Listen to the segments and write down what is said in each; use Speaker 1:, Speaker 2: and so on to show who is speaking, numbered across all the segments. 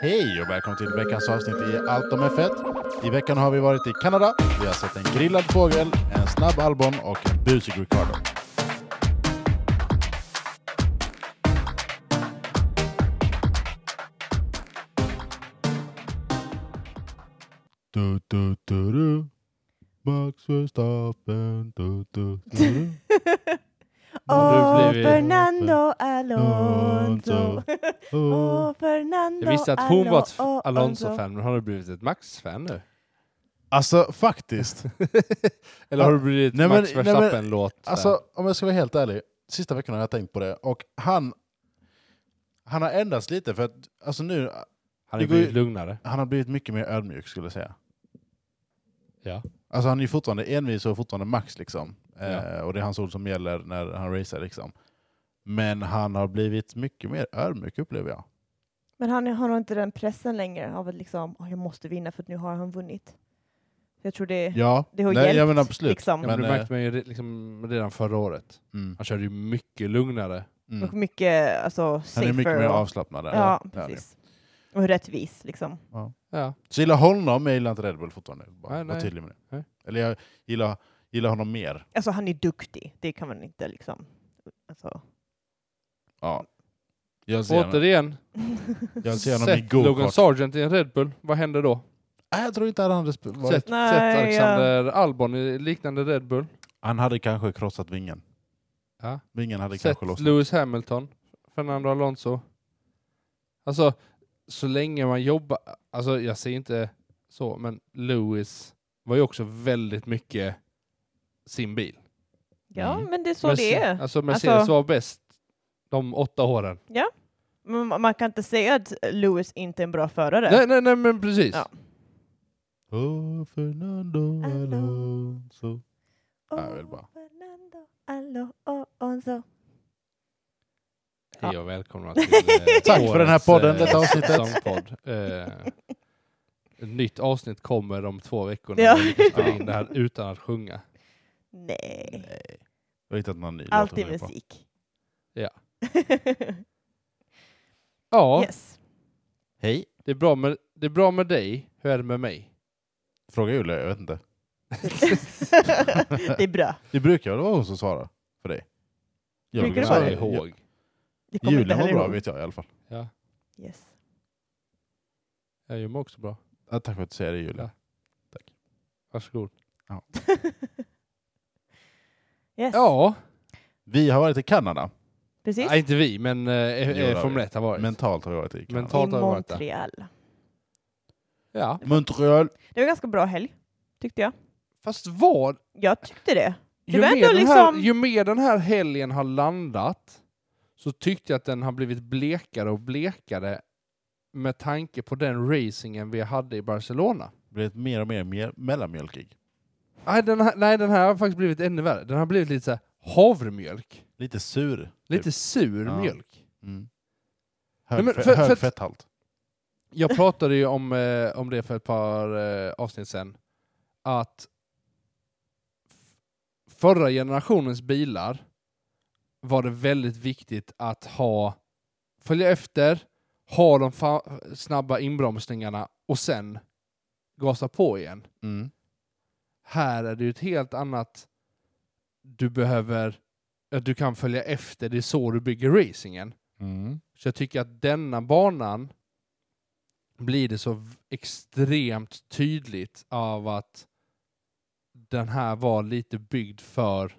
Speaker 1: Hej och välkommen till veckans avsnitt i Allt om F1. I veckan har vi varit i Kanada. Vi har sett en grillad fågel, en snabb Albon och en busig Ricardo. Du, du, du, du. Max Verstappen. Du, du, du, du.
Speaker 2: Åh,
Speaker 3: Nu blir vi-
Speaker 2: Fernando Alonso. Åh, Fernando
Speaker 3: Jag visste att hon var ett
Speaker 2: Alo-
Speaker 3: Alonso-fan, men har du blivit ett Max-fan nu?
Speaker 1: Alltså faktiskt.
Speaker 3: Eller har du blivit
Speaker 1: Nej, men-
Speaker 3: Max
Speaker 1: nej, men-
Speaker 3: Verstappen-låt?
Speaker 1: Alltså, om jag ska vara helt ärlig, sista veckorna har jag tänkt på det och han, han har ändrats lite för att alltså nu,
Speaker 3: han är
Speaker 1: det går ju-
Speaker 3: blivit lugnare.
Speaker 1: han har blivit mycket mer ödmjuk skulle jag säga.
Speaker 3: Ja.
Speaker 1: Alltså han är ju fortfarande envis och fortfarande max liksom. Eh,
Speaker 3: Ja.
Speaker 1: och det är hans ord som gäller när han racear liksom. Men han har blivit mycket mer ödmjuk upplever jag.
Speaker 2: Men han har nog inte den pressen längre av att liksom, "Åh, jag måste vinna för att nu har han vunnit. Jag tror det,
Speaker 1: Ja,
Speaker 2: det har
Speaker 1: nej,
Speaker 2: hjälpt.
Speaker 1: jag menar absolut.
Speaker 2: Liksom.
Speaker 3: Ja,
Speaker 1: Men,
Speaker 3: men, det
Speaker 1: eh,
Speaker 3: märkte man ju re- liksom redan förra året.
Speaker 1: Mm,
Speaker 3: Han körde ju mycket lugnare.
Speaker 1: mm.
Speaker 2: Och mycket alltså,
Speaker 1: Han
Speaker 2: safer.
Speaker 1: är mycket mer
Speaker 2: och-
Speaker 1: avslappnad. där.
Speaker 2: Ja,
Speaker 1: det är han ju.
Speaker 2: precis. Och rättvis liksom.
Speaker 3: Ja.
Speaker 1: Så jag gillar honom, men jag gillar inte Red Bull fortfarande. Bara,
Speaker 3: Nej,
Speaker 1: var
Speaker 3: nej.
Speaker 1: tydlig med det.
Speaker 3: Nej.
Speaker 1: Eller jag gillar, gillar honom mer.
Speaker 2: Alltså han är duktig, det kan man inte liksom... Alltså.
Speaker 1: Ja. Jag ser honom,
Speaker 3: Återigen,
Speaker 1: jag ser honom i
Speaker 3: sätt Logan
Speaker 1: go-kart.
Speaker 3: Sargent i en Red Bull. Vad händer då?
Speaker 1: Nej, jag tror inte han hade sp- varit...
Speaker 3: Sätt,
Speaker 2: Nej,
Speaker 3: sätt
Speaker 2: ja.
Speaker 3: Alexander Albon i liknande Red Bull.
Speaker 1: Han hade kanske krossat vingen.
Speaker 3: Ja.
Speaker 1: Vingen hade
Speaker 3: Sätt
Speaker 1: kanske lossnat.
Speaker 3: Lewis Hamilton, Fernando Alonso. Alltså, så länge man jobbar... Alltså, jag säger inte så, men Lewis var ju också väldigt mycket sin bil.
Speaker 2: Ja,
Speaker 1: Mm.
Speaker 2: men det är så
Speaker 3: Merce-
Speaker 2: det är.
Speaker 3: Alltså, Mercedes
Speaker 2: Alltså-
Speaker 3: var bäst de åtta åren.
Speaker 2: Men man man kan inte säga att Lewis inte är en bra förare.
Speaker 3: Nej, nej, nej, men precis.
Speaker 2: Ja.
Speaker 1: Oh, Fernando
Speaker 2: Alonso.
Speaker 1: Alonso.
Speaker 2: Åh,
Speaker 1: Ja, jag vill bara-
Speaker 2: Fernando Alonso.
Speaker 3: Hej och välkomna till eh,
Speaker 1: Tack för den här
Speaker 3: årets,
Speaker 1: podden,
Speaker 3: eh,
Speaker 1: detta avsnittet.
Speaker 3: säsongspodd. Eh, ett nytt avsnitt kommer om två veckor
Speaker 2: Ja.
Speaker 3: när vi lyckas spela in det här utan att sjunga.
Speaker 2: Nej,
Speaker 1: Jag har hittat någon ny låt att
Speaker 2: alltid
Speaker 1: sjunga på.
Speaker 2: musik.
Speaker 3: Ja. Ja,
Speaker 2: yes.
Speaker 1: Hej.
Speaker 3: det, är bra med, det är bra med dig. Hur är det med mig?
Speaker 1: Fråga Julia, jag vet inte.
Speaker 2: det är bra.
Speaker 1: Det brukar väl vara hon som svarar för dig? Jag
Speaker 2: Brukar det
Speaker 1: svara.
Speaker 2: vara det?
Speaker 1: Jag-
Speaker 3: ihåg.
Speaker 2: Det kommer
Speaker 1: Julia
Speaker 2: inte
Speaker 1: var
Speaker 2: heller
Speaker 1: bra
Speaker 2: ihåg.
Speaker 1: vet jag i alla fall.
Speaker 3: Ja,
Speaker 2: Yes.
Speaker 3: jag gör mig också bra.
Speaker 1: Ja, tack för att du säger det Julia.
Speaker 3: Varsågod.
Speaker 2: yes.
Speaker 3: Ja,
Speaker 1: Vi har varit i Kanada.
Speaker 2: Precis.
Speaker 3: nej, inte vi, men eh,
Speaker 1: Jo, det har vi.
Speaker 3: eh, Formel 1 har varit.
Speaker 1: Mentalt har vi varit i Kanada.
Speaker 3: Mental-
Speaker 2: I
Speaker 3: Totalt har det varit det.
Speaker 2: Montreal.
Speaker 3: Ja.
Speaker 1: Montreal.
Speaker 2: Det var en ganska bra helg, tyckte jag.
Speaker 3: Fast vad?
Speaker 2: Jag tyckte det. Det
Speaker 3: Ju
Speaker 2: var
Speaker 3: mer,
Speaker 2: ändå
Speaker 3: den här,
Speaker 2: liksom-
Speaker 3: ju mer den här helgen har landat så tyckte jag att den har blivit blekare och blekare med tanke på den racingen vi hade i Barcelona.
Speaker 1: Blivit mer och mer, mer mellanmjölkig.
Speaker 3: Nej den, här, nej, den här har faktiskt blivit ännu värre. Den har blivit lite så här havremjölk.
Speaker 1: Lite sur.
Speaker 3: Lite sur
Speaker 1: Typ. Ja.
Speaker 3: mjölk.
Speaker 1: Mm.
Speaker 3: Nej,
Speaker 1: Hög,
Speaker 3: men
Speaker 1: fe-
Speaker 3: för-
Speaker 1: hög
Speaker 3: för att-
Speaker 1: fetthalt.
Speaker 3: Jag pratade ju om, eh, om det för ett par eh, avsnitt sedan. Att f- förra generationens bilar var det väldigt viktigt att ha följa efter, ha de fa- snabba inbromsningarna och sen gasa på igen.
Speaker 1: Mm.
Speaker 3: Här är det ju ett helt annat... Du behöver... att Du kan följa efter, det är så du bygger racingen.
Speaker 1: Mm.
Speaker 3: Så jag tycker att denna banan blir det så v- extremt tydligt av att den här var lite byggd för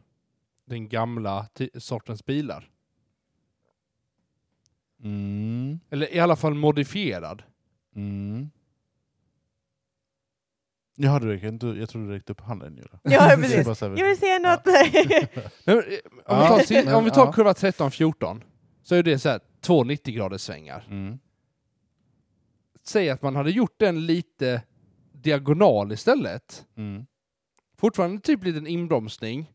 Speaker 3: den gamla ty- sortens bilar.
Speaker 1: Mm.
Speaker 3: Eller i alla fall modifierad.
Speaker 1: Mm. Jaha, du räcker inte, jag tror du räckte upp handen Julia.
Speaker 2: Ja,
Speaker 1: Det är
Speaker 2: precis.
Speaker 1: bara så här-
Speaker 2: Jag vill säga något.
Speaker 3: Men, eh, Om vi
Speaker 1: Ja,
Speaker 3: tar, si-
Speaker 1: men,
Speaker 3: om vi tar
Speaker 1: ja.
Speaker 3: kurva 13-14 så är det så här två 90 graders svängar.
Speaker 1: Mm.
Speaker 3: Säg att man hade gjort den lite diagonal istället.
Speaker 1: Mm.
Speaker 3: fortfarande typ liten inbromsning,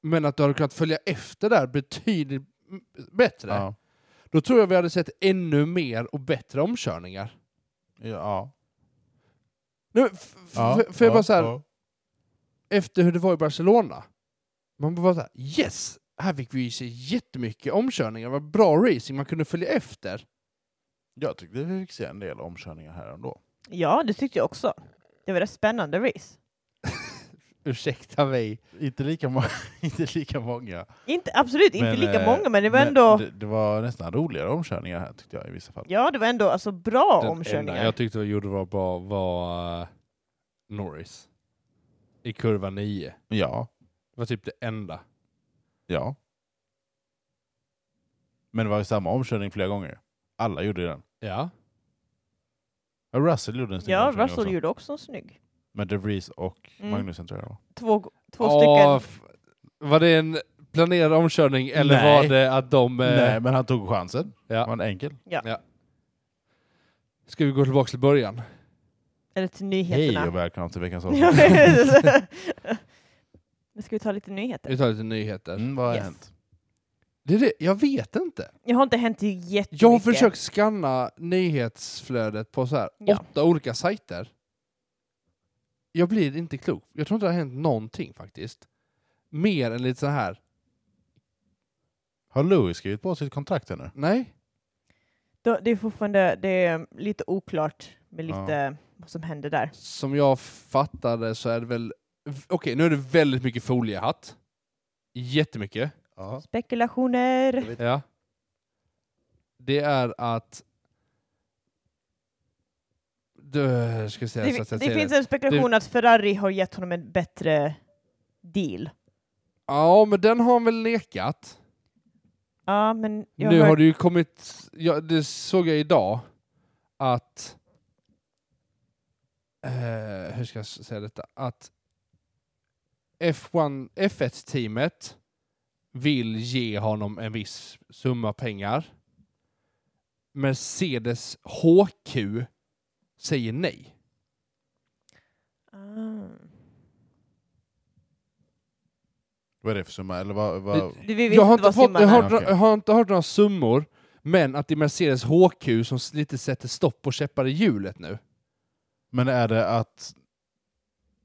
Speaker 3: men att du hade kunnat följa efter där betydligt m- bättre.
Speaker 1: Ja.
Speaker 3: Då tror jag vi hade sett ännu mer och bättre omkörningar.
Speaker 1: Ja.
Speaker 3: Nu, f- f-
Speaker 1: Ja.
Speaker 3: f- för jag
Speaker 1: ja,
Speaker 3: bara så här,
Speaker 1: ja.
Speaker 3: efter hur det var i Barcelona, man bara så här, yes! här fick vi ju se jättemycket omkörningar. Det var bra racing, man kunde följa efter.
Speaker 1: Jag tyckte vi fick se en del omkörningar här ändå.
Speaker 2: Ja, det tyckte jag också. Det var ett spännande race.
Speaker 3: Ursäkta mig.
Speaker 1: Inte lika, må- inte lika många.
Speaker 2: Inte, absolut inte
Speaker 1: Men,
Speaker 2: lika
Speaker 1: eh,
Speaker 2: många, men det var
Speaker 1: men
Speaker 2: ändå,
Speaker 1: Det, det var nästan roligare omkörningar här tyckte jag i vissa fall.
Speaker 2: ja, det var ändå alltså, bra
Speaker 3: enda
Speaker 2: omkörningar.
Speaker 3: jag tyckte vi gjorde var bra var eh, Norris. I kurva 9.
Speaker 1: Ja,
Speaker 3: Det var typ det enda.
Speaker 1: ja. Men det var ju samma omkörning flera gånger. Alla gjorde ju den.
Speaker 3: Ja.
Speaker 1: Ja, Russell gjorde en snygg
Speaker 2: Ja,
Speaker 1: omkörning
Speaker 2: Russell
Speaker 1: också.
Speaker 2: gjorde också en snygg.
Speaker 1: Med De Vries och
Speaker 2: Mm.
Speaker 1: Magnussen tror jag det var.
Speaker 2: Två, två
Speaker 3: Ja,
Speaker 2: stycken.
Speaker 3: f- Var det en planerad omkörning eller
Speaker 1: Nej.
Speaker 3: var det att de... eh,
Speaker 1: Nej, men han tog chansen.
Speaker 3: Ja.
Speaker 1: Det var en enkel.
Speaker 3: Ska vi gå tillbaka till början?
Speaker 2: Eller till
Speaker 1: Hej
Speaker 2: nyheterna.
Speaker 1: och välkomna till veckans
Speaker 2: Ja,
Speaker 1: avsnitt.
Speaker 2: precis. Men ska vi ta lite nyheter?
Speaker 3: Vi tar lite nyheter.
Speaker 1: Mm, vad har
Speaker 2: Yes.
Speaker 1: hänt?
Speaker 3: Det är det, jag vet inte.
Speaker 2: Jag har inte hänt jättemycket.
Speaker 3: Jag har försökt scanna nyhetsflödet på så här
Speaker 2: Ja.
Speaker 3: åtta olika sajter. Jag blir inte klok. Jag tror inte det har hänt någonting faktiskt. Mer än lite så här.
Speaker 1: Har Louis skrivit på sitt kontrakt ännu?
Speaker 3: Nej,
Speaker 2: Då- Det är fortfarande det är lite oklart med
Speaker 1: Ja.
Speaker 2: lite vad som händer där.
Speaker 3: som jag fattade så är det väl... Okej, nu är det väldigt mycket foliehatt. Jättemycket.
Speaker 1: Ja.
Speaker 2: Spekulationer.
Speaker 3: Ja. Det är att... Du, ska jag säga så
Speaker 2: Det,
Speaker 3: att jag
Speaker 2: det
Speaker 3: säger
Speaker 2: finns en spekulation att Ferrari har gett honom en bättre deal.
Speaker 3: Ja, men den har han väl nekat.
Speaker 2: Ja, men jag
Speaker 3: nu
Speaker 2: hör-
Speaker 3: har det ju kommit, ja, det såg jag idag, att... Eh, hur ska jag s- säga detta? Att F1, F1-teamet vill ge honom en viss summa pengar. Mercedes HQ säger nej.
Speaker 2: Ah.
Speaker 1: Vad är det för summa? Eller vad,
Speaker 3: Det-
Speaker 1: vad...
Speaker 2: Du, vi vet
Speaker 3: Jag har,
Speaker 2: inte
Speaker 3: inte
Speaker 2: vad
Speaker 3: fått,
Speaker 2: summan
Speaker 3: jag, har,
Speaker 2: är.
Speaker 1: är.
Speaker 3: jag har inte hört några summor, men att det är Mercedes HQ som s- lite sätter stopp och käppar i hjulet nu.
Speaker 1: Men är det att...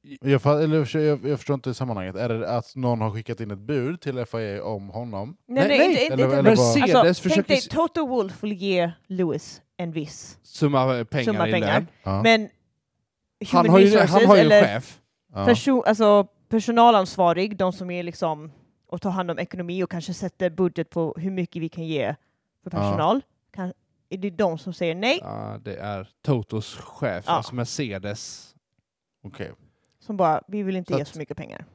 Speaker 1: Jag, fa- eller, jag, förstår- jag, jag förstår inte sammanhanget. Är det att någon har skickat in ett bud till FIA om honom?
Speaker 2: Nej, nej,
Speaker 3: Nej, nej.
Speaker 2: inte, inte,
Speaker 1: Eller-
Speaker 2: inte.
Speaker 1: eller vad-
Speaker 3: Mercedes
Speaker 2: alltså, tänk
Speaker 3: försöker
Speaker 2: dig,
Speaker 3: s-
Speaker 2: Toto Wolff vill ge Lewis en viss
Speaker 3: summa pengar
Speaker 2: summa
Speaker 3: i
Speaker 2: pengar.
Speaker 3: lön.
Speaker 1: Ja.
Speaker 2: Men
Speaker 3: Han
Speaker 2: human
Speaker 3: har, ju,
Speaker 2: resources
Speaker 3: han har ju en
Speaker 2: eller
Speaker 3: chef.
Speaker 1: ja.
Speaker 2: perso- alltså, personalansvarig, de som är liksom och tar hand om ekonomi och kanske sätter budget på hur mycket vi kan ge för
Speaker 1: Ja.
Speaker 2: personal. Kan, är det de som säger nej?
Speaker 3: Ja, det är Totos chef,
Speaker 2: Ja.
Speaker 3: alltså Mercedes.
Speaker 1: Okej.
Speaker 2: Som bara, vi vill inte
Speaker 3: Så
Speaker 2: ge
Speaker 3: att-
Speaker 2: så mycket pengar.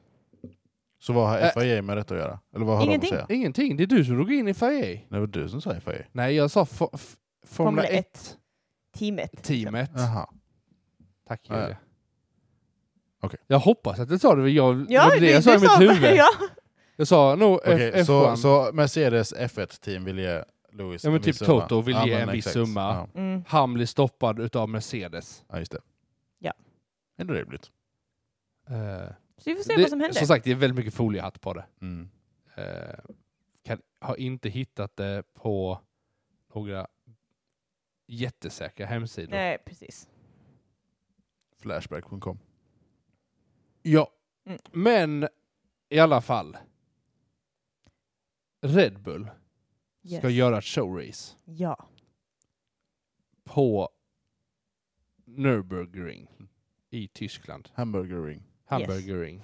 Speaker 1: Så vad har
Speaker 3: Ä-
Speaker 1: FIA med detta att göra? Eller vad har
Speaker 2: Ingenting.
Speaker 1: de att säga?
Speaker 3: Ingenting, det är du som drog in i FIA.
Speaker 1: Det var du som sa FIA.
Speaker 3: Nej, jag sa fo- f- Formula
Speaker 2: Formula
Speaker 3: 1
Speaker 2: Teamet.
Speaker 3: teamet.
Speaker 1: Jaha.
Speaker 3: Tack
Speaker 1: Ja, ja.
Speaker 3: Julia.
Speaker 1: Okej.
Speaker 3: Jag hoppas att jag sa det, jag, det var det
Speaker 2: du-
Speaker 3: jag sa i
Speaker 2: du sa-
Speaker 3: mitt huvud.
Speaker 2: ja.
Speaker 3: Jag sa nog
Speaker 1: Okej,
Speaker 3: F-
Speaker 1: så,
Speaker 3: F1.
Speaker 1: så Mercedes F1-team vill ge Lewis
Speaker 3: Ja, men
Speaker 1: en viss
Speaker 3: typ
Speaker 1: summa.
Speaker 3: Toto vill ge
Speaker 1: men
Speaker 3: en viss
Speaker 1: exakt.
Speaker 3: summa.
Speaker 1: Ja.
Speaker 2: Mm.
Speaker 3: Han blir stoppad utav Mercedes.
Speaker 1: ja, just det.
Speaker 2: Ja.
Speaker 1: Ändå rimligt.
Speaker 3: Eh,
Speaker 2: Så vi får se
Speaker 3: det,
Speaker 2: vad som händer.
Speaker 3: Som sagt, det är väldigt mycket foliehatt på det.
Speaker 1: Mm.
Speaker 3: Eh, kan, har inte hittat det på några jättesäkra hemsidor.
Speaker 2: Nej, precis.
Speaker 1: Flashback.com.
Speaker 3: Ja,
Speaker 2: Mm.
Speaker 3: men i alla fall. Red Bull
Speaker 2: Yes.
Speaker 3: ska göra ett showrace
Speaker 2: Ja.
Speaker 3: på Nürburgring i Tyskland.
Speaker 1: Hamburger ring.
Speaker 3: Hamburgering.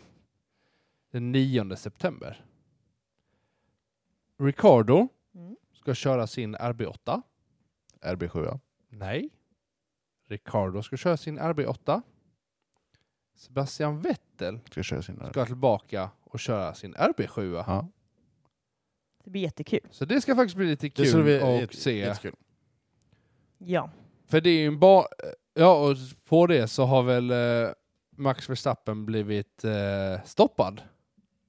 Speaker 3: Den 9 september. Ricardo
Speaker 2: Mm.
Speaker 3: ska köra sin RB8.
Speaker 1: RB7. ja.
Speaker 3: Nej. Ricardo ska köra sin RB8. Sebastian Vettel
Speaker 1: Ska köra sina...
Speaker 3: ska tillbaka och köra sin RB7.
Speaker 1: Ja.
Speaker 2: Det blir jättekul.
Speaker 3: Så det ska faktiskt bli lite
Speaker 1: Det skulle
Speaker 3: kul
Speaker 1: bli
Speaker 3: att
Speaker 1: jätte-
Speaker 3: se.
Speaker 1: jättekul.
Speaker 2: Ja.
Speaker 3: För det är ju en ba... Ja, och på det så har väl eh, Max Verstappen blivit eh, stoppad.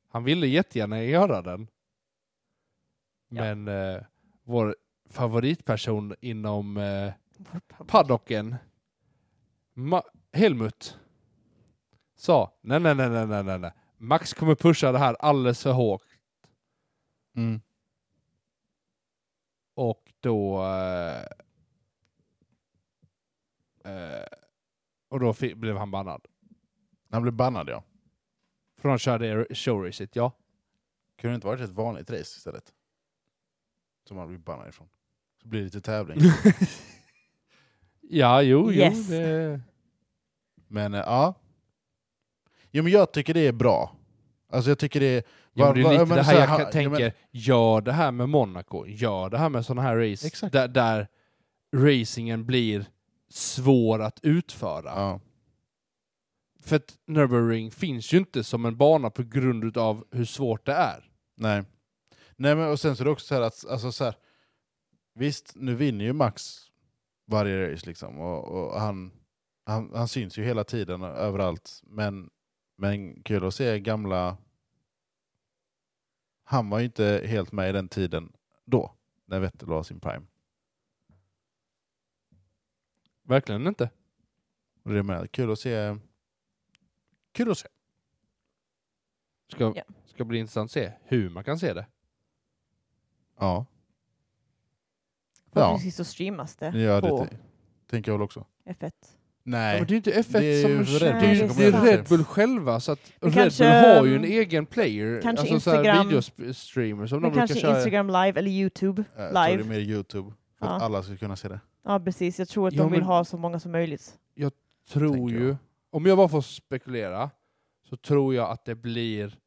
Speaker 3: Han ville jättegärna göra den.
Speaker 2: Ja.
Speaker 3: Men eh, vår favoritperson inom eh, paddocken, Ma- Helmut, sa nej, nej, nej, nej, nej, nej, nej. Max kommer pusha det här alldeles för hårt.
Speaker 1: Mm.
Speaker 3: Och då... Eh, eh, och då fi- blev han bannad.
Speaker 1: Han blev bannad ja.
Speaker 3: För de körde showracet, ja.
Speaker 1: Kunde det inte varit ett vanligt race istället? Som man blir bannad ifrån. Så blir det lite tävling.
Speaker 3: ja, jo,
Speaker 2: Yes.
Speaker 3: jo. Det...
Speaker 1: men eh, ja. Jo men jag tycker det är bra. Alltså jag tycker det är...
Speaker 3: Jo, men det är
Speaker 1: va-
Speaker 3: lite
Speaker 1: ja, men
Speaker 3: det
Speaker 1: så
Speaker 3: här jag
Speaker 1: ha-
Speaker 3: kan-
Speaker 1: ja, men-
Speaker 3: tänker, gör det här med Monaco, gör det här med sådana här race,
Speaker 1: Exakt.
Speaker 3: Där, där racingen blir svår att utföra.
Speaker 1: Ja.
Speaker 3: För att Nürburgring finns ju inte som en bana på grund av hur svårt det är.
Speaker 1: Nej. Nej men och sen så är det också så här att, alltså så här, visst nu vinner ju Max varje race liksom och, och han, han, han syns ju hela tiden och överallt men, men kul att se gamla, han var ju inte helt med i den tiden då när Vettel var sin prime.
Speaker 3: Verkligen inte.
Speaker 1: Och det är med. Kul att se. Kul att se.
Speaker 3: Ska,
Speaker 2: Ja.
Speaker 3: ska bli intressant att se hur man kan se det.
Speaker 1: Ja, ja.
Speaker 2: Förhoppningsvis så streamas det
Speaker 1: ja
Speaker 2: på
Speaker 1: det t- tänker jag väl också.
Speaker 2: F1.
Speaker 3: Ja,
Speaker 1: Nej.
Speaker 3: men det är ju inte F1
Speaker 1: Det är
Speaker 3: som...
Speaker 1: ju Red
Speaker 3: det,
Speaker 2: Bull
Speaker 3: är,
Speaker 2: som
Speaker 3: det är
Speaker 2: kommer
Speaker 3: Red
Speaker 1: ut.
Speaker 3: Bull själva, så att
Speaker 2: Men
Speaker 3: Red
Speaker 2: kanske,
Speaker 3: Bull har ju en
Speaker 2: um,
Speaker 3: egen player,
Speaker 2: kanske
Speaker 3: alltså så här
Speaker 2: Instagram.
Speaker 3: videostreamer som de
Speaker 2: Men
Speaker 3: brukar
Speaker 2: kanske
Speaker 3: köra.
Speaker 2: Instagram live eller Youtube.
Speaker 1: Jag tror det är
Speaker 2: Live.
Speaker 1: mer Youtube. För att
Speaker 2: Ja.
Speaker 1: alla ska kunna se det.
Speaker 2: Ja, precis. Jag tror att
Speaker 3: Jo,
Speaker 2: de vill
Speaker 3: men-
Speaker 2: ha så många som möjligt.
Speaker 3: tror
Speaker 1: tänker jag.
Speaker 3: ju, om jag bara får spekulera, så tror jag att det blir...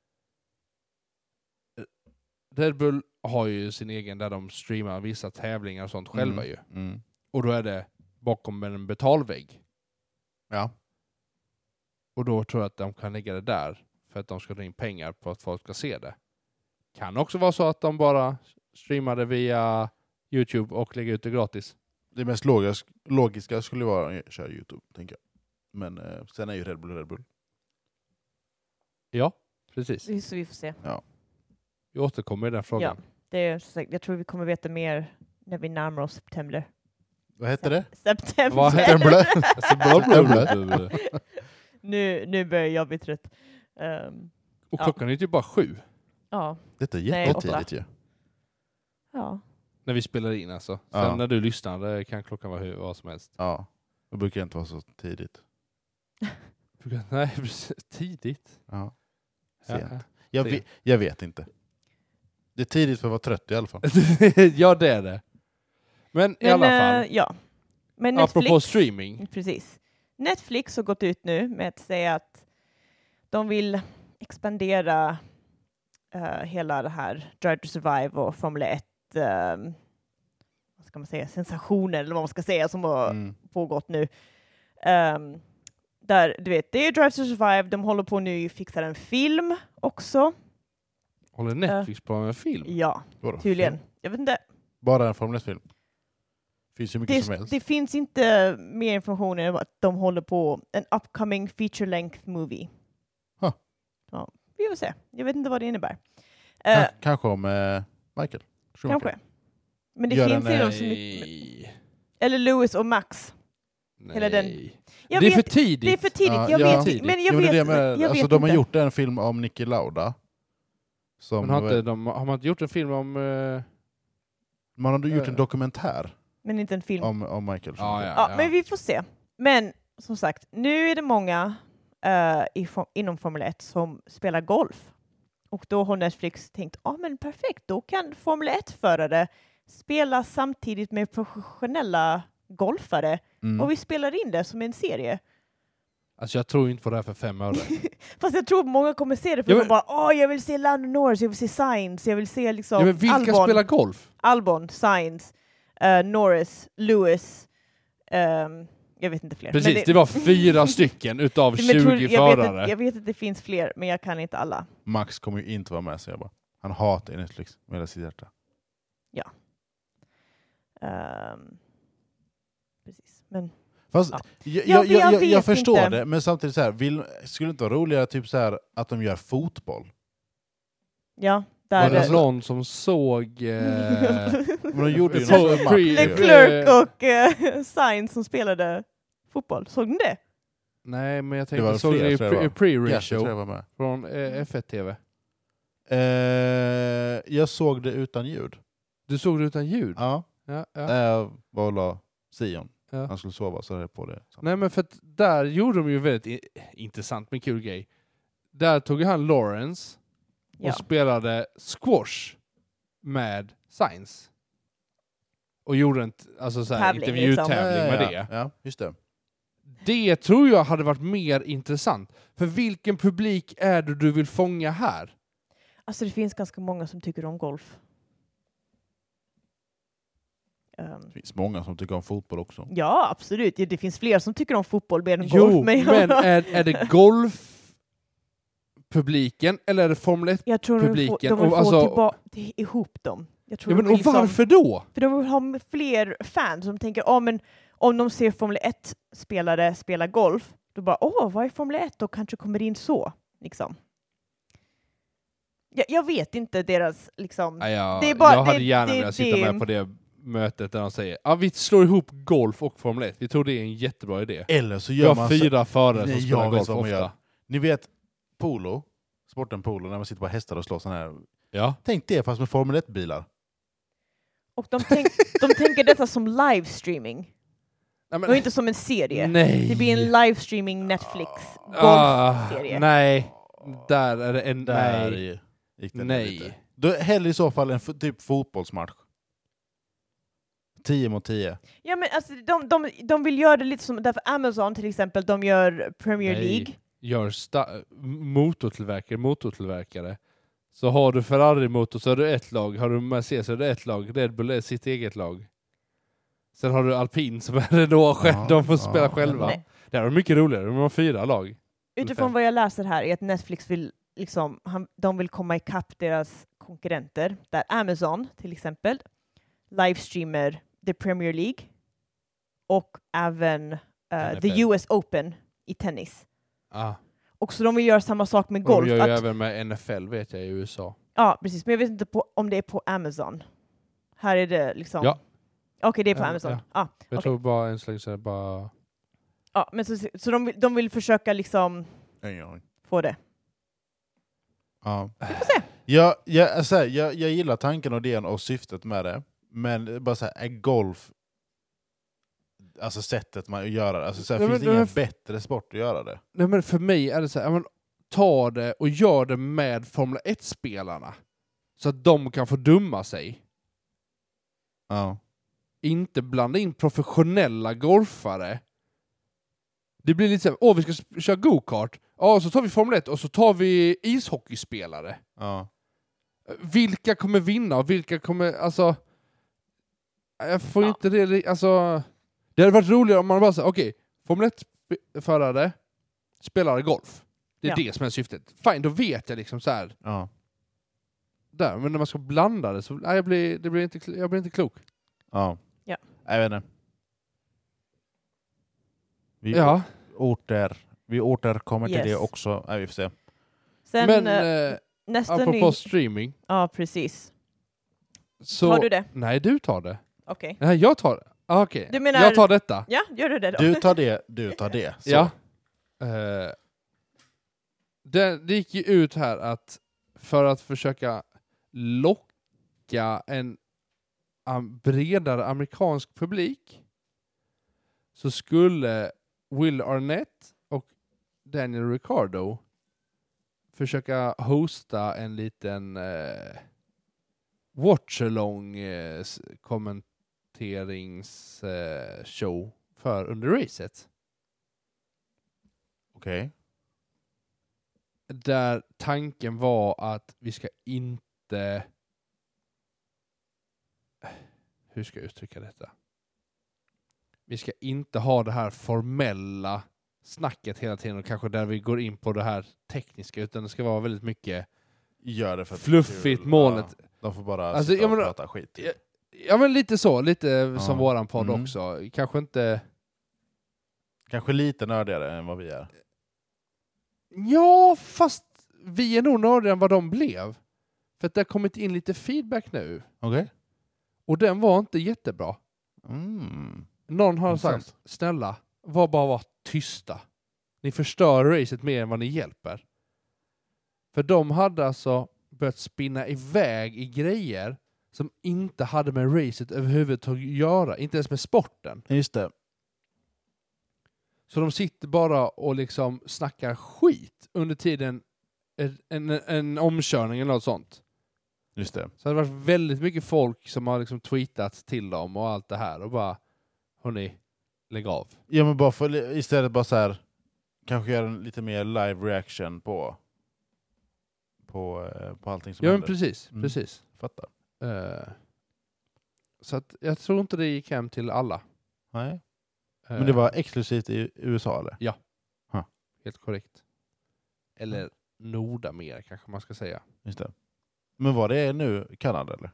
Speaker 3: Red Bull har ju sin egen där de streamar vissa tävlingar och sånt själva
Speaker 1: Mm.
Speaker 3: ju.
Speaker 1: Mm.
Speaker 3: Och då är det bakom en betalvägg.
Speaker 1: Ja.
Speaker 3: Och då tror jag att de kan lägga det där för att de ska dra in pengar på att folk ska se det. Kan också vara så att de bara streamar det via Youtube och lägger ut det gratis.
Speaker 1: Det mest logiska, logiska skulle vara att köra Youtube, tänker jag. Men eh, sen är ju Red Bull Red Bull.
Speaker 3: Ja, precis.
Speaker 2: Så vi får se.
Speaker 3: Vi återkommer i den frågan.
Speaker 2: Det är, som sagt, jag tror vi kommer veta mer när vi närmar oss september.
Speaker 1: Vad hette det?
Speaker 2: September!
Speaker 3: Vad heter
Speaker 1: September.
Speaker 3: Alltså, bla, bla, bla, bla.
Speaker 2: nu, nu börjar jag bli trött. Ehm,
Speaker 3: Och
Speaker 2: Ja.
Speaker 3: klockan är ju typ bara sju
Speaker 2: ja.
Speaker 1: Detta är
Speaker 2: Nej, åtta.
Speaker 1: jättetidigt ju.
Speaker 2: ja.
Speaker 3: när vi spelar in alltså. Sen
Speaker 1: Ja.
Speaker 3: när du lyssnar det kan klockan vara hur, vad som helst.
Speaker 1: Ja. Det brukar inte vara så tidigt.
Speaker 3: Nej, precis. tidigt.
Speaker 1: Ja.
Speaker 3: Ja.
Speaker 1: Sent. Jag,
Speaker 3: Det-
Speaker 1: ve- jag vet inte. Det är tidigt för att vara trött i alla fall.
Speaker 3: ja, det är det. Men, i
Speaker 2: Men,
Speaker 3: alla fall,
Speaker 2: eh, ja. Men Netflix,
Speaker 3: apropå streaming.
Speaker 2: Precis. Netflix har gått ut nu med att säga att de vill expandera eh, hela det här Drive to Survive och Formel 1 eh, vad ska man säga, sensationer eller vad man ska säga som har
Speaker 1: Mm.
Speaker 2: pågått nu. Ehm, där, du vet, det är Drive to Survive, de håller på nu att fixa en film också.
Speaker 3: Håller Netflix på med en film?
Speaker 2: Ja,
Speaker 1: Vadå?
Speaker 2: tydligen. Jag vet inte.
Speaker 1: Bara en Formel 1-film. Finns ju mycket som
Speaker 2: Det,
Speaker 1: helst.
Speaker 2: det finns inte mer information än att de håller på en upcoming feature length movie.
Speaker 1: Huh.
Speaker 2: Ja, vi får se. Jag vet inte vad det innebär. Eh,
Speaker 1: Kans- kanske om eh, Michael Schumacher.
Speaker 2: kanske. Men det
Speaker 1: Gör
Speaker 2: finns
Speaker 1: en,
Speaker 2: ju
Speaker 1: eh,
Speaker 2: de som...
Speaker 3: Nej.
Speaker 2: Eller Lewis och Max. Hela den-
Speaker 3: Nej.
Speaker 2: Jag
Speaker 3: det är
Speaker 2: vet,
Speaker 3: för tidigt.
Speaker 2: det är för tidigt.
Speaker 1: Ja,
Speaker 2: jag
Speaker 1: ja.
Speaker 2: vet Men
Speaker 1: Jo,
Speaker 2: jag
Speaker 1: men det är
Speaker 2: vet,
Speaker 1: det jag menar.
Speaker 2: jag vet
Speaker 1: alltså, de har
Speaker 2: inte.
Speaker 1: gjort en film om Niki Lauda. Som eh,
Speaker 3: Men har, inte, de, har man inte gjort en film om... eh,
Speaker 1: man har gjort en
Speaker 3: Eh.
Speaker 1: dokumentär
Speaker 2: Men inte en film.
Speaker 1: om, om Michael Schumacher.
Speaker 2: Ja, men vi får se. Men som sagt, nu är det många eh, i, for- inom Formel 1 som spelar golf. Och då har Netflix tänkt, ja ah, men perfekt, då kan Formel 1-förare spela samtidigt med professionella golfare
Speaker 1: Mm.
Speaker 2: och vi spelar in det som en serie.
Speaker 3: Alltså jag tror inte på det här för fem öre.
Speaker 2: Fast jag tror många kommer se det för
Speaker 3: Ja,
Speaker 2: de
Speaker 3: men-
Speaker 2: bara, åh jag vill se Lando Norris, jag vill se Sainz, jag vill se liksom
Speaker 3: ja, men vilka
Speaker 2: Albon,
Speaker 3: spelar golf?
Speaker 2: Albon, Sainz, eh, Norris, Lewis, ehm, jag vet inte fler. Men
Speaker 3: Precis, det... var fyra stycken utav
Speaker 2: Men
Speaker 3: 20
Speaker 2: jag tror- jag vet,
Speaker 3: förare.
Speaker 2: att, jag vet att det finns fler, men jag kan inte alla.
Speaker 1: Max kommer ju inte vara med säger jag bara. Han hatar ju Netflix med hela sitt hjärta.
Speaker 2: Ehm, precis. Men
Speaker 1: Fast
Speaker 2: Ja.
Speaker 1: jag,
Speaker 2: Ja,
Speaker 1: jag,
Speaker 2: men jag
Speaker 1: jag, jag,
Speaker 2: vet
Speaker 1: förstår
Speaker 2: inte.
Speaker 1: det, men samtidigt så här, vill, skulle det inte vara roligare typ så här, att de gör fotboll?
Speaker 2: ja,
Speaker 3: Var
Speaker 2: där...
Speaker 3: det
Speaker 1: Alltså-
Speaker 3: någon som såg... Eh...
Speaker 1: Men de gjorde ju
Speaker 3: Så-
Speaker 1: något med Max.
Speaker 3: pre-
Speaker 1: ju.
Speaker 3: pre-
Speaker 2: Leclerc och eh, Sainz som spelade fotboll. Såg ni det?
Speaker 3: Nej, men jag
Speaker 1: Det
Speaker 3: tänkte
Speaker 1: var
Speaker 3: såg
Speaker 1: flera,
Speaker 3: ni
Speaker 1: tror jag det
Speaker 3: pre-
Speaker 1: var.
Speaker 3: pre-ring
Speaker 1: Gerhard tror
Speaker 3: show
Speaker 1: jag var Mm. med.
Speaker 3: från eh, F1 TV?
Speaker 1: Eh, jag såg det utan ljud.
Speaker 3: Du såg det utan ljud?
Speaker 1: Ja.
Speaker 3: Ja, ja.
Speaker 1: Jag var och la Sion.
Speaker 3: Ja.
Speaker 1: Han skulle sova så hade jag på det.
Speaker 3: Nej men för att där gjorde de ju väldigt i- intressant men kul grej. Där tog ju han Lawrence
Speaker 2: Ja.
Speaker 3: och spelade squash med Science. Och gjorde en t- alltså så här,
Speaker 2: Tävling,
Speaker 3: intervjutävling
Speaker 1: liksom. ja, ja,
Speaker 3: med det.
Speaker 1: Ja, just det.
Speaker 3: Det tror jag hade varit mer intressant. För vilken publik är det du vill fånga här?
Speaker 2: Alltså det finns ganska många som tycker om golf. Ehm,
Speaker 1: Det finns många som tycker om fotboll också.
Speaker 2: ja, absolut. Ja, Det finns fler som tycker om fotboll mer än
Speaker 3: Jo,
Speaker 2: golf.
Speaker 3: men är, är det golfpubliken eller är det Formel 1?
Speaker 2: jag tror de vill få,
Speaker 3: publiken,
Speaker 2: de vill
Speaker 3: och
Speaker 2: få
Speaker 3: alltså-
Speaker 2: tillba- till- ihop dem. Jag tror
Speaker 3: Ja, men,
Speaker 2: de
Speaker 3: och
Speaker 2: vill liksom-
Speaker 3: varför då?
Speaker 2: För de vill ha fler fans som tänker, ah, men om de ser Formel 1-spelare spela golf, då bara, åh, vad är Formel 1? Och kanske kommer in så, liksom. Jag, jag vet inte deras, liksom...
Speaker 3: Ja, jag,
Speaker 2: Det är bara-
Speaker 3: jag hade
Speaker 2: det-
Speaker 3: gärna
Speaker 2: det-
Speaker 3: velat sitta
Speaker 2: det-
Speaker 3: med på det mötet där de säger ja vi slår ihop golf och Formel 1. Vi tror det är en jättebra idé.
Speaker 1: Eller så
Speaker 3: Vi
Speaker 1: gör
Speaker 3: har
Speaker 1: man så-
Speaker 3: fyra förare som
Speaker 1: Nej,
Speaker 3: spelar
Speaker 1: jag vet
Speaker 3: golf
Speaker 1: vad man gör.
Speaker 3: ofta.
Speaker 1: Ni vet polo, sporten polo, när man sitter på hästar och slår sån här.
Speaker 3: Ja.
Speaker 1: Tänk det fast med Formel 1-bilar.
Speaker 2: Och de, tänk, de tänker detta som livestreaming,
Speaker 3: Nej, men-
Speaker 2: och inte som en serie.
Speaker 3: nej.
Speaker 2: Det blir en livestreaming Netflix-golfserie.
Speaker 3: Ah, Nej, där är det en...
Speaker 1: Där
Speaker 3: Nej.
Speaker 1: gick det
Speaker 3: Nej.
Speaker 1: lite. Då hellre i så fall en f- typ fotbollsmatch. 10 mot 10.
Speaker 2: Ja, men alltså, de, de, de vill göra det lite som, därför Amazon till exempel, de gör Premier
Speaker 3: Nej.
Speaker 2: League.
Speaker 3: Gör sta- motortillverkare, motortillverkare. Så har du Ferrari-motor så är du ett lag, har du Mercedes så är det ett lag, Red Bull är sitt eget lag. Sen har du alpin som är Renault själv,
Speaker 1: Ja,
Speaker 3: de får
Speaker 1: ja.
Speaker 3: spela själva.
Speaker 2: Nej.
Speaker 3: Det här var mycket roligare, de har fyra lag.
Speaker 2: Utifrån
Speaker 3: Ungefär.
Speaker 2: vad jag läser här är att Netflix vill, liksom, han, de vill komma ikapp deras konkurrenter, där Amazon till exempel livestreamer the Premier League och även eh, the
Speaker 3: NFL.
Speaker 2: US Open i tennis.
Speaker 3: Ah.
Speaker 2: Och så de vill göra samma sak med
Speaker 3: Golf,
Speaker 2: golf.
Speaker 3: de gör ju
Speaker 2: att,
Speaker 3: även med NFL vet jag i USA.
Speaker 2: ja, precis. Men jag vet inte på, om det är på Amazon. Här är det liksom...
Speaker 3: Ja.
Speaker 2: Okej, det är på
Speaker 3: Ja,
Speaker 2: Amazon.
Speaker 3: ja.
Speaker 2: Ah.
Speaker 3: Jag
Speaker 2: Okej.
Speaker 3: tror bara en slags så här bara...
Speaker 2: Ja, men så, så de, vill- de vill försöka liksom
Speaker 1: Ingen aning.
Speaker 2: få det.
Speaker 1: Ja.
Speaker 2: Vi får se.
Speaker 1: Jag, jag, alltså här, jag, jag gillar tanken och idén och syftet med det. Men bara så här, är golf... Alltså sättet man gör det. Alltså så här,
Speaker 3: Ja,
Speaker 1: finns
Speaker 3: men
Speaker 1: det ingen
Speaker 3: det är-
Speaker 1: bättre sport att göra det?
Speaker 3: Nej men för mig är det så här, ja, men, ta det och gör det med Formel 1-spelarna. Så att de kan få dumma sig.
Speaker 1: Ja.
Speaker 3: Inte blanda in professionella golfare. Det blir lite såhär, åh vi ska sp- köra go-kart, ja så tar vi Formel 1 och så tar vi ishockeyspelare.
Speaker 1: ja.
Speaker 3: Vilka kommer vinna och vilka kommer, alltså... Jag får
Speaker 2: Ja.
Speaker 3: inte det, ri- alltså... Det hade varit roligare om man bara sa okej, Formel 1-förare spelar golf. Det är
Speaker 2: Ja.
Speaker 3: det som är syftet. Fine, då vet jag liksom så här.
Speaker 1: ja.
Speaker 3: Där, men när man ska blanda det så, nej, jag blir, det blir inte, kl- jag blir inte klok.
Speaker 1: Ja.
Speaker 2: Ja.
Speaker 1: Jag vet inte. Vi,
Speaker 3: Ja,
Speaker 1: åter, vi återkommer till
Speaker 2: Yes.
Speaker 1: det också. Nej, vi får se.
Speaker 2: Sen
Speaker 3: men
Speaker 2: eh,
Speaker 3: eh,
Speaker 2: nästa ny...
Speaker 3: apropå streaming.
Speaker 2: Ja, precis.
Speaker 3: Så,
Speaker 2: Har du det?
Speaker 3: Nej, du tar det.
Speaker 2: Okej.
Speaker 3: Nej, jag tar det. Ah, okej.
Speaker 2: Du menar-
Speaker 3: Jag tar detta.
Speaker 2: Ja, gör du det då?
Speaker 1: Du tar det, du tar det. Så.
Speaker 3: Ja. Eh, det, det gick ju ut här att för att försöka locka en am- bredare amerikansk publik så skulle Will Arnett och Daniel Ricardo försöka hosta en liten eh, watchalong eh, s- kommenterings eh, show för under racet.
Speaker 1: Okej.
Speaker 3: där tanken var att vi ska inte... Hur ska jag uttrycka detta? Vi ska inte ha det här formella snacket hela tiden och kanske där vi går in på det här tekniska utan det ska vara väldigt mycket...
Speaker 1: Gör det för att det är
Speaker 3: Fluffigt,
Speaker 1: kul.
Speaker 3: molnet.
Speaker 1: Ja. De får bara
Speaker 3: Alltså,
Speaker 1: sitta
Speaker 3: jag
Speaker 1: och
Speaker 3: menar-
Speaker 1: prata skit. typ.
Speaker 3: Ja men lite så, lite som
Speaker 1: Ja.
Speaker 3: våran podd
Speaker 1: Mm.
Speaker 3: också. Kanske inte...
Speaker 1: Kanske lite nördigare än vad vi är.
Speaker 3: Ja, fast vi är nog nördigare än vad de blev. För att det har kommit in lite feedback nu
Speaker 1: Okej.
Speaker 3: och den var inte jättebra.
Speaker 1: Mm.
Speaker 3: Någon har
Speaker 1: Intressant.
Speaker 3: sagt, snälla, var bara var tysta. Ni förstör racet mer än vad ni hjälper. För de hade alltså börjat spinna iväg i grejer som inte hade med racet överhuvudtaget att göra, inte ens med sporten.
Speaker 1: Just det.
Speaker 3: Så de sitter bara och liksom snackar skit under tiden en, en, en omkörning eller något sånt.
Speaker 1: Just det.
Speaker 3: Så det har varit väldigt mycket folk som har liksom tweetat till dem och allt det här och bara Hörni, lägg av.
Speaker 1: Ja, men bara för, istället bara så här, kanske göra en lite mer live reaction på, på, eh, på allting som
Speaker 3: Ja men
Speaker 1: händer.
Speaker 3: precis,
Speaker 1: Mm.
Speaker 3: precis.
Speaker 1: Fattar.
Speaker 3: Eh, så att jag tror inte det gick hem till alla.
Speaker 1: Nej.
Speaker 3: Eh,
Speaker 1: Men det var exklusivt i USA eller?
Speaker 3: Helt korrekt.
Speaker 1: Mm.
Speaker 3: Eller Nordamerika kanske man ska säga.
Speaker 1: Just det. Men var det nu Kanada eller?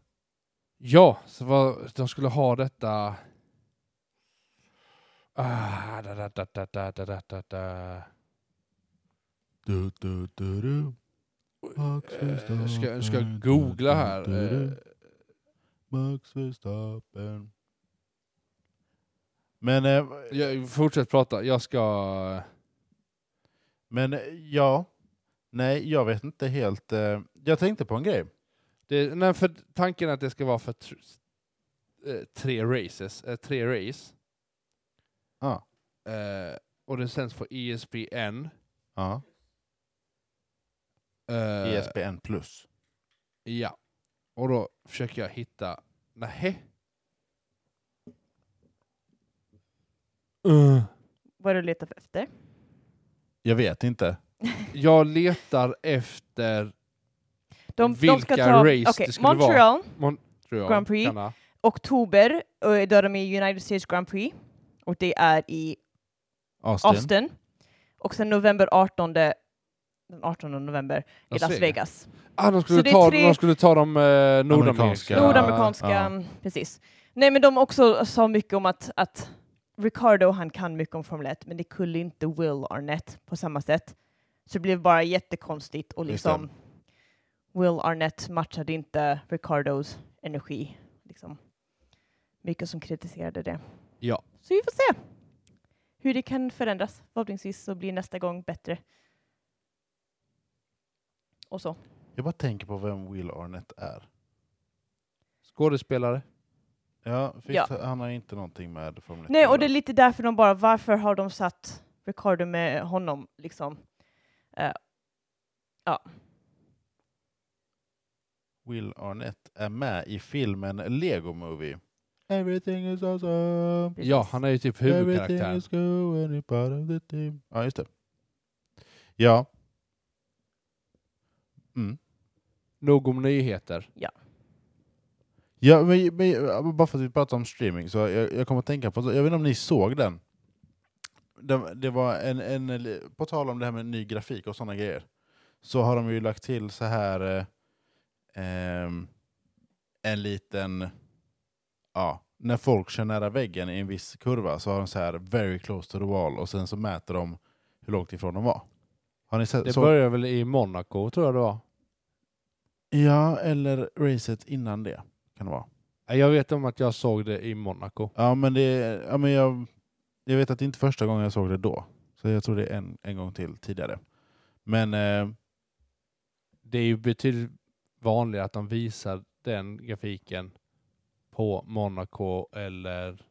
Speaker 3: Ja, så vad, de skulle ha detta... Ah, da, da, da, da, da, da, da, da, da.
Speaker 1: Du, du, du, du. Max
Speaker 3: Eh, Ska, ska
Speaker 1: Verstappen,
Speaker 3: jag googla här?
Speaker 1: du, du, du,
Speaker 3: Eh,
Speaker 1: du. Max Verstappen. Men, eh,
Speaker 3: Jag, fortsätt prata, jag ska...
Speaker 1: men eh, ja, nej jag vet inte helt. Eh, jag tänkte på en grej.
Speaker 3: Det, nej, för tanken är att det ska vara för tr- eh, tre races, eh, tre race.
Speaker 1: Ja.
Speaker 3: Eh, och det sänds på E ESPN.
Speaker 1: Ja.
Speaker 3: Eh,
Speaker 1: ESPN plus.
Speaker 3: Ja. Och då försöker jag hitta... Nähä? Uh.
Speaker 2: Vad du letar efter?
Speaker 1: Jag vet inte.
Speaker 3: Jag letar efter
Speaker 2: De,
Speaker 3: Vilka
Speaker 2: de ska ta,
Speaker 3: race
Speaker 2: okej,
Speaker 3: det skulle vara.
Speaker 2: Montreal,
Speaker 3: Montreal.
Speaker 2: Grand Prix.
Speaker 3: Kanada.
Speaker 2: oktober, eh, då är de i United States Grand Prix. Och det är i
Speaker 1: Austin.
Speaker 2: Austin. Och sen november 18, den 18 november, i
Speaker 3: Las
Speaker 2: Las
Speaker 3: Vegas.
Speaker 2: Vegas.
Speaker 3: Ah, de, skulle
Speaker 2: det är
Speaker 3: ta,
Speaker 2: tre-
Speaker 3: de skulle ta de eh, nordamerikanska.
Speaker 1: Ja,
Speaker 2: Nordamerikanska,
Speaker 1: ja.
Speaker 2: mm, precis. Nej men de också sa mycket om att, att Ricardo han kan mycket om Formel 1 men det kunde inte Will Arnett på samma sätt. Så det blev bara jättekonstigt och
Speaker 1: Just det.
Speaker 2: liksom Will Arnett matchade inte Ricardos energi. Liksom. Mycket som kritiserade det.
Speaker 3: Ja.
Speaker 2: Så vi får se hur det kan förändras. Förhoppningsvis så blir nästa gång bättre. Och så.
Speaker 1: Jag bara tänker på vem Will Arnett är.
Speaker 3: Skådespelare.
Speaker 1: Ja, för
Speaker 2: Ja.
Speaker 1: han har inte någonting med Formel 1
Speaker 2: Nej, och det är lite därför de bara, varför har de satt Ricardo med honom liksom?
Speaker 1: Will Arnett är med i filmen Lego Movie. Everything is awesome.
Speaker 2: Precis.
Speaker 3: Ja, han är ju typ
Speaker 1: Everything
Speaker 3: huvudkaraktären.
Speaker 1: is cool and you're part of the team. Ja, just det. Ja. Mm.
Speaker 3: Nog om nyheter.
Speaker 1: Ja, men, men, bara för att vi pratar om streaming så jag, jag kommer att tänka på, jag vet inte om ni såg den? Det, det var en, en, på tal om det här med ny grafik och sådana grejer, så har de ju lagt till så här eh, ehm, en liten, ja, när folk kör nära väggen i en viss kurva så har de så här very close to the wall och sen så mäter de hur långt ifrån de var. Har ni sett?
Speaker 3: Det
Speaker 1: Så,
Speaker 3: började väl i Monaco, tror jag det var.
Speaker 1: ja, eller racet innan det kan det vara.
Speaker 3: Nej, Jag vet om att jag såg det i Monaco.
Speaker 1: Ja, men det ja, men jag, jag vet att det inte är första gången jag såg det då. Så jag tror det är en, en gång till tidigare. Men eh,
Speaker 3: Det är ju betydligt vanligare att de visar den grafiken på Monaco eller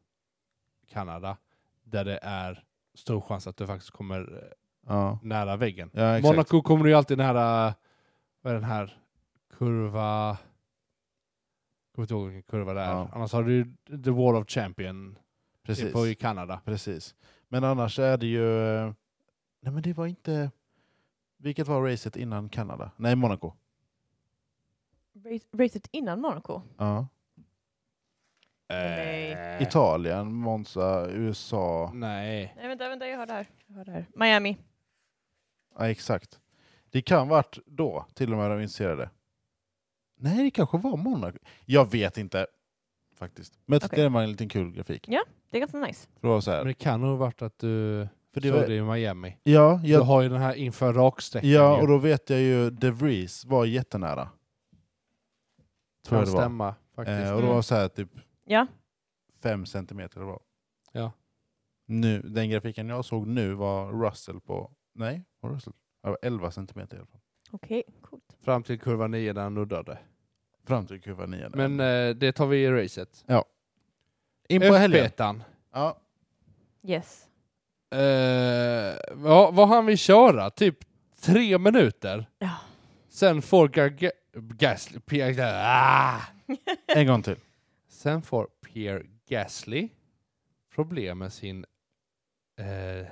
Speaker 3: Kanada, där det är stor chans att du faktiskt kommer eh,
Speaker 1: ja,
Speaker 3: nära väggen.
Speaker 1: ja exakt.
Speaker 3: Monaco kommer du ju alltid nära, vad är den här, kurva... Kommer inte ihåg vilken kurva det är.
Speaker 1: Ja.
Speaker 3: Annars har du ju The Wall of Champion
Speaker 1: precis,
Speaker 3: på i Kanada.
Speaker 1: precis. Men annars är det ju... eh, Nej, men det var inte... Vilket var racet innan Kanada? Nej, Monaco.
Speaker 2: Race- Racet innan Monaco?
Speaker 1: Ja.
Speaker 2: Nej.
Speaker 3: Eh,
Speaker 1: Italien, Monza, USA.
Speaker 3: Nej.
Speaker 2: Nej, vänta, vänta, jag har det här. Jag har det här. Miami.
Speaker 1: Ja, exakt. Det kan varit då, till och med, de initierade. Nej, det kanske var Monaco. Jag vet inte, faktiskt. Men jag tyckte
Speaker 2: Okej.
Speaker 1: det var en liten kul grafik.
Speaker 2: Det är ganska nice.
Speaker 1: För det var så här.
Speaker 3: Men det kan nog ha varit att du
Speaker 1: För det
Speaker 3: såg
Speaker 1: var,
Speaker 3: det i Miami.
Speaker 1: ja,
Speaker 3: Du
Speaker 1: jag,
Speaker 3: har ju den här inför raksträckan.
Speaker 1: ja,
Speaker 3: ju.
Speaker 1: och då vet jag ju De Vries var jättenära. Tror
Speaker 3: kan
Speaker 1: jag det var.
Speaker 3: stämma faktiskt.
Speaker 1: Eh, och då
Speaker 2: Mm.
Speaker 1: var det så här typ
Speaker 2: Ja,
Speaker 1: fem centimeter det var.
Speaker 3: Ja.
Speaker 1: Nu, den grafiken jag såg nu var Russell på, nej, var Russell? Ja, det var 11 centimeter i alla fall.
Speaker 2: okej, coolt.
Speaker 3: Fram till kurva 9 där han nuddade.
Speaker 1: Fram till kurva 9. där.
Speaker 3: Men eh, det tar vi i racet.
Speaker 1: in på helgen.
Speaker 3: F-betan.
Speaker 1: Ja,
Speaker 2: Yes.
Speaker 3: Eh, vad, vad han vill köra? Typ tre minuter.
Speaker 2: Ja.
Speaker 3: Sen får Garga- Gasly... Pierre, ah!
Speaker 1: En gång till.
Speaker 3: Sen får Pierre Gasly problem med sin eh,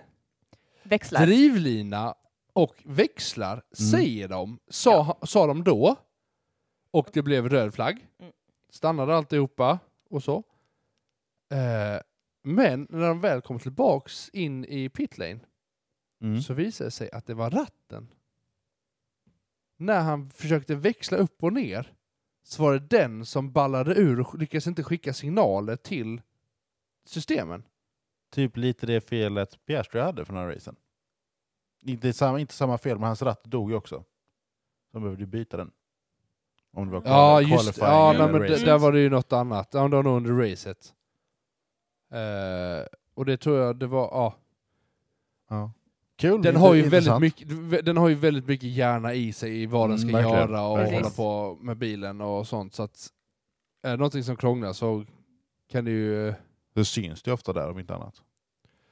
Speaker 2: Växlar. Mm.
Speaker 3: drivlina och växlar, säger de. Sa, sa de då. Och det blev röd flagg.
Speaker 2: Mm.
Speaker 3: Stannade alltihopa och så. Eh, men när de väl kom tillbaks in i pitlane
Speaker 1: Mm.
Speaker 3: så visade det sig att det var ratten. När han försökte växla upp och ner så var det den som ballade ur och lyckades inte skicka signaler till systemen.
Speaker 1: Typ lite det felet Piastri hade för några reason. Inte samma, inte samma fel, men hans ratt dog ju också. De behövde ju byta den. Om det var
Speaker 3: Ja,
Speaker 1: quali-
Speaker 3: just det.
Speaker 1: qualifying
Speaker 3: Ja,
Speaker 1: eller
Speaker 3: nej, men d-
Speaker 1: racing.
Speaker 3: där var det ju något annat. Ja, det var nog under racet. Eh, och det tror jag det var, ja.
Speaker 1: Ja. Kul.
Speaker 3: Den
Speaker 1: inte-
Speaker 3: har, ju väldigt
Speaker 1: intressant.
Speaker 3: mycket, den har ju väldigt mycket hjärna i sig i vad den ska
Speaker 1: Mm, verkligen.
Speaker 3: göra och
Speaker 1: Verkligen.
Speaker 3: hålla på med bilen och sånt. Så att, är det någonting som krånglar så kan det ju...
Speaker 1: Det syns det ju ofta där om inte annat.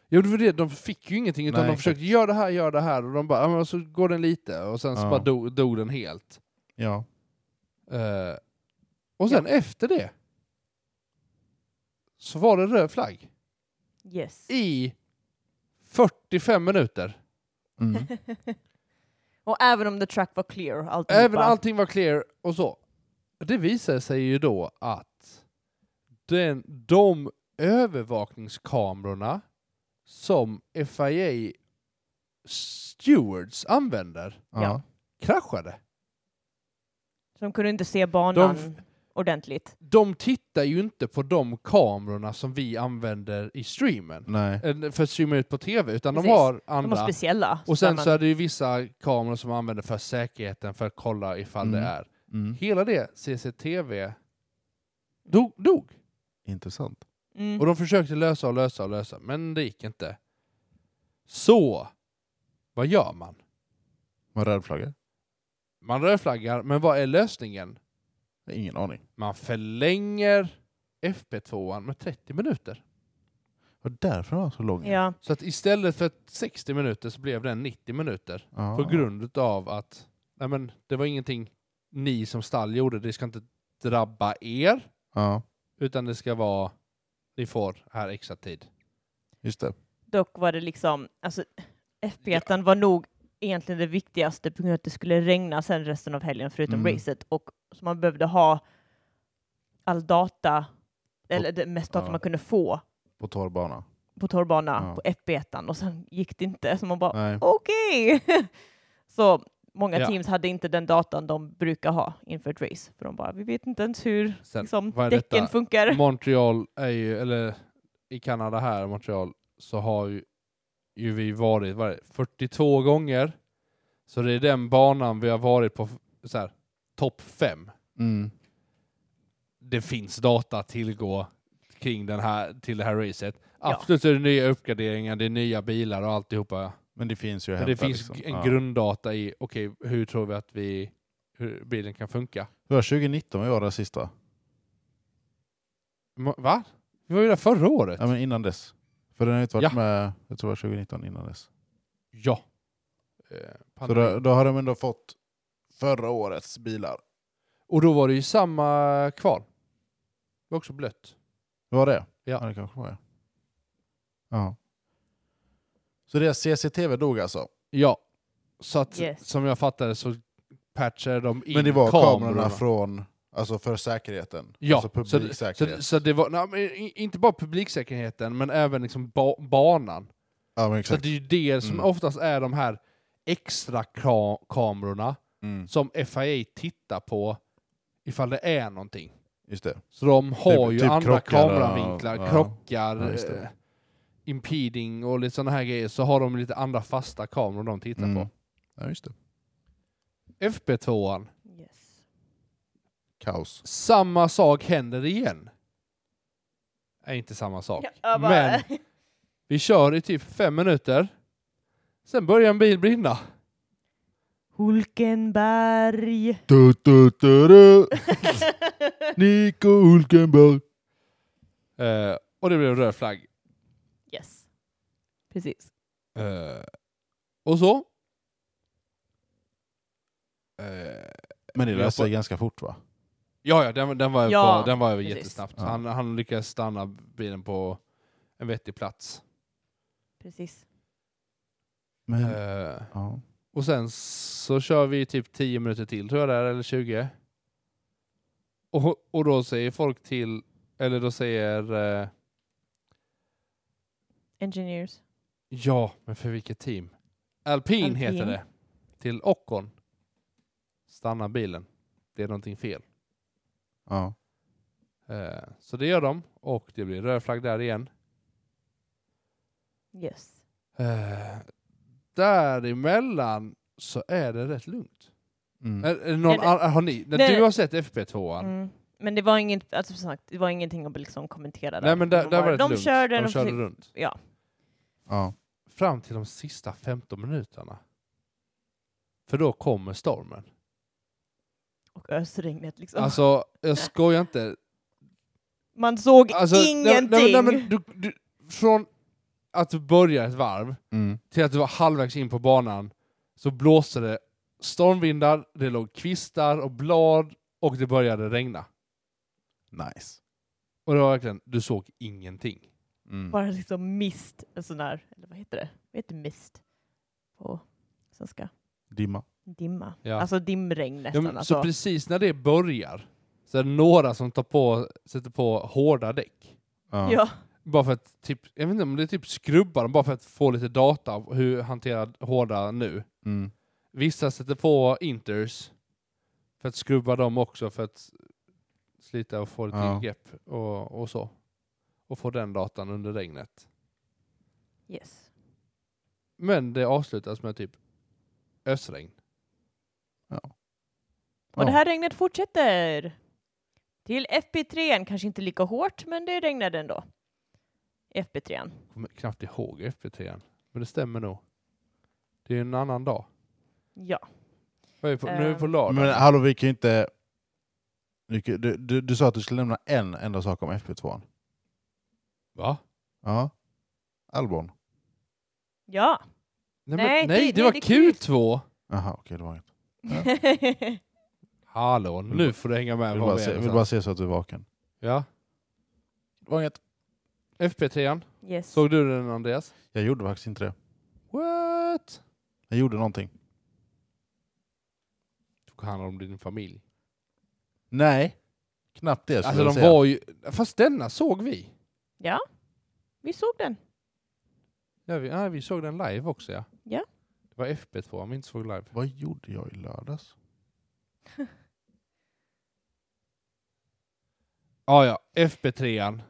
Speaker 3: Jo, det var det. De fick ju ingenting, utan
Speaker 1: Nej,
Speaker 3: de försökte göra det här, göra det här, och de bara, ja, men så går den lite, och sen så
Speaker 1: Ja.
Speaker 3: bara dog, dog den helt.
Speaker 1: Ja.
Speaker 3: Eh, och sen efter det så var det röd flagg
Speaker 2: Yes.
Speaker 3: i 45 minuter.
Speaker 1: Mm.
Speaker 2: och även om the track var clear och alltihopa.
Speaker 3: Även allting var clear och så. Det visade sig ju då att den, de övervakningskamerorna som FIA stewards använder
Speaker 1: Ja.
Speaker 3: kraschade.
Speaker 2: Så de kunde inte se banan
Speaker 3: De-
Speaker 2: ordentligt.
Speaker 3: de tittar ju inte på de kamerorna som vi använder i streamen,
Speaker 1: Nej.
Speaker 3: eh, för att streama ut på tv, utan de
Speaker 2: Precis.
Speaker 3: har
Speaker 2: De var
Speaker 3: andra.
Speaker 2: speciella.
Speaker 3: och sen
Speaker 2: där
Speaker 3: så är det ju vissa kameror som använder för säkerheten, för att kolla ifall det
Speaker 1: Mm.
Speaker 3: är.
Speaker 1: Mm.
Speaker 3: Hela det CCTV dog. dog.
Speaker 1: Intressant.
Speaker 2: man... mm.
Speaker 3: Och de försökte lösa och lösa och lösa, men det gick inte. Så, vad gör man?
Speaker 1: Med rödflaggor?
Speaker 3: Man rödflaggar, men vad är lösningen?
Speaker 1: Ingen aning.
Speaker 3: Man förlänger FP2 med 30 minuter.
Speaker 1: Och därför var den så lång.
Speaker 2: Ja,
Speaker 3: Så att istället för 60 minuter så blev den 90 minuter.
Speaker 1: Ja.
Speaker 3: På grund av att nej men, det var ingenting ni som stall gjorde. Det ska inte drabba er,
Speaker 1: Ja,
Speaker 3: utan det ska vara ni får här extra tid.
Speaker 1: just det.
Speaker 2: dock var det liksom, alltså FP1 var nog egentligen det viktigaste på grund av att det skulle regna sen resten av helgen förutom
Speaker 1: Mm.
Speaker 2: racet och så man behövde ha all data, eller det mest data
Speaker 1: ja.
Speaker 2: man kunde få
Speaker 1: På torr bana.
Speaker 2: på torrbana
Speaker 1: Ja.
Speaker 2: på FP1 och sen gick det inte så man bara
Speaker 1: Nej.
Speaker 2: okej. så många
Speaker 3: Ja.
Speaker 2: teams hade inte den datan de brukar ha inför ett race för de bara vi vet inte ens hur
Speaker 3: Sen,
Speaker 2: liksom,
Speaker 3: vad är
Speaker 2: däcken
Speaker 3: detta?
Speaker 2: funkar.
Speaker 3: Montreal är ju, eller i Kanada här, Montreal, så har ju, ju vi varit vad är det, 42 gånger. Så det är den banan vi har varit på så här, topp 5.
Speaker 1: Mm.
Speaker 3: det finns data att tillgå kring den här, till det här racet.
Speaker 2: Ja.
Speaker 3: Absolut så är det nya uppgraderingar, det är nya bilar och alltihopa.
Speaker 1: Men det finns ju att
Speaker 3: Men det
Speaker 1: hämta,
Speaker 3: finns
Speaker 1: liksom.
Speaker 3: en
Speaker 1: Ja.
Speaker 3: grunddata i, okej, hur tror vi att vi, hur bilen kan funka?
Speaker 1: Det var 2019 vi var där sista.
Speaker 3: Ma- Va? Vi var ju där förra året.
Speaker 1: Ja, men innan dess. För den har ju inte varit
Speaker 3: Ja.
Speaker 1: med, jag tror det var 2019 innan dess.
Speaker 3: Ja. Eh,
Speaker 1: Så
Speaker 3: pandemi.
Speaker 1: då, då har de ändå fått förra årets bilar.
Speaker 3: Och då var det ju samma kval. Det var också blött.
Speaker 1: Det var det?
Speaker 3: Ja.
Speaker 1: det kanske var det. Ja. Så deras CCTV dog alltså?
Speaker 3: Ja. Så att,
Speaker 2: Yes.
Speaker 3: som jag fattade så patchade de in
Speaker 1: Men det var
Speaker 3: kamerorna.
Speaker 1: kamerorna, från, alltså för säkerheten?
Speaker 3: Ja,
Speaker 1: alltså
Speaker 3: så, det- så,
Speaker 1: publiksäkerhet?
Speaker 3: det- så det var, nej, men i- inte bara publiksäkerheten, men även liksom ba, banan.
Speaker 1: ja, men
Speaker 3: Så
Speaker 1: exakt.
Speaker 3: att det är ju det som
Speaker 1: Mm.
Speaker 3: oftast är de här extra ka- kamerorna
Speaker 1: Mm,
Speaker 3: som FIA tittar på ifall det är någonting.
Speaker 1: just det.
Speaker 3: Så de har
Speaker 1: Typ-
Speaker 3: ju
Speaker 1: typ
Speaker 3: andra
Speaker 1: krockar och-
Speaker 3: kameravinklar,
Speaker 1: ja.
Speaker 3: krockar,
Speaker 1: Ja, just det.
Speaker 3: eh, impeding och lite sådana här grejer. Så har de lite andra fasta kameror de tittar
Speaker 1: Mm.
Speaker 3: på.
Speaker 1: Ja, just det.
Speaker 3: FP2an,
Speaker 2: Yes.
Speaker 1: Kaos.
Speaker 3: samma sak händer igen. Nej, inte samma sak.
Speaker 2: Ja, jag bara-
Speaker 3: Men Vi kör i typ fem minuter. Sen börjar en bil brinna.
Speaker 2: Hulkenberg.
Speaker 1: Du, du, du, du. Nico Hulkenberg.
Speaker 3: Eh, och det blev en röd flagg.
Speaker 2: yes. Precis.
Speaker 3: Eh, och så. Eh,
Speaker 1: Men det
Speaker 3: Jag
Speaker 1: löser
Speaker 3: får-
Speaker 1: sig ganska fort va?
Speaker 3: Ja, ja, den, den var,
Speaker 2: Ja,
Speaker 3: var, den var över
Speaker 2: precis.
Speaker 3: jättesnabbt.
Speaker 1: Ja.
Speaker 3: Han, han lyckades stanna bilen på en vettig plats.
Speaker 2: Precis.
Speaker 1: Men,
Speaker 3: Eh,
Speaker 1: ja.
Speaker 3: och sen så kör vi typ 10 minuter till tror jag där, eller 20. Och, och då säger folk till, eller då säger eh,
Speaker 2: Engineers.
Speaker 3: ja, men för vilket team? Alpin,
Speaker 2: Alpin.
Speaker 3: heter det. Till Ockon. Stanna bilen. Det är någonting fel.
Speaker 1: Ja.
Speaker 3: Eh, så det gör de och det blir röd flagg där igen.
Speaker 2: Yes.
Speaker 3: Eh, däremellan så är det rätt lugnt.
Speaker 1: Mm.
Speaker 3: Är, är det någon,
Speaker 2: Nej, det-
Speaker 3: annan- har ni, när
Speaker 2: nej.
Speaker 3: du har sett FP2an,
Speaker 2: Mm. Men det var, inget, alltså, som sagt, det var ingenting att liksom kommentera där.
Speaker 3: nej men där,
Speaker 2: De
Speaker 3: där var
Speaker 2: bara-
Speaker 3: det
Speaker 2: de
Speaker 3: lugnt.
Speaker 2: Körde,
Speaker 3: de,
Speaker 2: de
Speaker 3: körde
Speaker 2: försökte-
Speaker 3: runt.
Speaker 2: Ja,
Speaker 1: ja.
Speaker 3: Fram till de sista 15 minuterna. För då kommer stormen.
Speaker 2: och ösregnet liksom.
Speaker 3: Alltså, jag skojar inte.
Speaker 2: Man såg
Speaker 3: Alltså,
Speaker 2: ingenting.
Speaker 3: Nej, nej, nej, men du, du, från att du börjar ett varv
Speaker 1: Mm.
Speaker 3: till att du var halvvägs in på banan så blåste det stormvindar, det låg kvistar och blad och det började regna.
Speaker 1: Nice.
Speaker 3: Och det var verkligen, du såg ingenting.
Speaker 1: Mm.
Speaker 2: Bara liksom mist, en sån där, eller vad heter det? Vad heter mist? På svenska?
Speaker 1: Dimma.
Speaker 2: Dimma.
Speaker 3: Ja.
Speaker 2: Alltså dimregn
Speaker 3: Ja,
Speaker 2: nästan.
Speaker 3: men,
Speaker 2: alltså.
Speaker 3: Så precis när det börjar så är det några som tar på, sätter på hårda däck.
Speaker 1: Ja.
Speaker 2: ja.
Speaker 3: Bara för att, typ, jag vet inte om det är typ skrubbar dem bara för att få lite data av hur hanterar hårda nu.
Speaker 1: Mm.
Speaker 3: Vissa sätter på inters för att skrubba dem också för att slita och få lite
Speaker 1: Ja.
Speaker 3: grepp och, och så. Och få den datan under regnet.
Speaker 2: Yes.
Speaker 3: Men det avslutas med typ ösregn.
Speaker 2: Och det här regnet fortsätter. Till FP3, kanske inte lika hårt, men det regnade ändå. FP3.
Speaker 3: kommer knappt ihåg FP3 än. Men det stämmer nog. Det är en annan dag.
Speaker 2: Ja.
Speaker 3: Vad är vi på, nu är vi på
Speaker 2: Ehm.
Speaker 3: lördag.
Speaker 1: Men ah, hallå, vi kan ju inte... Du, kan- du, du, du sa att du skulle nämna en enda sak om FP2.
Speaker 3: Va?
Speaker 1: Ja. Albon.
Speaker 2: Ja.
Speaker 3: Nej,
Speaker 2: Nej,
Speaker 3: men, nej
Speaker 2: det-
Speaker 3: det,
Speaker 2: det-
Speaker 3: var
Speaker 2: det-
Speaker 3: Q2!
Speaker 1: Jaha, okej, det var inget.
Speaker 3: Hallå, nu får du hänga
Speaker 1: Jag
Speaker 3: med.
Speaker 1: vill
Speaker 3: vad
Speaker 1: bara,
Speaker 3: vi är
Speaker 1: se, jag vill bara
Speaker 3: någonstans.
Speaker 1: se så att du är vaken.
Speaker 3: Ja.
Speaker 1: Det var inget.
Speaker 3: FP3,
Speaker 2: yes.
Speaker 3: såg du den Andreas?
Speaker 1: Jag gjorde faktiskt inte det.
Speaker 3: What?
Speaker 1: Jag gjorde någonting.
Speaker 3: Tog hand om din familj.
Speaker 1: Nej, knappt det skulle
Speaker 3: Alltså
Speaker 1: jag
Speaker 3: de
Speaker 1: säga.
Speaker 3: var ju... Fast denna såg vi.
Speaker 2: Ja. Vi såg den.
Speaker 3: Ja, vi, ja, vi såg den live också ja.
Speaker 2: Ja.
Speaker 3: Det var FP2 om vi inte såg live.
Speaker 1: Vad gjorde jag i lördags?
Speaker 3: Ah, ja, FP3.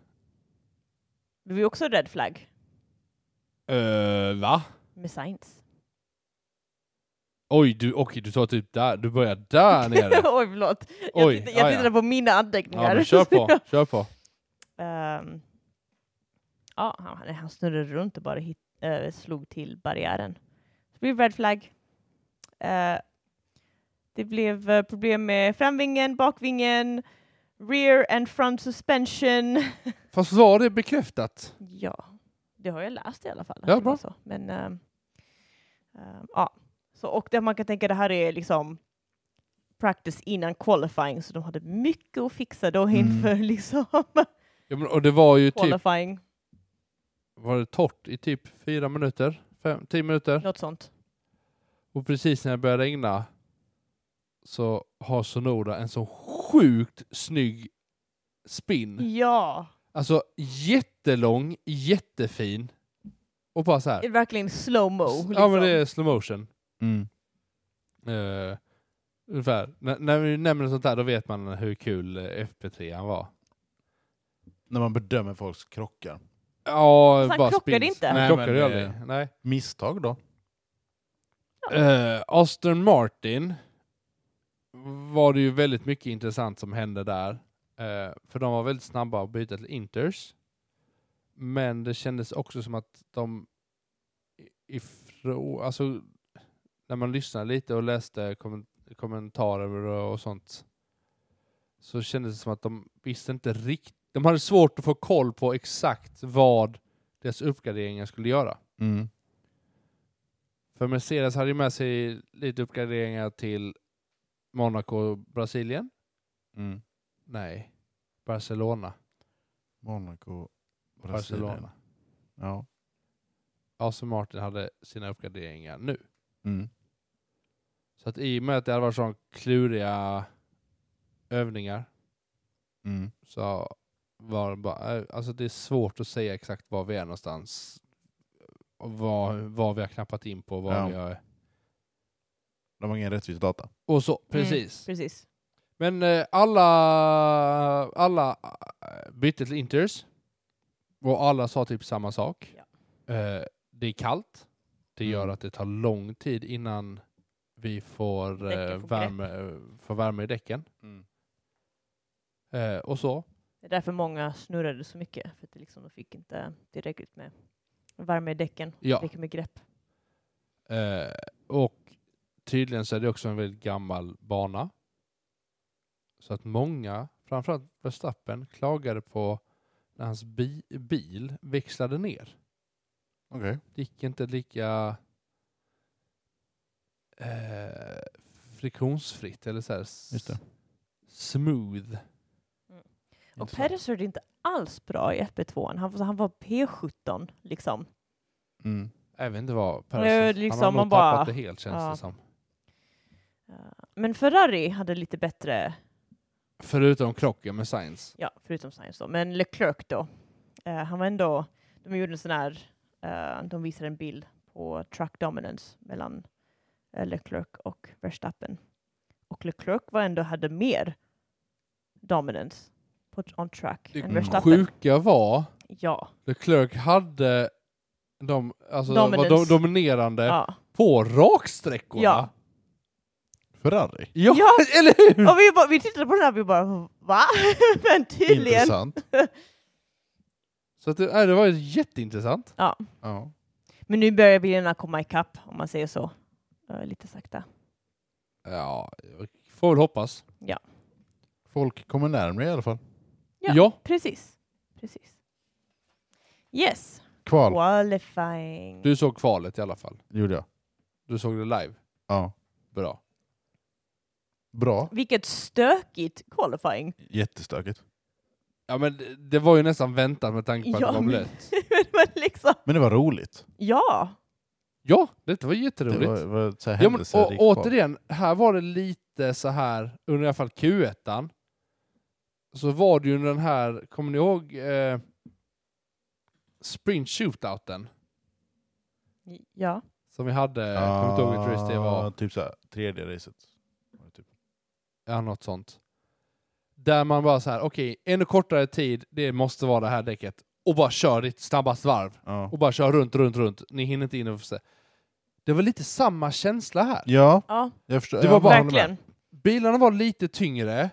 Speaker 2: Det var ju också red flag
Speaker 3: Uh, va?
Speaker 2: med Sainz.
Speaker 3: Oj, du, okej, du tar typ där. Du börjar där nere.
Speaker 2: Oj, förlåt. Jag,
Speaker 3: Oj,
Speaker 2: titt-
Speaker 3: ja,
Speaker 2: jag
Speaker 3: ja.
Speaker 2: tittade på mina anteckningar.
Speaker 3: Ja, men kör på, kör på.
Speaker 2: Ehm, ja, han, han snurrade runt och bara hit, eh, slog till barriären. Det blev red flag. Eh, det blev eh, problem med framvingen, bakvingen, rear and front suspension.
Speaker 3: Fast var det bekräftat?
Speaker 2: ja, det har jag läst i alla fall. att
Speaker 3: Ja,
Speaker 2: det var
Speaker 3: bra.
Speaker 2: Så. Men, ehm, ehm, ja. Så, och det man kan tänka det här är liksom practice innan qualifying, så de hade mycket att fixa då
Speaker 3: Mm.
Speaker 2: inför liksom
Speaker 3: Ja, men, och det var ju typ,
Speaker 2: qualifying.
Speaker 3: var det torrt i typ fyra minuter? Fem, tio minuter?
Speaker 2: Något sånt.
Speaker 3: Och precis när det började regna så har Sonoda en så sjukt snygg
Speaker 2: Mm.
Speaker 3: spin.
Speaker 2: Ja,
Speaker 3: Alltså jättelång, jättefin. Och bara så här.
Speaker 2: det är verkligen slow-mo.
Speaker 3: s-
Speaker 2: Liksom.
Speaker 3: Ja men det är slow motion.
Speaker 1: Mm.
Speaker 3: Eh, ungefär. N- när vi nämner sånt där då vet man hur kul eh, FP3 an var.
Speaker 1: När man bedömer folks krockar.
Speaker 3: Ja,
Speaker 2: Fast han
Speaker 3: bara
Speaker 2: krockade
Speaker 3: spins.
Speaker 2: inte.
Speaker 3: Han
Speaker 1: Nej,
Speaker 3: krockade
Speaker 1: men
Speaker 3: ju
Speaker 1: det-
Speaker 3: aldrig. Nej.
Speaker 1: Misstag då?
Speaker 3: Eh, Aston Martin var det ju väldigt mycket intressant som hände där. Eh, för de var väldigt snabba att byta till Inters. Men det kändes också som att de i- ifrå, alltså när man lyssnade lite och läste kommen- kommentarer och och sånt så kändes det som att de visste inte riktigt, de hade svårt att få koll på exakt vad deras uppgraderingar skulle göra.
Speaker 1: Mm.
Speaker 3: För Mercedes hade ju med sig lite uppgraderingar till Monaco, Brasilien?
Speaker 1: Mm.
Speaker 3: Nej. Barcelona.
Speaker 1: Monaco, Brasilien.
Speaker 3: Barcelona.
Speaker 1: Ja.
Speaker 3: AC Martin hade sina uppgraderingar nu.
Speaker 1: Mm.
Speaker 3: Så att i och med att det hade varit sån kluriga övningar
Speaker 1: Mm.
Speaker 3: så var det bara, eh, alltså det är svårt att säga exakt var vi är någonstans. Och vad, vad vi har knappat in på, vad
Speaker 1: Ja.
Speaker 3: vi har...
Speaker 1: De har ingen rättvis data.
Speaker 3: Och så,
Speaker 2: Mm,
Speaker 3: precis.
Speaker 2: precis.
Speaker 3: Men eh, alla, alla eh, bytte till Inters. Och alla sa typ samma sak. Eh, det är kallt. Det gör
Speaker 1: Mm.
Speaker 3: att det tar lång tid innan vi får, eh,
Speaker 2: Däcken får
Speaker 3: värme, eh, får värme i däcken. Eh, och så.
Speaker 2: Det är därför många snurrade så mycket, för att det liksom, de fick inte tillräckligt med värme i däcken,
Speaker 3: Ja.
Speaker 2: tillräckligt med grepp.
Speaker 3: Eh, och tydligen så är det också en väldigt gammal bana. Så att många, framförallt Verstappen, klagade på när hans bi- bil växlade ner.
Speaker 1: Okej.
Speaker 3: Det gick inte lika eh, friktionsfritt eller så här s-
Speaker 1: Just det.
Speaker 3: smooth.
Speaker 2: Och
Speaker 1: Intressant.
Speaker 2: Perez gjorde inte alls bra i FP2. Han, han var P17 liksom.
Speaker 1: Mm.
Speaker 3: Jag vet inte vad
Speaker 2: Nej,
Speaker 3: Perez...
Speaker 2: liksom,
Speaker 3: han har
Speaker 2: man
Speaker 3: nog tappat
Speaker 2: bara-
Speaker 3: det helt känns
Speaker 2: ja.
Speaker 3: det som.
Speaker 2: Eh, Men Ferrari hade lite bättre,
Speaker 3: Förutom krocken med Sainz.
Speaker 2: ja, förutom Sainz då, men Leclerc då. eh, han var ändå, de gjorde en sån här, eh, de visade en bild på truck dominance mellan eh, Leclerc och Verstappen. Och Leclerc var ändå, hade mer dominance på, on track än
Speaker 3: Det
Speaker 2: Verstappen.
Speaker 3: sjuka var
Speaker 2: Ja,
Speaker 3: Leclerc hade de, alltså, var
Speaker 2: Dominance.
Speaker 3: de, dominerande
Speaker 2: ja.
Speaker 3: på raksträckorna.
Speaker 2: Ja.
Speaker 1: Ferrari.
Speaker 3: Ja,
Speaker 2: Ja.
Speaker 3: eller hur?
Speaker 2: Och vi, bara, vi tittade på den här och vi bara va? men tydligen.
Speaker 1: Intressant.
Speaker 3: Så att det, nej, det var ju jätteintressant.
Speaker 1: Ja.
Speaker 2: Men nu börjar bilarna komma ikapp om man säger så. Eh, lite sakta.
Speaker 3: Ja, jag får väl hoppas.
Speaker 1: Folk kommer närmare i alla fall.
Speaker 2: Ja.
Speaker 3: ja.
Speaker 2: Precis. Precis. Yes.
Speaker 1: Kval
Speaker 2: Qualifying.
Speaker 3: Du såg kvalet i alla fall.
Speaker 1: gjorde jag.
Speaker 3: Du såg det live.
Speaker 1: Ja.
Speaker 3: Bra.
Speaker 1: Bra.
Speaker 2: Vilket stökigt qualifying.
Speaker 1: Jättestökigt.
Speaker 3: Ja men det- det var ju nästan väntat med tanke på att
Speaker 2: Ja,
Speaker 3: det var
Speaker 2: men-
Speaker 3: blött.
Speaker 2: Men liksom,
Speaker 1: Men det var roligt.
Speaker 2: ja.
Speaker 3: Ja, detta var
Speaker 1: Det
Speaker 3: jätteroligt.
Speaker 1: var, var så här
Speaker 3: ja, men,
Speaker 1: händelser
Speaker 3: och,
Speaker 1: gick bra.
Speaker 3: återigen, här var det lite så här, under i alla fall Q1, så var det ju den här, kommer ni ihåg eh, sprint shootouten
Speaker 2: Ja.
Speaker 3: som vi hade? Eh, Kommer inte ihåg vilket race det var?
Speaker 1: Ah, Typ så här, tredje racet. Var det Typ.
Speaker 3: Ja, något sånt. Där man bara så här, okej, ännu kortare tid, det måste vara det här däcket. Och bara kör ditt snabbaste varv.
Speaker 1: Ja.
Speaker 3: och bara kör runt, runt, runt. Ni hinner inte in och se. Det var lite samma känsla här.
Speaker 1: ja,
Speaker 2: ja.
Speaker 1: jag förstår.
Speaker 3: Det
Speaker 1: jag
Speaker 3: var bara-
Speaker 1: håller med.
Speaker 2: Verkligen.
Speaker 3: Bilarna var lite tyngre,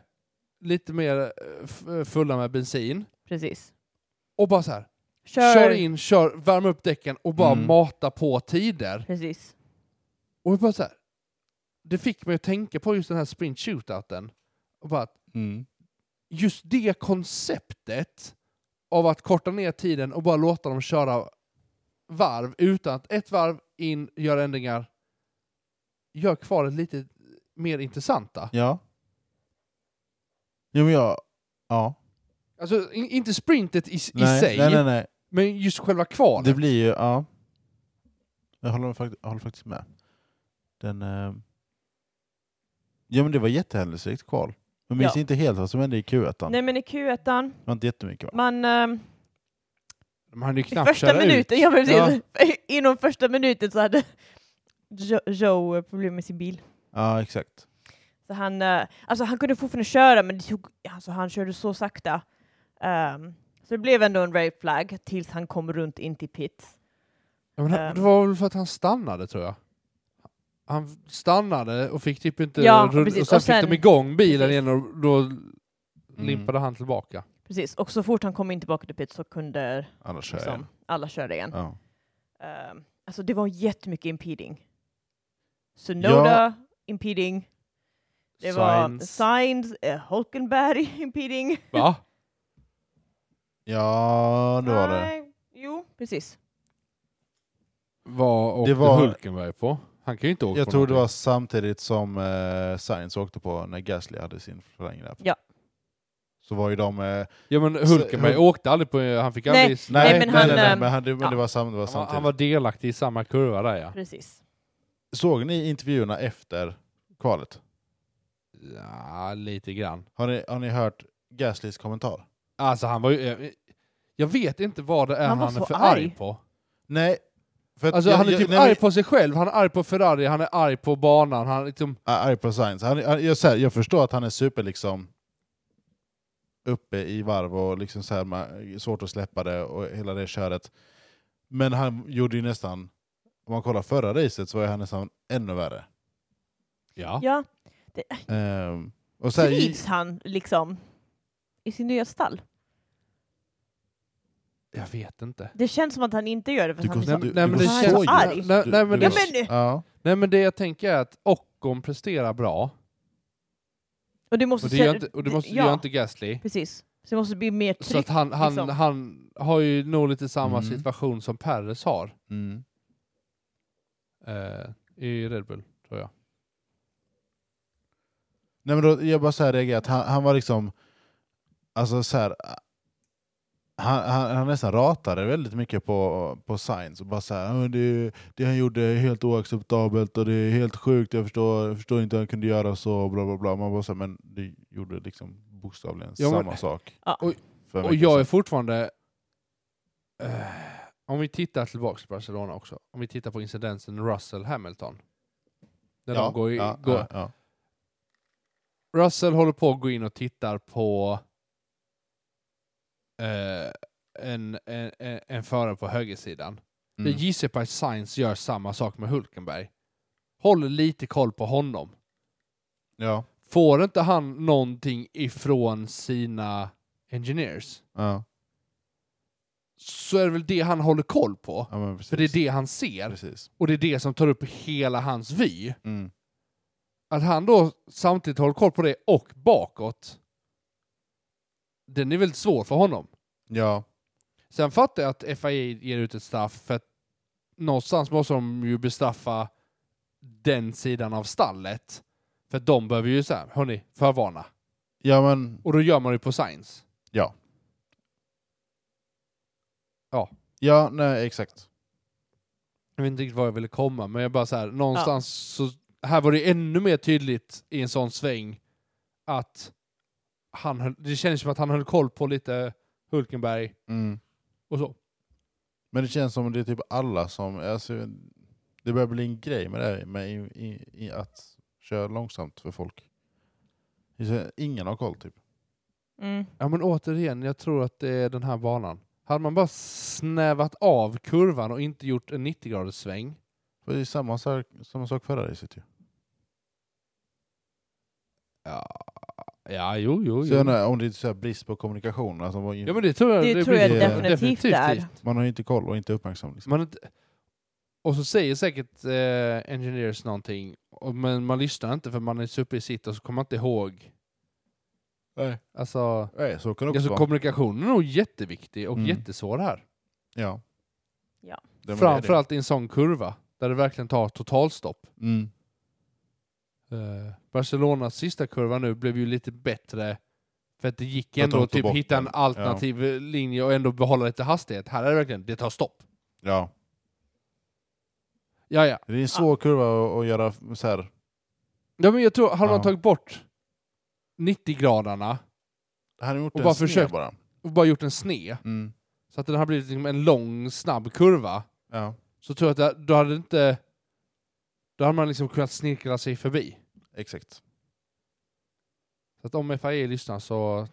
Speaker 3: lite mer eh, f- fulla med bensin.
Speaker 2: Precis.
Speaker 3: Och bara så här,
Speaker 2: Kör.
Speaker 3: kör, in, kör, värm upp däcken och bara
Speaker 1: Mm.
Speaker 3: mata på tider.
Speaker 2: Precis.
Speaker 3: Och bara så här, det fick mig att tänka på just den här sprint shootouten. Och bara att
Speaker 1: Mm.
Speaker 3: just det konceptet av att korta ner tiden och bara låta dem köra varv utan att ett varv in, gör ändringar, gör kvalet lite mer intressanta.
Speaker 1: Ja. Jo men jag... Ja.
Speaker 3: Alltså in, inte sprintet i, i
Speaker 1: nej,
Speaker 3: sig,
Speaker 1: nej, nej, nej.
Speaker 3: men just själva kvalet.
Speaker 1: Det blir ju... Ja. Jag håller, fakt- jag håller faktiskt med. Den... Eh... Ja men det var jättehändelserikt kval. Jag minns
Speaker 2: Ja.
Speaker 1: inte helt vad som hände i Q1.
Speaker 2: Nej men i Q1,
Speaker 1: Det var inte jättemycket va?
Speaker 2: man... ehm,
Speaker 3: De hann ju
Speaker 2: I
Speaker 3: knappt
Speaker 2: första
Speaker 3: köra
Speaker 2: minuten,
Speaker 3: ut.
Speaker 2: ja precis. Inom första minuten så hade Jo- Joe problem med sin bil.
Speaker 1: Ja exakt.
Speaker 2: Så han, eh, alltså han kunde fortfarande köra, men det tog, alltså han körde så sakta. Ehm, så det blev ändå en red flag tills han kom runt in till pits.
Speaker 3: Ja, men han- det var väl för att han stannade tror jag. Han stannade och fick typ inte...
Speaker 2: Ja,
Speaker 3: rull-
Speaker 2: precis.
Speaker 3: och sen
Speaker 2: Och sen-
Speaker 3: fick de igång bilen
Speaker 2: precis.
Speaker 3: igen och då
Speaker 1: Mm.
Speaker 3: limpade han tillbaka.
Speaker 2: Precis, och så fort han kom in tillbaka till pits så kunde
Speaker 1: Annars kör jag.
Speaker 2: liksom, alla köra igen.
Speaker 1: Ja.
Speaker 2: Ehm, alltså det var jättemycket impeding. Sunoda, impeding. Det var
Speaker 3: Sainz.
Speaker 2: Signs, Holkenberg, impeding.
Speaker 3: Va?
Speaker 1: ja, det var det.
Speaker 2: Nej, Jo, precis.
Speaker 3: Vad åkte
Speaker 1: Det var-
Speaker 3: Hulkenberg på? Han kan ju inte åka
Speaker 1: Jag
Speaker 3: på
Speaker 1: tror det var
Speaker 3: någonting.
Speaker 1: samtidigt som eh, Sainz ååkte på när Gasly hade sin förlängning.
Speaker 2: Ja.
Speaker 1: Så var ju de... Eh, nej,
Speaker 3: Ja men Hulkenberg
Speaker 1: Hul-
Speaker 3: åkte aldrig på... Han fick
Speaker 2: Nej,
Speaker 3: aldrig...
Speaker 1: nej,
Speaker 2: men
Speaker 1: men,
Speaker 2: han,
Speaker 1: nej, nej,
Speaker 2: ehm,
Speaker 1: men, han, det, men
Speaker 2: ja.
Speaker 1: det var, sam, det var
Speaker 3: Han, var,
Speaker 1: samtidigt.
Speaker 3: han var delaktig i samma kurva där ja.
Speaker 2: Precis.
Speaker 1: Såg ni intervjuerna efter kvalet?
Speaker 3: Ja, lite grann.
Speaker 1: Har ni, har ni hört Gaslys kommentar?
Speaker 3: Alltså han var ju... eh, Jag vet inte vad det är
Speaker 2: Han
Speaker 3: han,
Speaker 2: var
Speaker 3: är
Speaker 2: så
Speaker 3: för
Speaker 2: arg.
Speaker 3: arg på.
Speaker 1: Nej. För att
Speaker 3: Alltså
Speaker 1: jag-
Speaker 3: han är
Speaker 1: jag-
Speaker 3: typ
Speaker 1: nej, men-
Speaker 3: arg på sig själv, han är arg på Ferrari, han är arg på banan, han är liksom...
Speaker 1: Ja, Ah, arg på Sainz. Han, han, jag, så här, jag förstår att han är super liksom uppe i varv och liksom så här, man, svårt att släppa det och hela det köret. Men han gjorde ju nästan, om man kollar förra racet så var ju han nästan ännu värre.
Speaker 3: Ja.
Speaker 2: Ja.
Speaker 1: Ehm, och så här,
Speaker 2: Trivs han liksom i sin nya stall?
Speaker 3: Jag vet inte.
Speaker 2: Det känns som att han inte gör det för
Speaker 1: Du
Speaker 2: att han är
Speaker 1: går-
Speaker 2: så...
Speaker 3: Nej,
Speaker 1: du-
Speaker 3: nej, men
Speaker 1: du
Speaker 3: det
Speaker 2: var
Speaker 3: känns...
Speaker 2: så arg.
Speaker 1: Du-
Speaker 3: Nej, nej, men
Speaker 1: du-
Speaker 2: Ja,
Speaker 3: det,
Speaker 2: men-
Speaker 1: ja.
Speaker 3: nej men det jag tänker är att Ocon presterar bra,
Speaker 2: Och det måste...
Speaker 3: och det gör
Speaker 2: se-
Speaker 3: inte, och det måste,
Speaker 2: ja,
Speaker 3: gör inte Gasly.
Speaker 2: precis. Så det måste bli mer
Speaker 3: Så att
Speaker 2: tryck.
Speaker 3: han, han,
Speaker 2: liksom.
Speaker 3: han har ju nog lite samma
Speaker 1: Mm.
Speaker 3: situation som Perres har
Speaker 1: Mm.
Speaker 3: eh, i Red Bull, tror jag.
Speaker 1: Nej, men då, jag bara så här reagerar att han, han var liksom, alltså så här, han, han, han nästan ratade väldigt mycket på, på Sainz och bara så här, "Ja, men det, det han gjorde är helt oacceptabelt och det är helt sjukt, jag förstår, jag förstår inte hur han kunde göra så, bla bla bla. Man bara så här, men du gjorde liksom bokstavligen
Speaker 3: Ja, men-
Speaker 1: samma sak.
Speaker 2: Ja.
Speaker 3: Och-
Speaker 1: för en
Speaker 3: Och
Speaker 1: vecka
Speaker 3: jag är
Speaker 1: sedan.
Speaker 3: fortfarande... Eh, om vi tittar tillbaka till Barcelona också, om vi tittar på incidenten Russell-Hamilton. När
Speaker 1: ja,
Speaker 3: de går i,
Speaker 1: ja,
Speaker 3: går,
Speaker 1: ja, ja.
Speaker 3: Russell håller på att gå in och tittar på eh, en, en, en, en förare på högersidan.
Speaker 1: Mm.
Speaker 3: Jag gissar på att Sainz gör samma sak med Hulkenberg. Håller lite koll på honom.
Speaker 1: ja,
Speaker 3: Får inte han någonting ifrån sina engineers
Speaker 1: ja,
Speaker 3: så är det väl det han håller koll på.
Speaker 1: ja, men precis.
Speaker 3: För det är det han ser.
Speaker 1: Precis.
Speaker 3: Och det är det som tar upp hela hans vy.
Speaker 1: Mm.
Speaker 3: Att han då samtidigt håller koll på det och bakåt. Den är väldigt svår för honom.
Speaker 1: Ja,
Speaker 3: Sen fattar jag att FIA ger ut ett straff för att någonstans måste de ju bestraffa den sidan av stallet. För att de behöver ju såhär, hörni, förvarna.
Speaker 1: ja men
Speaker 3: Och då gör man det på Science.
Speaker 1: Ja.
Speaker 3: Ja.
Speaker 1: Ja, nej, exakt.
Speaker 3: Jag vet inte riktigt var jag ville komma, men jag bara så här, någonstans så... Här var det ännu mer tydligt i en sån sväng att han höll, det kändes som att han höll koll på lite Hulkenberg och så.
Speaker 1: Mm. Men det känns som det är typ alla som... Alltså, det börjar bli en grej med det här med i, i, i att köra långsamt för folk. Det är så- Ingen har koll typ.
Speaker 2: Mm.
Speaker 3: Ja men återigen, jag tror att det är den här banan. Hade man bara snävat av kurvan och inte gjort en 90-graders sväng.
Speaker 1: För det är samma sak, samma sak förra racet ju.
Speaker 3: Ja, ja jo, jo,
Speaker 1: Så jag
Speaker 3: jo.
Speaker 1: undrar om det är så här brist på kommunikation. Alltså, man,
Speaker 3: Ja men det tror jag
Speaker 2: Det tror jag
Speaker 3: blir-
Speaker 1: definitivt
Speaker 2: det är.
Speaker 1: man har ju inte koll och inte uppmärksam. Liksom.
Speaker 3: Man har inte- och så säger säkert eh, engineers någonting, och, men man lyssnar inte för man är så uppe i sitt och så kommer man inte ihåg.
Speaker 1: Nej.
Speaker 3: Alltså,
Speaker 1: Nej, så kan det också
Speaker 3: alltså
Speaker 1: vara.
Speaker 3: kommunikationen är nog jätteviktig och
Speaker 1: Mm.
Speaker 3: jättesvår här.
Speaker 1: Ja.
Speaker 2: Ja.
Speaker 1: Det var det.
Speaker 3: Framförallt i en sån kurva, där det verkligen tar totalstopp.
Speaker 1: Mm.
Speaker 3: Eh, Barcelonas sista kurva nu blev ju lite bättre, för att det gick
Speaker 1: För att de
Speaker 3: ändå att
Speaker 1: tog
Speaker 3: typ
Speaker 1: bort
Speaker 3: hitta en
Speaker 1: den.
Speaker 3: alternativ eh, linje och ändå behålla lite hastighet. Här är det verkligen, det tar stopp.
Speaker 1: Ja.
Speaker 3: Ja, ja.
Speaker 1: Det är en svår kurva att- att göra så här.
Speaker 3: ja men jag tror, hade man
Speaker 1: Ja.
Speaker 3: tagit bort 90-gradarna
Speaker 1: Han har gjort
Speaker 3: Och
Speaker 1: en
Speaker 3: bara
Speaker 1: sned
Speaker 3: försökt.
Speaker 1: bara.
Speaker 3: och bara gjort en sned,
Speaker 1: Mm.
Speaker 3: så att den hade blivit liksom en lång, snabb kurva,
Speaker 1: Ja,
Speaker 3: så tror jag att det, då hade det inte... Då hade man liksom kunnat snirkla sig förbi.
Speaker 1: exakt.
Speaker 3: Så att om FIA lyssnar så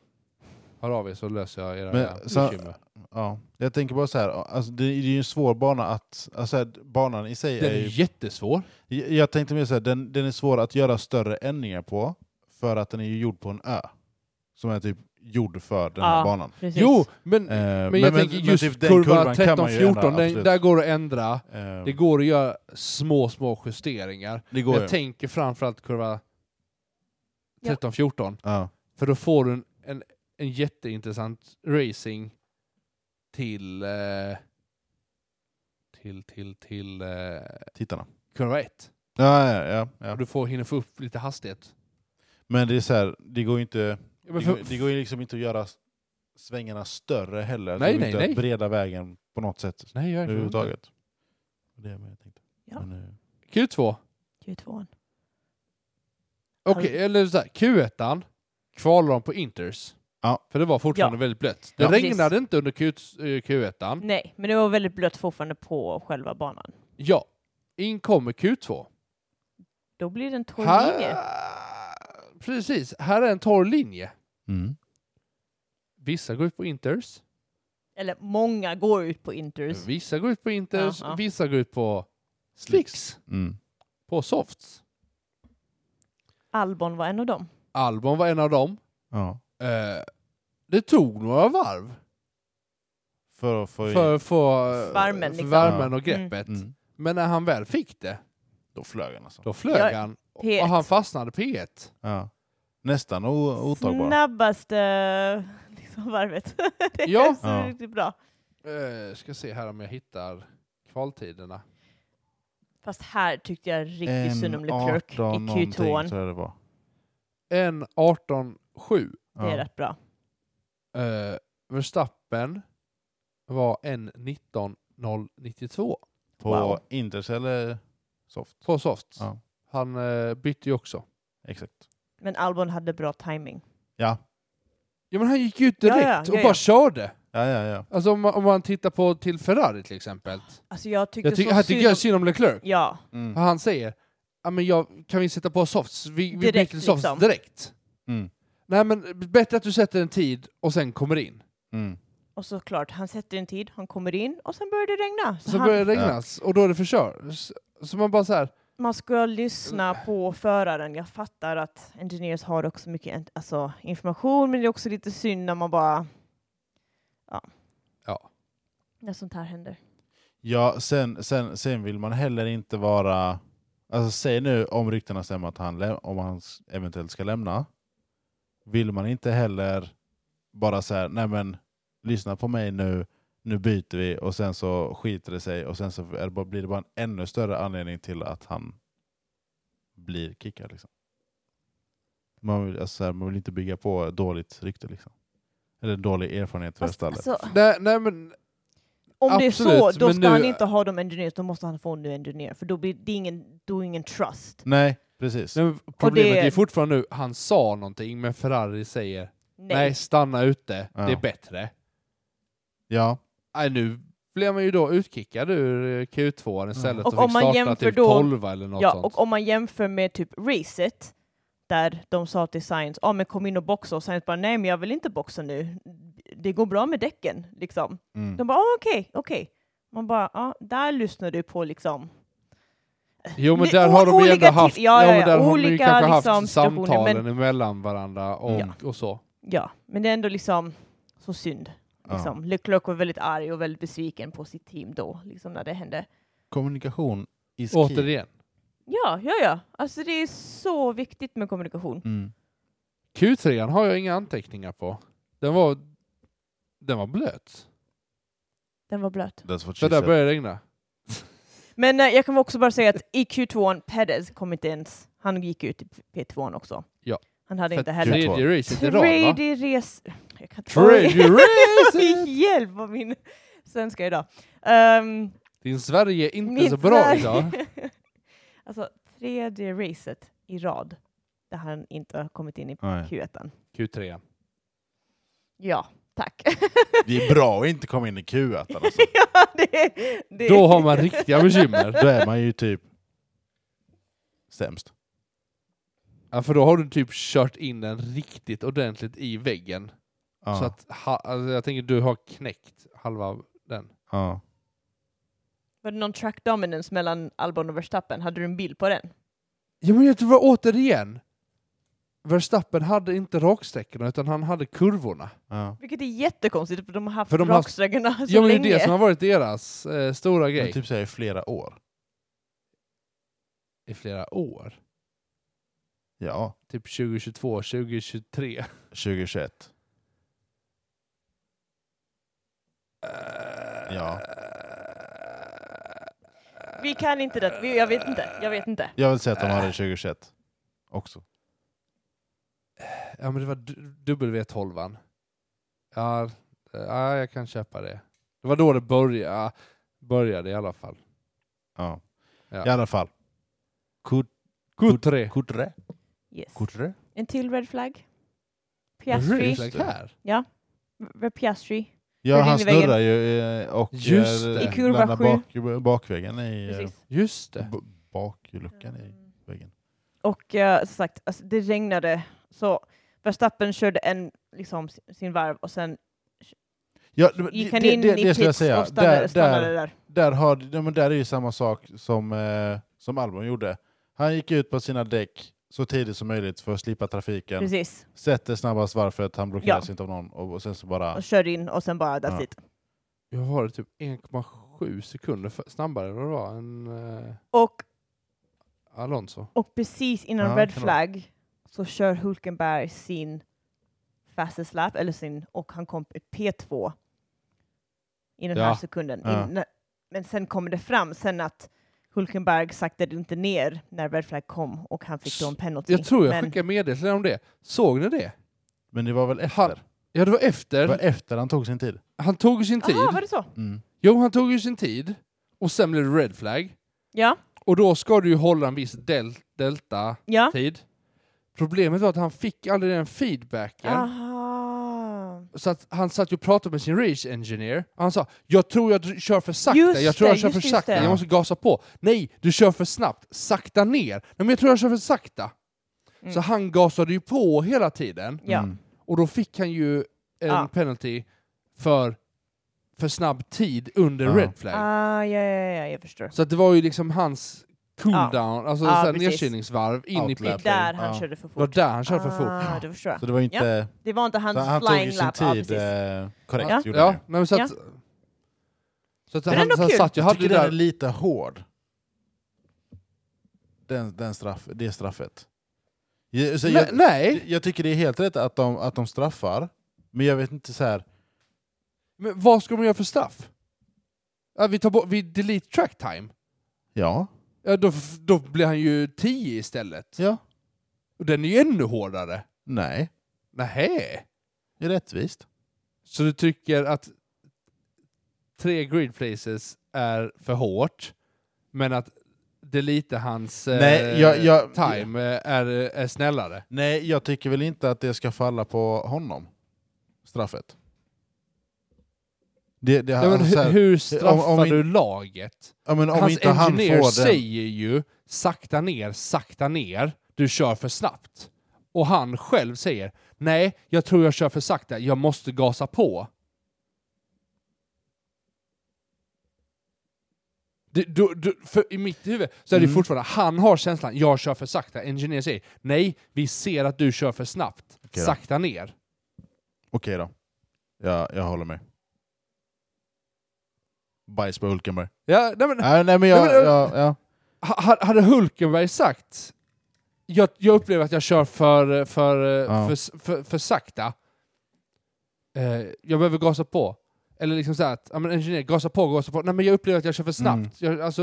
Speaker 3: hör av er så löser jag era
Speaker 1: Men så-
Speaker 3: bekymmer.
Speaker 1: Ja, jag tänker bara så här, alltså det, det är ju en svår bana att... Alltså här, banan i sig
Speaker 3: Den
Speaker 1: är
Speaker 3: är
Speaker 1: ju,
Speaker 3: jättesvår.
Speaker 1: jag- Jag tänkte mer så här, den, den är svår att göra större ändringar på för att den är ju gjord på en ö. Som är typ gjord för den här
Speaker 2: Ja,
Speaker 1: banan.
Speaker 2: Precis.
Speaker 3: Jo, men,
Speaker 1: Eh,
Speaker 3: men jag tänker just
Speaker 1: typ den
Speaker 3: kurva
Speaker 1: kurvan kan man ju
Speaker 3: 13-14,
Speaker 1: ändra,
Speaker 3: den-
Speaker 1: absolut.
Speaker 3: där går det att ändra.
Speaker 1: Eh,
Speaker 3: Det går att göra små, små justeringar.
Speaker 1: det
Speaker 3: Jag
Speaker 1: ju.
Speaker 3: tänker framförallt kurva
Speaker 2: Ja.
Speaker 3: 13-14,
Speaker 1: Ja.
Speaker 3: för då får du en, en, en jätteintressant racing till eh, till, till, till eh,
Speaker 1: Tittarna.
Speaker 3: kurva 1.
Speaker 1: Ja, ja, ja, ja.
Speaker 3: Och du får, hinner få upp lite hastighet.
Speaker 1: Men det är så här, det går ju inte...
Speaker 3: Ja,
Speaker 1: Det
Speaker 3: men
Speaker 1: går,
Speaker 3: för-
Speaker 1: det går ju liksom inte att göra s- svängarna större heller.
Speaker 3: Nej,
Speaker 1: det går
Speaker 3: nej,
Speaker 1: inte
Speaker 3: nej.
Speaker 1: att breda vägen på något sätt
Speaker 3: Nej, jag är inte.
Speaker 1: överhuvudtaget. Det är vad jag tänkte.
Speaker 2: Ja.
Speaker 1: Men, eh,
Speaker 3: Q2.
Speaker 2: Q2.
Speaker 3: Okej, eller så här, Q1 kvalade de på Inters.
Speaker 1: Ja.
Speaker 3: För det var fortfarande
Speaker 2: Ja.
Speaker 3: väldigt blött. Det
Speaker 2: Ja, precis.
Speaker 3: regnade inte under Q, Q1.
Speaker 2: Nej, men det var väldigt blött fortfarande på själva banan.
Speaker 3: Ja. In kommer Q2.
Speaker 2: Då blir det en torr linje.
Speaker 3: Här... Precis, här är en torr linje.
Speaker 1: mm.
Speaker 3: Vissa går ut på Inters,
Speaker 2: Eller många går ut på inters.
Speaker 3: vissa går ut på Inters,
Speaker 2: Ja, ja.
Speaker 3: vissa går ut på Slicks,
Speaker 1: Mm.
Speaker 3: på Softs.
Speaker 2: Albon var en av dem.
Speaker 3: Albon var en av dem.
Speaker 1: Ja.
Speaker 3: Eh, det tog några varv
Speaker 1: För att få i-
Speaker 3: för, för,
Speaker 2: Värmen,
Speaker 3: för
Speaker 2: liksom.
Speaker 3: värmen
Speaker 1: Ja.
Speaker 3: och greppet.
Speaker 1: Mm.
Speaker 3: Men när han väl fick det,
Speaker 1: Då flög han alltså.
Speaker 3: då flög
Speaker 2: Ja,
Speaker 3: han och
Speaker 2: P1.
Speaker 3: han fastnade P1.
Speaker 1: Ja. Nästan o- otagbar.
Speaker 2: Snabbaste liksom, varvet. det
Speaker 3: Ja.
Speaker 2: är så
Speaker 1: Ja.
Speaker 2: riktigt bra.
Speaker 3: Eh, ska se här om jag hittar kvaltiderna.
Speaker 2: Fast här tyckte jag riktigt synd om
Speaker 1: En
Speaker 2: Leclerc i
Speaker 1: 18 någonting tror
Speaker 2: Q2.
Speaker 1: jag det var.
Speaker 3: En 18.7
Speaker 2: Det är
Speaker 1: Ja.
Speaker 2: rätt bra.
Speaker 3: Eh, Verstappen var en 19.092
Speaker 1: På
Speaker 2: Wow.
Speaker 1: Inters eller Soft?
Speaker 3: på soft.
Speaker 1: Ja.
Speaker 3: Han eh, bytte ju också.
Speaker 1: Exakt.
Speaker 2: Men Albon hade bra timing.
Speaker 1: Ja,
Speaker 3: Ja men han gick ju ut
Speaker 2: Ja, ja,
Speaker 3: direkt
Speaker 2: ja,
Speaker 3: och
Speaker 2: ja.
Speaker 3: bara körde.
Speaker 1: ja, ja. ja.
Speaker 3: Alltså om man, om man tittar på till Ferrari till exempel.
Speaker 2: Alltså jag tyckte
Speaker 3: Jag ty-
Speaker 2: så
Speaker 3: här tycker
Speaker 2: synd
Speaker 3: jag
Speaker 2: om...
Speaker 3: synd om Leclerc.
Speaker 2: Ja,
Speaker 1: Mm.
Speaker 3: För Han säger ja, men jag, kan vi sätta på softs? Vi, vi byter
Speaker 2: Direkt,
Speaker 3: till softs
Speaker 2: liksom.
Speaker 3: direkt.
Speaker 1: Mm.
Speaker 3: Nej men bättre att du sätter en tid och sen kommer in.
Speaker 1: Mm.
Speaker 2: och såklart, han sätter en tid, han kommer in och sen börjar det regna. Så
Speaker 3: Så
Speaker 2: han,
Speaker 3: börjar det regnas och då är det förkört. Så- Så man bara så här,
Speaker 2: Man ska lyssna på föraren. Jag fattar att engineers har också mycket en- alltså, information, men det är också lite synd när man bara... Ja.
Speaker 3: Ja.
Speaker 2: När sånt här händer.
Speaker 1: Ja, sen, sen, sen vill man heller inte vara... Alltså säg nu om ryktena stämmer att han, lä- om han s- eventuellt ska lämna. Vill man inte heller bara så här, nej men lyssna på mig nu, nu byter vi och sen så skiter det sig och sen så är det bara, blir det bara en ännu större anledning till att han blir kickad. Liksom. Man, vill, alltså så här, man vill inte bygga på ett dåligt rykte. Liksom. Eller dålig erfarenhet för
Speaker 2: Fast,
Speaker 1: stallet.
Speaker 2: alltså,
Speaker 3: nej, nej men
Speaker 2: om det är så,
Speaker 3: Absolut,
Speaker 2: då
Speaker 3: men
Speaker 2: ska
Speaker 3: nu-
Speaker 2: han inte ha de engineers, då måste han få en ny engineer, för då blir det ingen, då är ingen trust.
Speaker 1: Nej, precis.
Speaker 3: Nej, men problemet
Speaker 2: det-
Speaker 3: är fortfarande nu, han sa någonting men Ferrari säger nej,
Speaker 2: Nej.
Speaker 3: stanna ute,
Speaker 1: Ja.
Speaker 3: det är bättre.
Speaker 1: Ja.
Speaker 3: Nej, nu blev man ju då utkickad ur eh, Q2 istället
Speaker 2: Mm. Och
Speaker 3: och,
Speaker 2: om
Speaker 3: fick
Speaker 2: man
Speaker 3: starta
Speaker 2: jämför
Speaker 3: typ
Speaker 2: då-
Speaker 3: 12 eller något
Speaker 2: Ja,
Speaker 3: sånt.
Speaker 2: och om man jämför med typ racet, där de sa till Science, ja men kom in och boxa, och Science bara, nej men jag vill inte boxa nu, det går bra med däcken, liksom.
Speaker 1: Mm.
Speaker 2: De bara, "Ah, okej, okej. Man bara, ja, där lyssnar du på liksom.
Speaker 3: jo men
Speaker 2: det-
Speaker 3: där har de ju
Speaker 2: olika
Speaker 3: ändå haft,
Speaker 2: till- ja, ja,
Speaker 3: men
Speaker 2: ja,
Speaker 3: där har de ju
Speaker 2: olika
Speaker 3: kanske haft
Speaker 2: liksom situationer,
Speaker 3: samtalen emellan varandra och,
Speaker 2: Ja.
Speaker 3: och så.
Speaker 2: Ja, men det är ändå liksom så synd.
Speaker 1: Ja.
Speaker 2: Liksom. Leclerc var väldigt arg och väldigt besviken på sitt team då, liksom när det hände.
Speaker 1: Kommunikation is key.
Speaker 3: Återigen,
Speaker 2: Ja, ja, ja. Alltså det är så viktigt med kommunikation.
Speaker 1: Mm.
Speaker 3: Q3 har jag inga anteckningar på. Den var, den var blöt.
Speaker 2: Den var blöt.
Speaker 1: That's what
Speaker 3: För
Speaker 1: she
Speaker 3: där
Speaker 1: said.
Speaker 3: började det regna.
Speaker 2: Men eh, jag kan också bara säga att i Q2, Perez kom inte ens, han gick ut i P2 också.
Speaker 3: Ja.
Speaker 2: Han hade
Speaker 3: För
Speaker 2: inte heller...
Speaker 3: tredje racet i rad va?
Speaker 2: Tredje res... Jag kan inte...
Speaker 3: Tredje
Speaker 2: Oj,
Speaker 3: racet!
Speaker 2: Hjälp vad min svenska idag. Ehm,
Speaker 3: Din Sverige är inte
Speaker 2: Mitt
Speaker 3: så bra
Speaker 2: Sverige.
Speaker 3: idag.
Speaker 2: alltså tredje racet i rad där han inte har kommit in i
Speaker 1: Nej.
Speaker 2: Q1.
Speaker 3: Q3.
Speaker 2: Ja, tack.
Speaker 1: Det är bra att inte komma in i Q1 alltså.
Speaker 2: ja, det, det.
Speaker 3: Då har man riktiga bekymmer.
Speaker 1: Då är man ju typ sämst.
Speaker 3: Ja, för då har du typ kört in den riktigt ordentligt i väggen.
Speaker 1: Ja,
Speaker 3: Så att ha, alltså jag tänker du har knäckt halva den.
Speaker 1: ja.
Speaker 2: Var det någon track dominance mellan Albon och Verstappen? Hade du en bild på den?
Speaker 3: Ja men det var återigen. Verstappen hade inte raksträckorna utan han hade kurvorna.
Speaker 1: ja.
Speaker 2: Vilket är jättekonstigt för de har haft
Speaker 3: För de har-
Speaker 2: raksträckorna så
Speaker 3: Ja men det är
Speaker 2: länge.
Speaker 3: det som har varit deras eh, stora grej
Speaker 1: Men typ säger flera år.
Speaker 3: i flera år.
Speaker 1: Ja,
Speaker 3: Typ 2022, 2023.
Speaker 1: 2021.
Speaker 3: Eh,
Speaker 1: Ja.
Speaker 2: Vi kan inte det. Vi, jag vet inte. Jag vet inte.
Speaker 1: Jag vill säga att de
Speaker 2: Äh.
Speaker 1: hade 2021 också.
Speaker 3: Ja men det var du- W12. Ja, eh, ja, jag kan köpa det. Det var då det började, började i alla fall.
Speaker 1: Ja.
Speaker 3: Ja.
Speaker 1: I alla fall. Kut,
Speaker 3: Q3.
Speaker 1: kutre?
Speaker 2: Yes.
Speaker 1: Kutre?
Speaker 2: En till red flag.
Speaker 1: Red
Speaker 2: Piastri.
Speaker 1: flag.
Speaker 3: här.
Speaker 2: V- v- Piastri.
Speaker 1: Ja,
Speaker 2: Hur
Speaker 1: han
Speaker 2: ringer vägen?
Speaker 1: snurrar ju eh, och
Speaker 3: Just
Speaker 1: eh,
Speaker 3: det. I
Speaker 2: kurva
Speaker 1: landar
Speaker 2: sju.
Speaker 1: bak, bakvägen i eh,
Speaker 2: Precis.
Speaker 3: Just det.
Speaker 1: b- bakluckan i väggen.
Speaker 2: Och eh, som sagt, alltså, det regnade så Verstappen körde en, liksom, s- sin varv och sen
Speaker 1: Ja, det,
Speaker 2: gick
Speaker 1: det,
Speaker 2: han
Speaker 1: det,
Speaker 2: in
Speaker 1: det
Speaker 2: i
Speaker 1: skulle jag
Speaker 2: pits
Speaker 1: säga.
Speaker 2: och stannade
Speaker 1: där,
Speaker 2: där.
Speaker 1: där,
Speaker 2: Stannade där.
Speaker 1: där, har, ja, men där är ju samma sak som, eh, som Albon gjorde. Han gick ut på sina däck så tidigt som möjligt för att slippa trafiken.
Speaker 2: Precis.
Speaker 1: Sätter snabbast varför han blockeras
Speaker 2: Ja.
Speaker 1: inte av någon och, och sen så bara...
Speaker 2: Och körde in och sen bara that's
Speaker 1: Ja.
Speaker 2: it.
Speaker 3: Jag var det typ 1,7 sekunder för, snabbare än vad det var än eh,
Speaker 2: Och,
Speaker 3: Alonso.
Speaker 2: och precis innan
Speaker 1: Ja,
Speaker 2: red
Speaker 1: kan
Speaker 2: flag så kör Hulkenberg sin fastest lap, eller sin, och han kom i P2 i den
Speaker 3: Ja.
Speaker 2: här sekunden.
Speaker 1: Ja.
Speaker 2: In, men sen kommer det fram sen att Hulkenberg saktade inte ner när red flag kom och han fick då en penalty.
Speaker 3: Jag tror jag
Speaker 2: men,
Speaker 3: skickade meddelande om det. Såg ni det?
Speaker 1: Men det var väl efter?
Speaker 3: Han- Ja, det var
Speaker 1: Det
Speaker 3: efter.
Speaker 1: var efter han tog sin tid.
Speaker 3: Han tog ju sin tid.
Speaker 2: Aha, var det så?
Speaker 1: Mm.
Speaker 3: Jo, han tog ju sin tid. Och sen blev det red flag.
Speaker 2: Ja,
Speaker 3: Och då ska du ju hålla en viss del delta
Speaker 2: ja.
Speaker 3: tid. Problemet var att han fick aldrig den feedbacken.
Speaker 2: Aha.
Speaker 3: Så att han satt ju och pratade med sin race engineer. Och han sa jag tror jag dr- kör för sakta,
Speaker 2: Just
Speaker 3: jag tror
Speaker 2: det,
Speaker 3: jag kör
Speaker 2: just
Speaker 3: för
Speaker 2: det, just
Speaker 3: sakta,
Speaker 2: det."
Speaker 3: jag måste gasa på. Nej, du kör för snabbt, sakta ner. Nej, men jag tror jag kör för sakta.
Speaker 2: Mm.
Speaker 3: Så han gasade ju på hela tiden.
Speaker 2: Ja.
Speaker 1: Mm.
Speaker 3: Och då fick han ju en
Speaker 2: Ja.
Speaker 3: penalty för för snabb tid under
Speaker 1: Ja.
Speaker 3: red flag.
Speaker 2: Ah, ja, ja, ja, jag förstår.
Speaker 3: Så att det var ju liksom hans cooldown, alltså
Speaker 2: Ja,
Speaker 3: så här
Speaker 2: precis.
Speaker 3: nedkylningsvarv in
Speaker 1: Outlap.
Speaker 3: i
Speaker 2: Det
Speaker 3: pit.
Speaker 2: är där han
Speaker 1: Ja.
Speaker 2: körde för
Speaker 3: Det var
Speaker 2: fort.
Speaker 3: där han körde för
Speaker 2: Ah,
Speaker 3: fort.
Speaker 2: då förstår jag.
Speaker 1: Så det var inte...
Speaker 2: Det var inte hans
Speaker 1: Så han tog ju
Speaker 2: flying
Speaker 1: sin
Speaker 2: lap. Ja,
Speaker 1: tid
Speaker 2: precis.
Speaker 1: eh, korrekt.
Speaker 3: Ja,
Speaker 1: gjorde han
Speaker 3: ja,
Speaker 1: ju.
Speaker 3: nej, men så
Speaker 2: Ja.
Speaker 3: att, så att
Speaker 2: Men
Speaker 3: han,
Speaker 2: ändå
Speaker 3: så han
Speaker 2: kul.
Speaker 3: satt ju
Speaker 1: Jag,
Speaker 3: hade det
Speaker 1: tycker den är
Speaker 3: där
Speaker 1: lite hård. Den, den straff, det straffet. Jag, så
Speaker 3: Nej,
Speaker 1: Typ, jag,
Speaker 3: nej,
Speaker 1: jag tycker det är helt rätt att de, att de straffar, men jag vet inte så här.
Speaker 3: men vad ska man göra för straff? Ja, vi tar bort, vi delete track time.
Speaker 1: Ja,
Speaker 3: Ja, då, f- då blir han ju 10 istället.
Speaker 1: ja,
Speaker 3: Och den är ju ännu hårdare.
Speaker 1: nej,
Speaker 3: Nähä.
Speaker 1: det är rättvist.
Speaker 3: Så du tycker att tre grid places är för hårt, men att delete hans eh,
Speaker 1: Nej, jag- jag-
Speaker 3: time eh, är, är snällare?
Speaker 1: Nej, jag tycker väl inte att det ska falla på honom, straffet. Det, det,
Speaker 3: Ja, men
Speaker 1: alltså, så
Speaker 3: hur,
Speaker 1: här,
Speaker 3: hur straffar
Speaker 1: om- om in-
Speaker 3: du laget?
Speaker 1: ja, men om
Speaker 3: Hans
Speaker 1: inte han
Speaker 3: engineer
Speaker 1: får den...
Speaker 3: säger ju sakta ner, sakta ner, du kör för snabbt. Och han själv säger nej, jag tror jag kör för sakta, jag måste gasa på. Det, du, du, för I mitt huvud så är det
Speaker 1: Mm.
Speaker 3: fortfarande, han har känslan, jag kör för sakta. Engineer säger nej, vi ser att du kör för snabbt,
Speaker 1: Okej då.
Speaker 3: sakta ner.
Speaker 1: Okej då, ja, jag håller med. Bajs på Hulkenberg.
Speaker 3: Ja, nej men,
Speaker 1: Nej, nej men
Speaker 3: Nej,
Speaker 1: jag...
Speaker 3: men-
Speaker 1: jag, jag
Speaker 3: Ha- ha- Hade Hulkenberg sagt jag, jag upplever att jag kör för, för,
Speaker 1: Ja.
Speaker 3: för, för, för sakta. Eh, jag behöver gasa på. Eller liksom så här att, ja men engineer, gasa på, gasa på. Nej men jag upplever att jag kör för snabbt. Jag, alltså,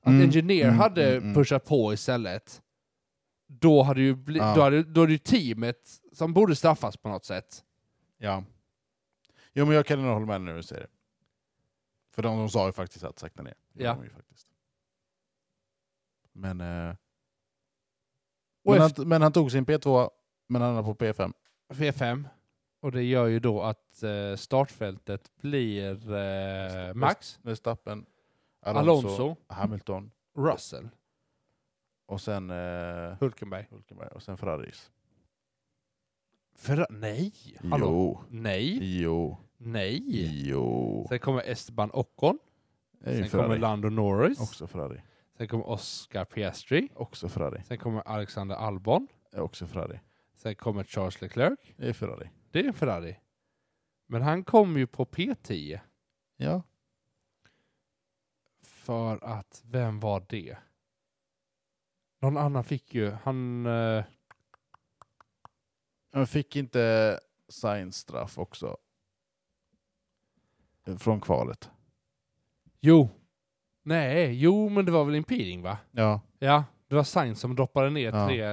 Speaker 3: att
Speaker 1: Mm,
Speaker 3: engineer
Speaker 1: mm,
Speaker 3: hade
Speaker 1: mm, mm.
Speaker 3: pushat på istället. Då hade ju bli,
Speaker 1: Ja.
Speaker 3: då hade, då hade ju teamet som borde straffas på något sätt.
Speaker 1: Ja. Jo, men jag kan ändå hålla med när du säger det. För de, de sa ju faktiskt att sakta ner. Det
Speaker 3: Ja.
Speaker 1: gjorde de ju faktiskt. Men, eh,
Speaker 3: Och
Speaker 1: men, han,
Speaker 3: efter-
Speaker 1: men han tog sin P2, men han är på P5.
Speaker 3: V5. Och det gör ju då att eh, startfältet blir eh, Max,
Speaker 1: Verstappen, Alonso,
Speaker 3: Alonso,
Speaker 1: Alonso, Hamilton
Speaker 3: Russell,
Speaker 1: och sen eh,
Speaker 3: Hulkenberg.
Speaker 1: Hulkenberg och sen Ferraris.
Speaker 3: Ferra- nej! Hallå.
Speaker 1: Jo,
Speaker 3: Nej,
Speaker 1: jo,
Speaker 3: nej.
Speaker 1: jo.
Speaker 3: Sen kommer Esteban Ocon,
Speaker 1: Det är ju
Speaker 3: sen kommer
Speaker 1: Ferrari.
Speaker 3: Lando Norris,
Speaker 1: Också Ferrari.
Speaker 3: sen kommer Oscar Piastri,
Speaker 1: Också Ferrari.
Speaker 3: sen kommer Alexander Albon,
Speaker 1: Också Ferrari.
Speaker 3: sen kommer Charles Leclerc.
Speaker 1: Det är Ferrari.
Speaker 3: Det är en Ferrari. Men han kom ju på P10
Speaker 1: Ja.
Speaker 3: för att, vem var det? Någon annan fick ju, han... eh,
Speaker 1: Men fick inte Sainz straff också? Från kvalet.
Speaker 3: jo, Nej, jo men det var väl impeding va?
Speaker 1: Ja,
Speaker 3: Ja, det var Sainz som droppade ner
Speaker 1: Ja.
Speaker 3: tre.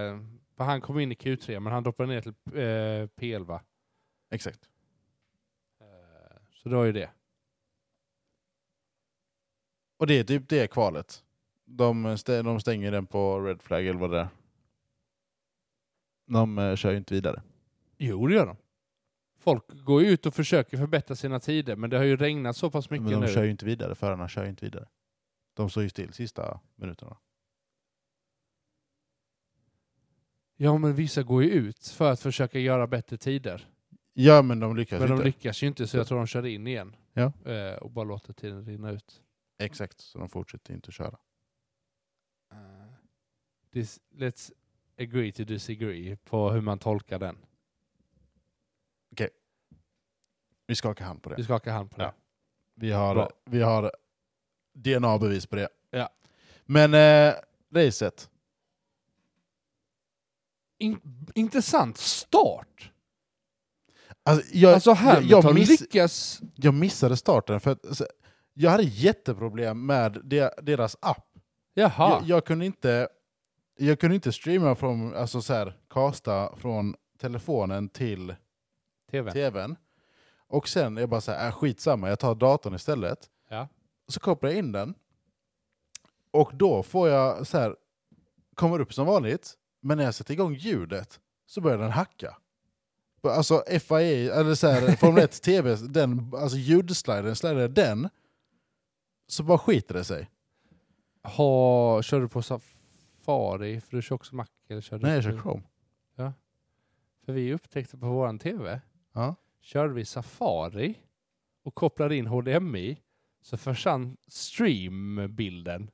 Speaker 3: För han kom in i Q3 men han droppade ner till eh, P11.
Speaker 1: exakt.
Speaker 3: Eh, Så det var ju det.
Speaker 1: Och det är typ det kvalet. De, stä- de stänger den på red flag eller vad det är. De eh, kör ju inte vidare.
Speaker 3: Jo, det gör de. Folk går ju ut och försöker förbättra sina tider, men det har ju regnat så pass mycket
Speaker 1: Men de
Speaker 3: nu.
Speaker 1: kör ju inte vidare, förarna kör ju inte vidare. De står ju still sista minuterna.
Speaker 3: Ja, men vissa går ju ut för att försöka göra bättre tider.
Speaker 1: Ja, men de lyckas
Speaker 3: men de
Speaker 1: inte.
Speaker 3: lyckas ju inte, så jag tror de kör in igen.
Speaker 1: Ja.
Speaker 3: Eh, och bara låter tiden rinna ut.
Speaker 1: Exakt, så de fortsätter inte köra.
Speaker 3: Eh, dis- let's agree to disagree på hur man tolkar den.
Speaker 1: Vi skakar hand på det.
Speaker 3: Vi skakar hand på
Speaker 1: Ja.
Speaker 3: det.
Speaker 1: Vi har,
Speaker 3: Bra.
Speaker 1: vi har DNA-bevis på det.
Speaker 3: Ja.
Speaker 1: Men eh, racet.
Speaker 3: In- intressant start!
Speaker 1: Alltså, jag,
Speaker 3: Alltså
Speaker 1: jag,
Speaker 3: Hamilton
Speaker 1: jag, miss,
Speaker 3: lyckas...
Speaker 1: jag missade starten. för att, alltså, Jag hade jätteproblem med de, deras app.
Speaker 3: Jaha.
Speaker 1: Jag, jag, kunde inte, jag kunde inte streama från, alltså så här, kasta från telefonen till
Speaker 3: TVn.
Speaker 1: tvn. Och sen är jag bara så här, äh, skitsamma, jag tar datorn istället.
Speaker 3: Ja.
Speaker 1: Så kopplar jag in den. Och då får jag så här, kommer upp som vanligt, men när jag sätter igång ljudet så börjar den hacka. Alltså FIA, eller så här, Formel 1 TV, den, alltså ljudslidern, slidrar den, så bara skiter det sig.
Speaker 3: Ha, kör du på Safari? För du kör också Mac? Eller kör du
Speaker 1: Nej, jag kör Chrome.
Speaker 3: För vi upptäckte på våran TV,
Speaker 1: Ja.
Speaker 3: körde vi Safari och kopplade in HDMI så försvann streambilden.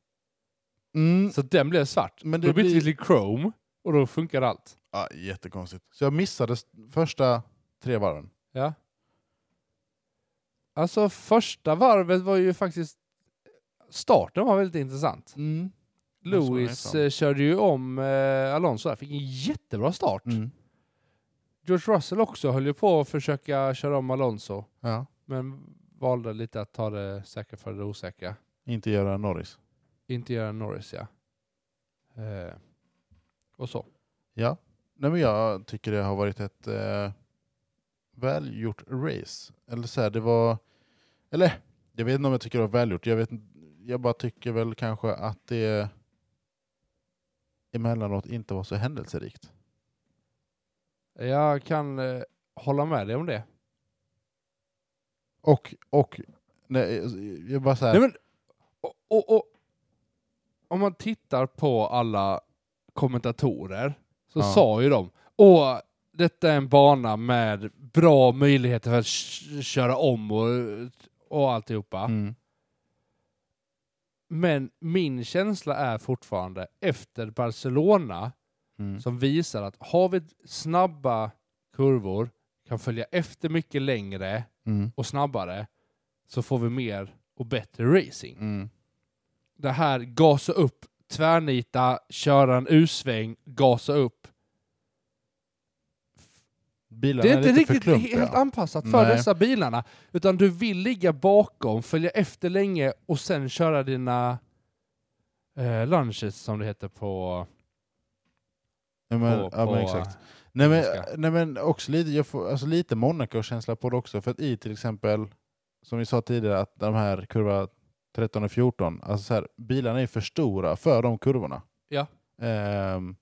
Speaker 1: Mm,
Speaker 3: Så den blev svart.
Speaker 1: Men
Speaker 3: Men
Speaker 1: det
Speaker 3: då bytte vi
Speaker 1: blir-
Speaker 3: till Chrome och då funkar allt.
Speaker 1: ja, jättekonstigt. Så jag missade s- första tre varven.
Speaker 3: Ja. Alltså första varvet var ju faktiskt... Starten var väldigt intressant.
Speaker 1: Mm. Jag såg
Speaker 3: Lewis
Speaker 1: det
Speaker 3: eh, körde ju om eh, Alonso där, fick en jättebra start.
Speaker 1: Mm.
Speaker 3: George Russell också höll ju på att försöka köra om Alonso,
Speaker 1: Ja.
Speaker 3: men valde lite att ta det säkra för det osäkra.
Speaker 1: Inte göra Norris.
Speaker 3: Inte göra Norris, ja. Eh, och så.
Speaker 1: Ja. Nej, men jag tycker det har varit ett eh, välgjort race. Eller så här, det var... Eller, jag vet inte om jag tycker det var välgjort. Jag, vet, inte- jag bara tycker väl kanske att det emellanåt inte var så händelserikt.
Speaker 3: Jag kan eh, hålla med dig om det.
Speaker 1: Och, och nej, jag bara så här,
Speaker 3: Nej, men, och, och, och, om man tittar på alla kommentatorer så
Speaker 1: Ja.
Speaker 3: sa ju de Åh, detta är en bana med bra möjligheter för att k- köra om och, och alltihopa.
Speaker 1: mm,
Speaker 3: Men min känsla är fortfarande efter Barcelona
Speaker 1: mm,
Speaker 3: som visar att har vi snabba kurvor, kan följa efter mycket längre
Speaker 1: mm,
Speaker 3: och snabbare, så får vi mer och bättre racing.
Speaker 1: mm,
Speaker 3: Det här gasa upp, tvärnita, köra en U-sväng, gasa upp.
Speaker 1: bilarna
Speaker 3: Det är
Speaker 1: är,
Speaker 3: inte
Speaker 1: lite för
Speaker 3: riktigt
Speaker 1: klumpiga.
Speaker 3: helt anpassat för
Speaker 1: Nej.
Speaker 3: dessa bilarna, utan du vill ligga bakom, följa efter länge och sen köra dina eh, lunches som det heter på
Speaker 1: Ja, men,
Speaker 3: på,
Speaker 1: ja,
Speaker 3: på
Speaker 1: men exakt. Nej men,
Speaker 3: Ganska.
Speaker 1: nej men också lite, jag får, alltså lite Monaco-känsla på det också. För att i till exempel, som vi sa tidigare, att de här kurva 13 och 14, alltså så här, bilarna är för stora för de kurvorna.
Speaker 3: Ja.
Speaker 1: Ehm,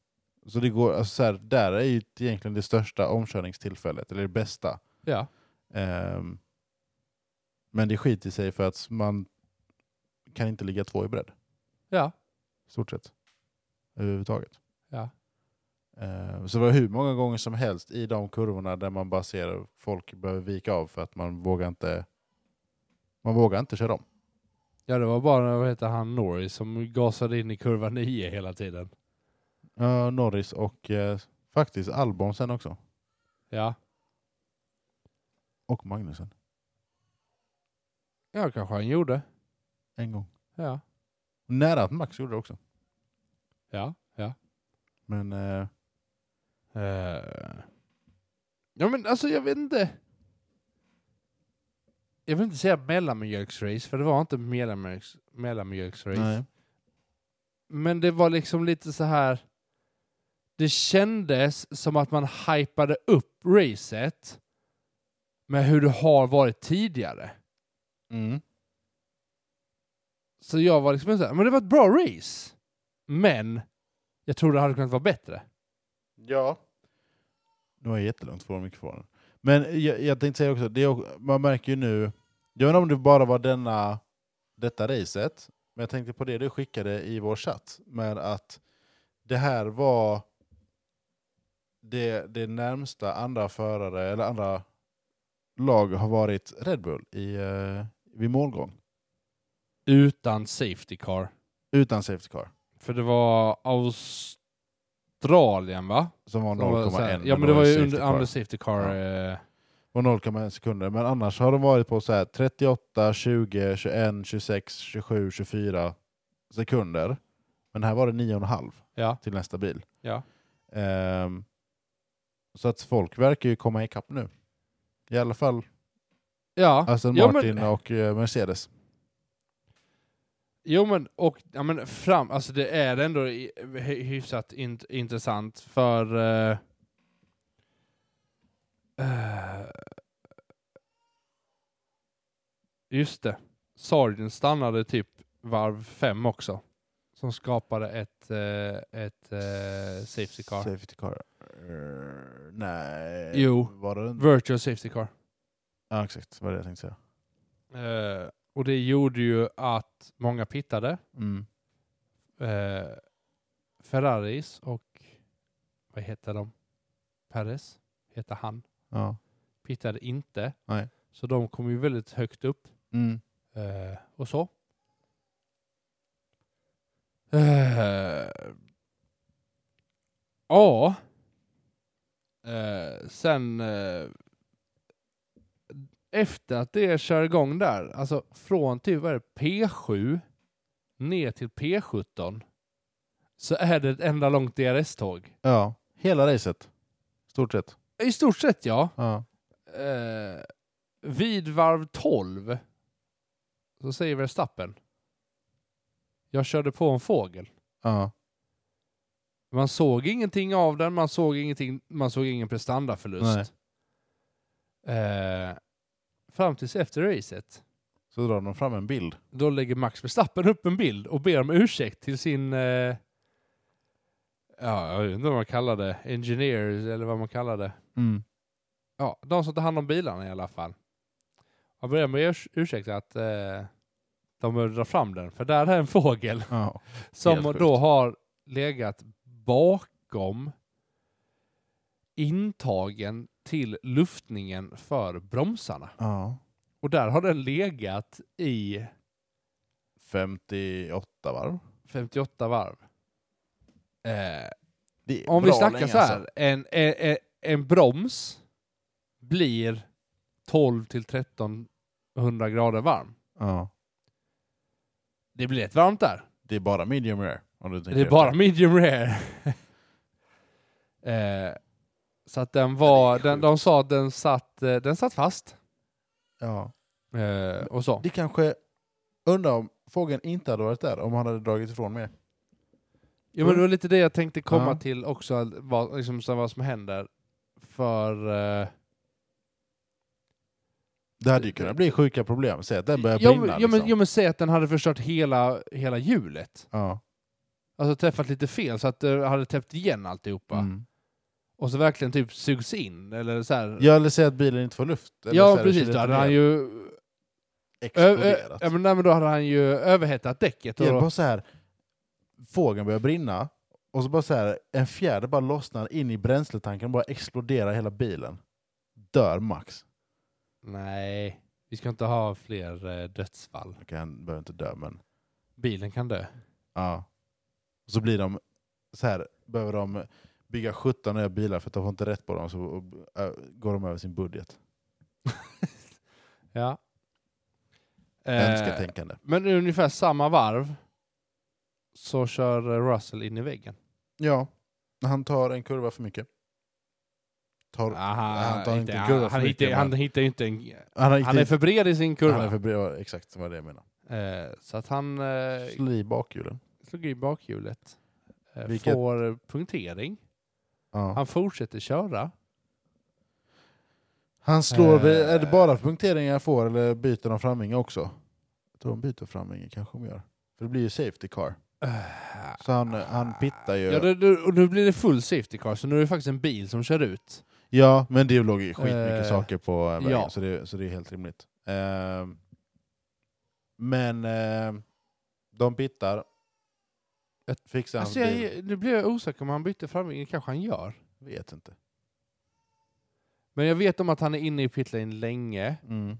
Speaker 1: så det går, alltså så här, där är ju egentligen det största omkörningstillfället, eller det bästa.
Speaker 3: Ja.
Speaker 1: Ehm, men det skiter i sig för att man kan inte ligga två i bredd,
Speaker 3: Ja.
Speaker 1: i stort sett. Överhuvudtaget.
Speaker 3: Ja.
Speaker 1: Eh, Så det var hur många gånger som helst i de kurvorna där man bara ser att folk behöver vika av för att man vågar inte, man vågar inte köra om.
Speaker 3: Ja, det var bara, vad heter han, Norris som gasade in i kurva 9 hela tiden.
Speaker 1: Ja, Norris och eh, faktiskt Albon sen också.
Speaker 3: Ja,
Speaker 1: Och Magnusen.
Speaker 3: ja kanske han gjorde.
Speaker 1: En gång.
Speaker 3: Ja,
Speaker 1: Nära att Max gjorde det också.
Speaker 3: ja, ja.
Speaker 1: Men eh,
Speaker 3: Eh. Ja, men alltså jag vet inte. jag vill inte säga mellanmjölksrace, för det var inte mellanmjölks, mellanmjölksrace.
Speaker 1: Nej.
Speaker 3: Men det var liksom lite så här. Det kändes som att man hypade upp racet med hur det har varit tidigare.
Speaker 1: Mm.
Speaker 3: Så jag var liksom så här, men det var ett bra race. Men jag tror det hade kunnat vara bättre.
Speaker 1: Ja. Nu har jag jättelångt från mikrofonen. Men jag, jag tänkte säga också, det är, också- man märker ju nu, jag vet inte om det bara var denna, detta racet, men jag tänkte på det du skickade i vår chatt, med att det här var det, det närmsta andra förare eller andra lag har varit Red Bull i, eh, vid målgång,
Speaker 3: Utan safety car.
Speaker 1: utan safety car,
Speaker 3: För det var Australien va?
Speaker 1: som var
Speaker 3: Som var så här-
Speaker 1: 0,1.
Speaker 3: Ja men det var ju under, under safety car.
Speaker 1: Ja.
Speaker 3: eh,
Speaker 1: och 0,1 sekunder. Men annars har de varit på så här 38, 20, 21, 26, 27, 24 sekunder. Men här var det 9,5
Speaker 3: ja.
Speaker 1: till nästa bil.
Speaker 3: Ja.
Speaker 1: Ehm, så att folk verkar ju komma ikapp nu. I alla fall
Speaker 3: ja.
Speaker 1: Aston
Speaker 3: Ja, men-
Speaker 1: Martin och eh, Mercedes.
Speaker 3: Jo men, och, ja, men fram, alltså det är ändå i- hy- hyfsat int, intressant för... eh, eh, just det. Sargent stannade typ varv fem också. Som skapade ett, eh, ett eh, safety car.
Speaker 1: Safety car. Eh, nej,
Speaker 3: Jo.
Speaker 1: var det inte?
Speaker 3: Virtual safety car.
Speaker 1: Ja, exakt. Vad det jag tänkte säga.
Speaker 3: Eh, och det gjorde ju att många pittade.
Speaker 1: Mm.
Speaker 3: eh, Ferraris och vad heter de? Perez heter han.
Speaker 1: Ja.
Speaker 3: Pittade inte.
Speaker 1: Nej.
Speaker 3: Så de kom ju väldigt högt upp
Speaker 1: Mm.
Speaker 3: eh, och så. Eh, Ja. Eh, sen eh, efter att det kör igång där, alltså från typ vad är det, P7 ner till P17 så är det ett enda långt DRS-tåg.
Speaker 1: ja, hela racet. Stort sett.
Speaker 3: I stort sett ja.
Speaker 1: Ja.
Speaker 3: Eh, vid varv 12 så säger Verstappen. Jag körde på en fågel.
Speaker 1: Ja.
Speaker 3: Man såg ingenting av den, man såg, ingenting, man såg ingen prestandaförlust. Eh, fram tills efter racet.
Speaker 1: Så drar de fram en bild.
Speaker 3: Då lägger Max Verstappen upp en bild och ber om ursäkt till sin... Eh, ja, jag vet inte vad man kallar det. Engineers eller vad man kallar det.
Speaker 1: Mm.
Speaker 3: Ja, de som tar hand om bilarna i alla fall. Jag börjar med urs- ursäkt att eh, de behöver dra fram den, för där är en fågel
Speaker 1: Ja.
Speaker 3: som
Speaker 1: Helt sjukt.
Speaker 3: då har legat bakom intagen till luftningen för bromsarna.
Speaker 1: ja.
Speaker 3: Och där har den legat i
Speaker 1: 58 varv.
Speaker 3: 58 varv. Eh,
Speaker 1: Det är
Speaker 3: om vi
Speaker 1: bra
Speaker 3: snackar
Speaker 1: länge,
Speaker 3: så här,
Speaker 1: alltså.
Speaker 3: en, en, en, en broms blir 12 till 1300 grader varm.
Speaker 1: Ja.
Speaker 3: Det blir rätt varmt där.
Speaker 1: Det är bara medium rare. Om du
Speaker 3: det är bara medium rare. eh, så att den var,
Speaker 1: Ja, det är
Speaker 3: den, de sa att den satt, eh, den satt fast.
Speaker 1: Ja.
Speaker 3: Eh, och så.
Speaker 1: Det kanske... Undrar om fågeln inte hade varit där om han hade dragit ifrån mer.
Speaker 3: Jo, men det var lite det jag tänkte komma
Speaker 1: Ja.
Speaker 3: till också, att vad, liksom, så vad som händer. För... Eh,
Speaker 1: Det hade ju kunnat bli sjuka problem. Säg att den börjar
Speaker 3: ja,
Speaker 1: brinna.
Speaker 3: men, ja, men,
Speaker 1: liksom.
Speaker 3: ja, men säg att den hade förstört hela, hela hjulet.
Speaker 1: ja.
Speaker 3: Alltså träffat lite fel så att det hade täppt igen alltihopa.
Speaker 1: Mm.
Speaker 3: Och så verkligen typ sugs in eller så här.
Speaker 1: ja, eller säg att bilen inte får luft. Eller
Speaker 3: ja
Speaker 1: så här,
Speaker 3: precis.
Speaker 1: det
Speaker 3: Då hade
Speaker 1: känns
Speaker 3: han
Speaker 1: mer
Speaker 3: ju... Ö, ö,
Speaker 1: Exploderat.
Speaker 3: ja, men, nej, men då hade han ju överhettat däcket.
Speaker 1: Det är
Speaker 3: Typ, Och,
Speaker 1: bara så här... Fågeln börjar brinna. Och så bara så här, en fjärde bara lossnar in i bränsletanken och bara exploderar hela bilen. Dör max.
Speaker 3: Nej, vi ska inte ha fler eh, dödsfall.
Speaker 1: Okej, han behöver inte dö, men...
Speaker 3: Bilen kan dö.
Speaker 1: Ja. Och så blir de så här, behöver de bygga 17 nya bilar för att de får inte rätt på dem, så och, äh, går de över sin budget.
Speaker 3: Ja. Eh,
Speaker 1: Önsketänkande.
Speaker 3: men i ungefär samma varv så kör eh, Russell in i väggen.
Speaker 1: Ja, han tar en kurva för mycket. tar...
Speaker 3: Aha,
Speaker 1: han tar inte
Speaker 3: han-
Speaker 1: kurva för
Speaker 3: han,
Speaker 1: mycket,
Speaker 3: hittar, han
Speaker 1: men-
Speaker 3: hittar ju inte en...
Speaker 1: han, har
Speaker 3: Han är för bred i sin kurva.
Speaker 1: Han är för bred, ja, exakt som var det jag menade.
Speaker 3: Eh, så att han eh,
Speaker 1: Slå i bakhjulen.
Speaker 3: slog i bakhjulet. Eh,
Speaker 1: Vilket-
Speaker 3: Får punktering.
Speaker 1: Ja.
Speaker 3: Han fortsätter köra.
Speaker 1: Han slår... vid-
Speaker 3: Eh.
Speaker 1: Är det bara punkteringar jag får eller byter de framvinge också? Jag tror de byter framvinge kanske de gör. För det blir ju safety car. Så han, eh, han pittar ju.
Speaker 3: Ah. Ja, det, det, och nu blir det full safety car, så nu är det faktiskt en bil som kör ut.
Speaker 1: Ja, men det låg ju skitmycket
Speaker 3: Eh,
Speaker 1: saker på eh, vägen,
Speaker 3: ja.
Speaker 1: så, det, så det är helt rimligt. Ehm, men eh, de pittar.
Speaker 3: Ett-
Speaker 1: Fixar han
Speaker 3: Alltså, jag,
Speaker 1: bil?
Speaker 3: nu blir jag osäker om han bytte framvinge, kanske han gör.
Speaker 1: Vet inte.
Speaker 3: Men jag vet om att han är inne i pitlane länge,
Speaker 1: Mm.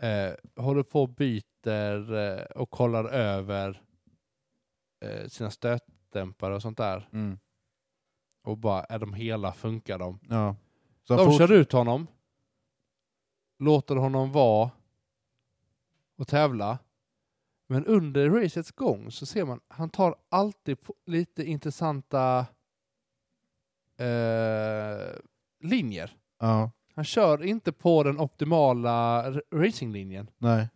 Speaker 3: eh, håller på och byter eh, och kollar över eh, sina stötdämpare och sånt där.
Speaker 1: Mm.
Speaker 3: Och bara, är de hela? Funkar de?
Speaker 1: Ja. Så han
Speaker 3: De
Speaker 1: fort-
Speaker 3: kör ut honom, låter honom vara och tävla. Men under racets gång så ser man, han tar alltid på lite intressanta eh, linjer.
Speaker 1: Ja,
Speaker 3: Han kör inte på den optimala r- racinglinjen.
Speaker 1: nej.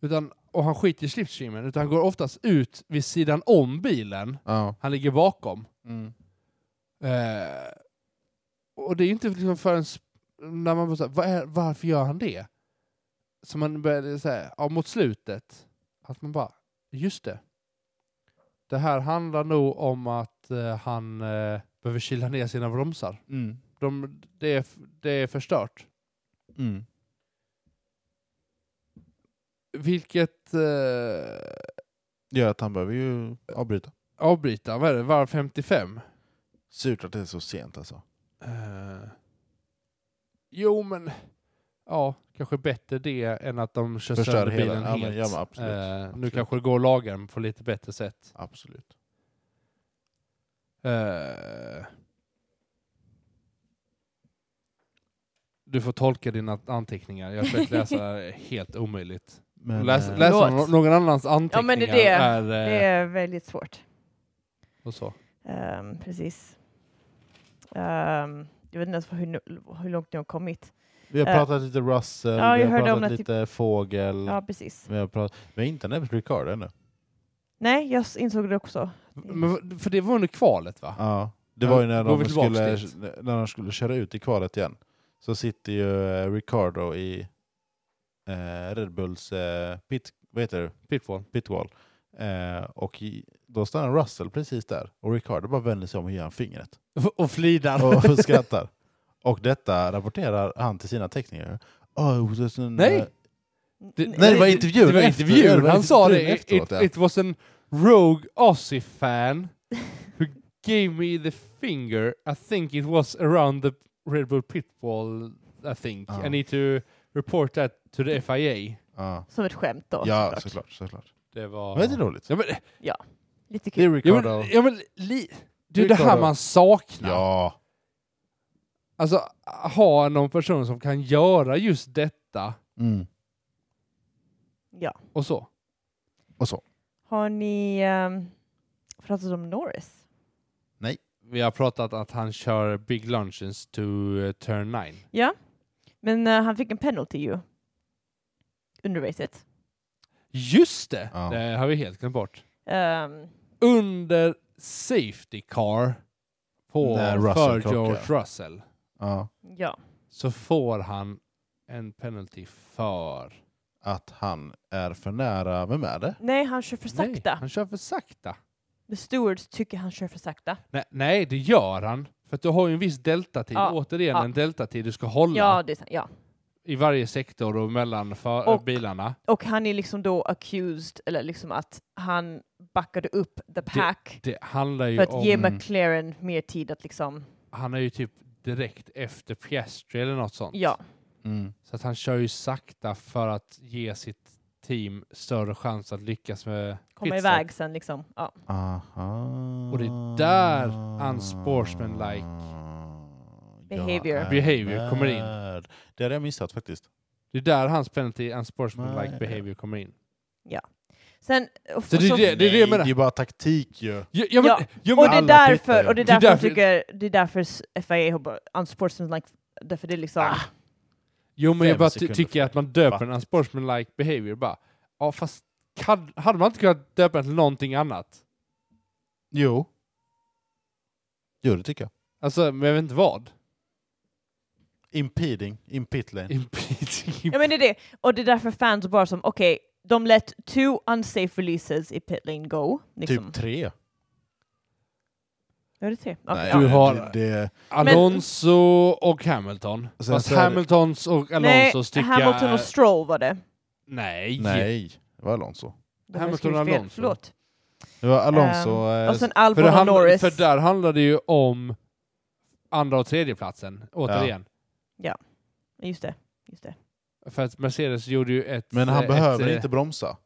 Speaker 3: Utan, och han skiter i slipstreamen, utan han går oftast ut vid sidan om bilen.
Speaker 1: Ja.
Speaker 3: Han ligger bakom.
Speaker 1: Mm.
Speaker 3: Eh, och det är ju inte liksom förrän s- när man bara så här, vad är, varför gör han det? Så man började säga, ja, mot slutet, att man bara, just det. Det här handlar nog om att eh, han eh, behöver kyla ner sina bromsar.
Speaker 1: Mm.
Speaker 3: De, det, är, f- det är förstört.
Speaker 1: Mm.
Speaker 3: Vilket eh,
Speaker 1: Gör att han behöver ju avbryta.
Speaker 3: avbryta, vad är det, varv 55?
Speaker 1: Surt att det är så sent alltså.
Speaker 3: Eh, jo, men ja, kanske bättre det än att de kör
Speaker 1: Förstör
Speaker 3: sönder
Speaker 1: hela-
Speaker 3: bilen
Speaker 1: ja, men
Speaker 3: helt.
Speaker 1: ja, men absolut.
Speaker 3: Eh, Nu
Speaker 1: Absolut.
Speaker 3: kanske det går att laga den på lite bättre sätt.
Speaker 1: Absolut.
Speaker 3: Eh, du får tolka dina anteckningar. Jag försöker läsa helt omöjligt.
Speaker 1: Men,
Speaker 3: Läs,
Speaker 1: eh,
Speaker 3: läsa
Speaker 2: Förlåt.
Speaker 3: nå- någon annans anteckningar
Speaker 2: Ja, men det är det.
Speaker 3: är... eh,
Speaker 2: Det är väldigt svårt.
Speaker 3: och så.
Speaker 2: Ehm, precis. Ehm, jag vet inte ens hur, hur långt ni har kommit.
Speaker 1: Vi har
Speaker 2: eh,
Speaker 1: pratat lite Russell,
Speaker 2: ja,
Speaker 1: vi
Speaker 2: jag
Speaker 1: har
Speaker 2: hörde om
Speaker 1: pratat
Speaker 2: det, typ-
Speaker 1: lite fågel.
Speaker 2: Ja, precis.
Speaker 1: Vi, har pratat, vi har inte nämnt Ricard ännu.
Speaker 2: Nej, jag s- insåg det också.
Speaker 3: Men, för det var under kvalet va?
Speaker 1: Ja, det
Speaker 3: Ja,
Speaker 1: var ju när
Speaker 3: går vi
Speaker 1: de, skulle,
Speaker 3: tillbaks
Speaker 1: när de skulle köra ut i kvalet igen. Så sitter ju eh, Ricardo i eh, Red Bulls eh, pit, vad heter det?
Speaker 3: Pitfall.
Speaker 1: pitwall. Eh, och i, då stannar Russell precis där och Ricardo bara vänder sig om och ger han fingret
Speaker 3: Och flidar.
Speaker 1: och skrattar. Och detta rapporterar han till sina tekniker. Oh, it was an,
Speaker 3: Nej.
Speaker 1: eh,
Speaker 3: Det-
Speaker 1: nej, det var intervjun
Speaker 3: Det var
Speaker 1: efter-
Speaker 3: intervjun.
Speaker 1: det var
Speaker 3: han sa
Speaker 1: intervjun
Speaker 3: det.
Speaker 1: efteråt,
Speaker 3: Efteråt,
Speaker 1: ja.
Speaker 3: it, it was an rogue Aussie fan who gave me the finger. I think it was around the Red Bull pit wall. I think.
Speaker 1: Ja.
Speaker 3: I need to report that to the FIA.
Speaker 1: ja.
Speaker 2: Som ett skämt då.
Speaker 1: ja,
Speaker 2: såklart.
Speaker 1: såklart. såklart.
Speaker 3: Det
Speaker 1: Ja.
Speaker 3: var...
Speaker 1: Men det är roligt.
Speaker 3: Ja men,
Speaker 2: Lite
Speaker 1: Det
Speaker 2: kul.
Speaker 1: är
Speaker 3: ja,
Speaker 1: Ricardo.
Speaker 3: men, ja, men li, du, det här
Speaker 1: Ricardo.
Speaker 3: man saknar.
Speaker 1: Ja,
Speaker 3: Alltså, ha någon person som kan göra just detta
Speaker 1: mm.
Speaker 2: Ja.
Speaker 3: och så.
Speaker 1: och så.
Speaker 2: Har ni ehm, pratat om Norris?
Speaker 3: Vi har pratat att han kör big lunches to eh, turn 9.
Speaker 2: Ja, men eh, han fick en penalty ju. Under racet.
Speaker 3: Just det!
Speaker 1: Ja.
Speaker 3: Det har vi helt glömt bort.
Speaker 2: Ehm,
Speaker 3: Under safety car på
Speaker 1: När Russell
Speaker 3: för
Speaker 1: krockar.
Speaker 3: George Russell
Speaker 1: Ja.
Speaker 2: ja.
Speaker 3: så får han en penalty för...
Speaker 1: Att han är för nära, vem är det?
Speaker 2: Nej, han kör för
Speaker 3: Nej,
Speaker 2: sakta.
Speaker 3: han kör för sakta.
Speaker 2: The stewards tycker han kör för sakta.
Speaker 3: Nej, nej, det gör han. För att du har ju en viss deltatid,
Speaker 2: Ja,
Speaker 3: återigen
Speaker 2: ja.
Speaker 3: en deltatid du ska hålla
Speaker 2: Ja, det är sant. Ja.
Speaker 3: i varje sektor och mellan för
Speaker 2: Och-
Speaker 3: bilarna.
Speaker 2: Och han är liksom då accused, eller liksom att han backade upp the pack
Speaker 3: Det handlar ju
Speaker 2: för att
Speaker 3: om...
Speaker 2: ge
Speaker 1: Mm.
Speaker 2: McLaren mer tid att liksom,
Speaker 3: Han är ju typ direkt efter Piastri eller något sånt.
Speaker 2: ja.
Speaker 1: Mm.
Speaker 3: Så att han kör ju sakta för att ge sitt team större chans att lyckas med
Speaker 2: komma
Speaker 3: pitstop.
Speaker 2: iväg sen liksom. Ja.
Speaker 1: Aha.
Speaker 3: Och det är där unsportsmanlike
Speaker 2: Behavior.
Speaker 1: Jag är
Speaker 3: Behavior kommer in.
Speaker 1: nörd. Det hade jag missat faktiskt.
Speaker 3: Det är där hans penalty and sportsmanlike
Speaker 1: Nej.
Speaker 3: behavior kommer in.
Speaker 2: Sen, och,
Speaker 3: Så det är
Speaker 2: så-
Speaker 3: det- det- jag menar.
Speaker 1: är ju bara taktik ju.
Speaker 3: Ja, ja, men,
Speaker 2: Ja,
Speaker 3: ja. men,
Speaker 2: och det är
Speaker 1: alla
Speaker 2: därför,
Speaker 1: pittar.
Speaker 2: och det är
Speaker 3: Det är
Speaker 2: därför, jag
Speaker 3: därför-
Speaker 2: tycker, det är därför s- FIA har bör- unsportsmanlike Därför det är liksom...
Speaker 1: Ah.
Speaker 3: Jo, men
Speaker 1: Fem
Speaker 3: jag bara ty-
Speaker 1: sekunder
Speaker 3: tycker att man döper en sportsman-like behavior bara. Ja, fast kan, hade man inte kunnat döpa den till någonting annat?
Speaker 1: Jo. Jo, det tycker jag.
Speaker 3: Alltså, men jag vet inte vad.
Speaker 1: Impeding, in pit lane.
Speaker 3: Impeding.
Speaker 2: Ja men det är det. Och det är därför fans bara som okej, de lät two unsafe releases i pit lane go. Liksom.
Speaker 1: Typ tre.
Speaker 2: Ja, det är tre. Okej,
Speaker 1: Nej,
Speaker 2: ja.
Speaker 3: du har-
Speaker 1: det, det,
Speaker 3: Alonso och Hamilton.
Speaker 1: Sen
Speaker 3: Fast
Speaker 1: så är det-
Speaker 3: Hamiltons och Alonsos
Speaker 2: Nej,
Speaker 3: tycker
Speaker 2: Hamilton och Stroll var det.
Speaker 3: Nej.
Speaker 1: nej, det var Alonso.
Speaker 2: Det var
Speaker 3: Hamilton
Speaker 2: skrivet
Speaker 3: och
Speaker 2: fel,
Speaker 3: Alonso.
Speaker 2: Förlåt.
Speaker 1: Det var Alonso.
Speaker 2: Ehm,
Speaker 1: eh,
Speaker 2: och sen
Speaker 3: För,
Speaker 2: Albon
Speaker 3: det
Speaker 2: och
Speaker 3: handl-
Speaker 2: Norris.
Speaker 3: för där handlar det ju om andra och tredje platsen återigen.
Speaker 2: Just det. Just det.
Speaker 3: För att Mercedes gjorde ju ett...
Speaker 1: men han
Speaker 3: eh,
Speaker 1: behöver
Speaker 3: ett, eh,
Speaker 1: inte bromsa.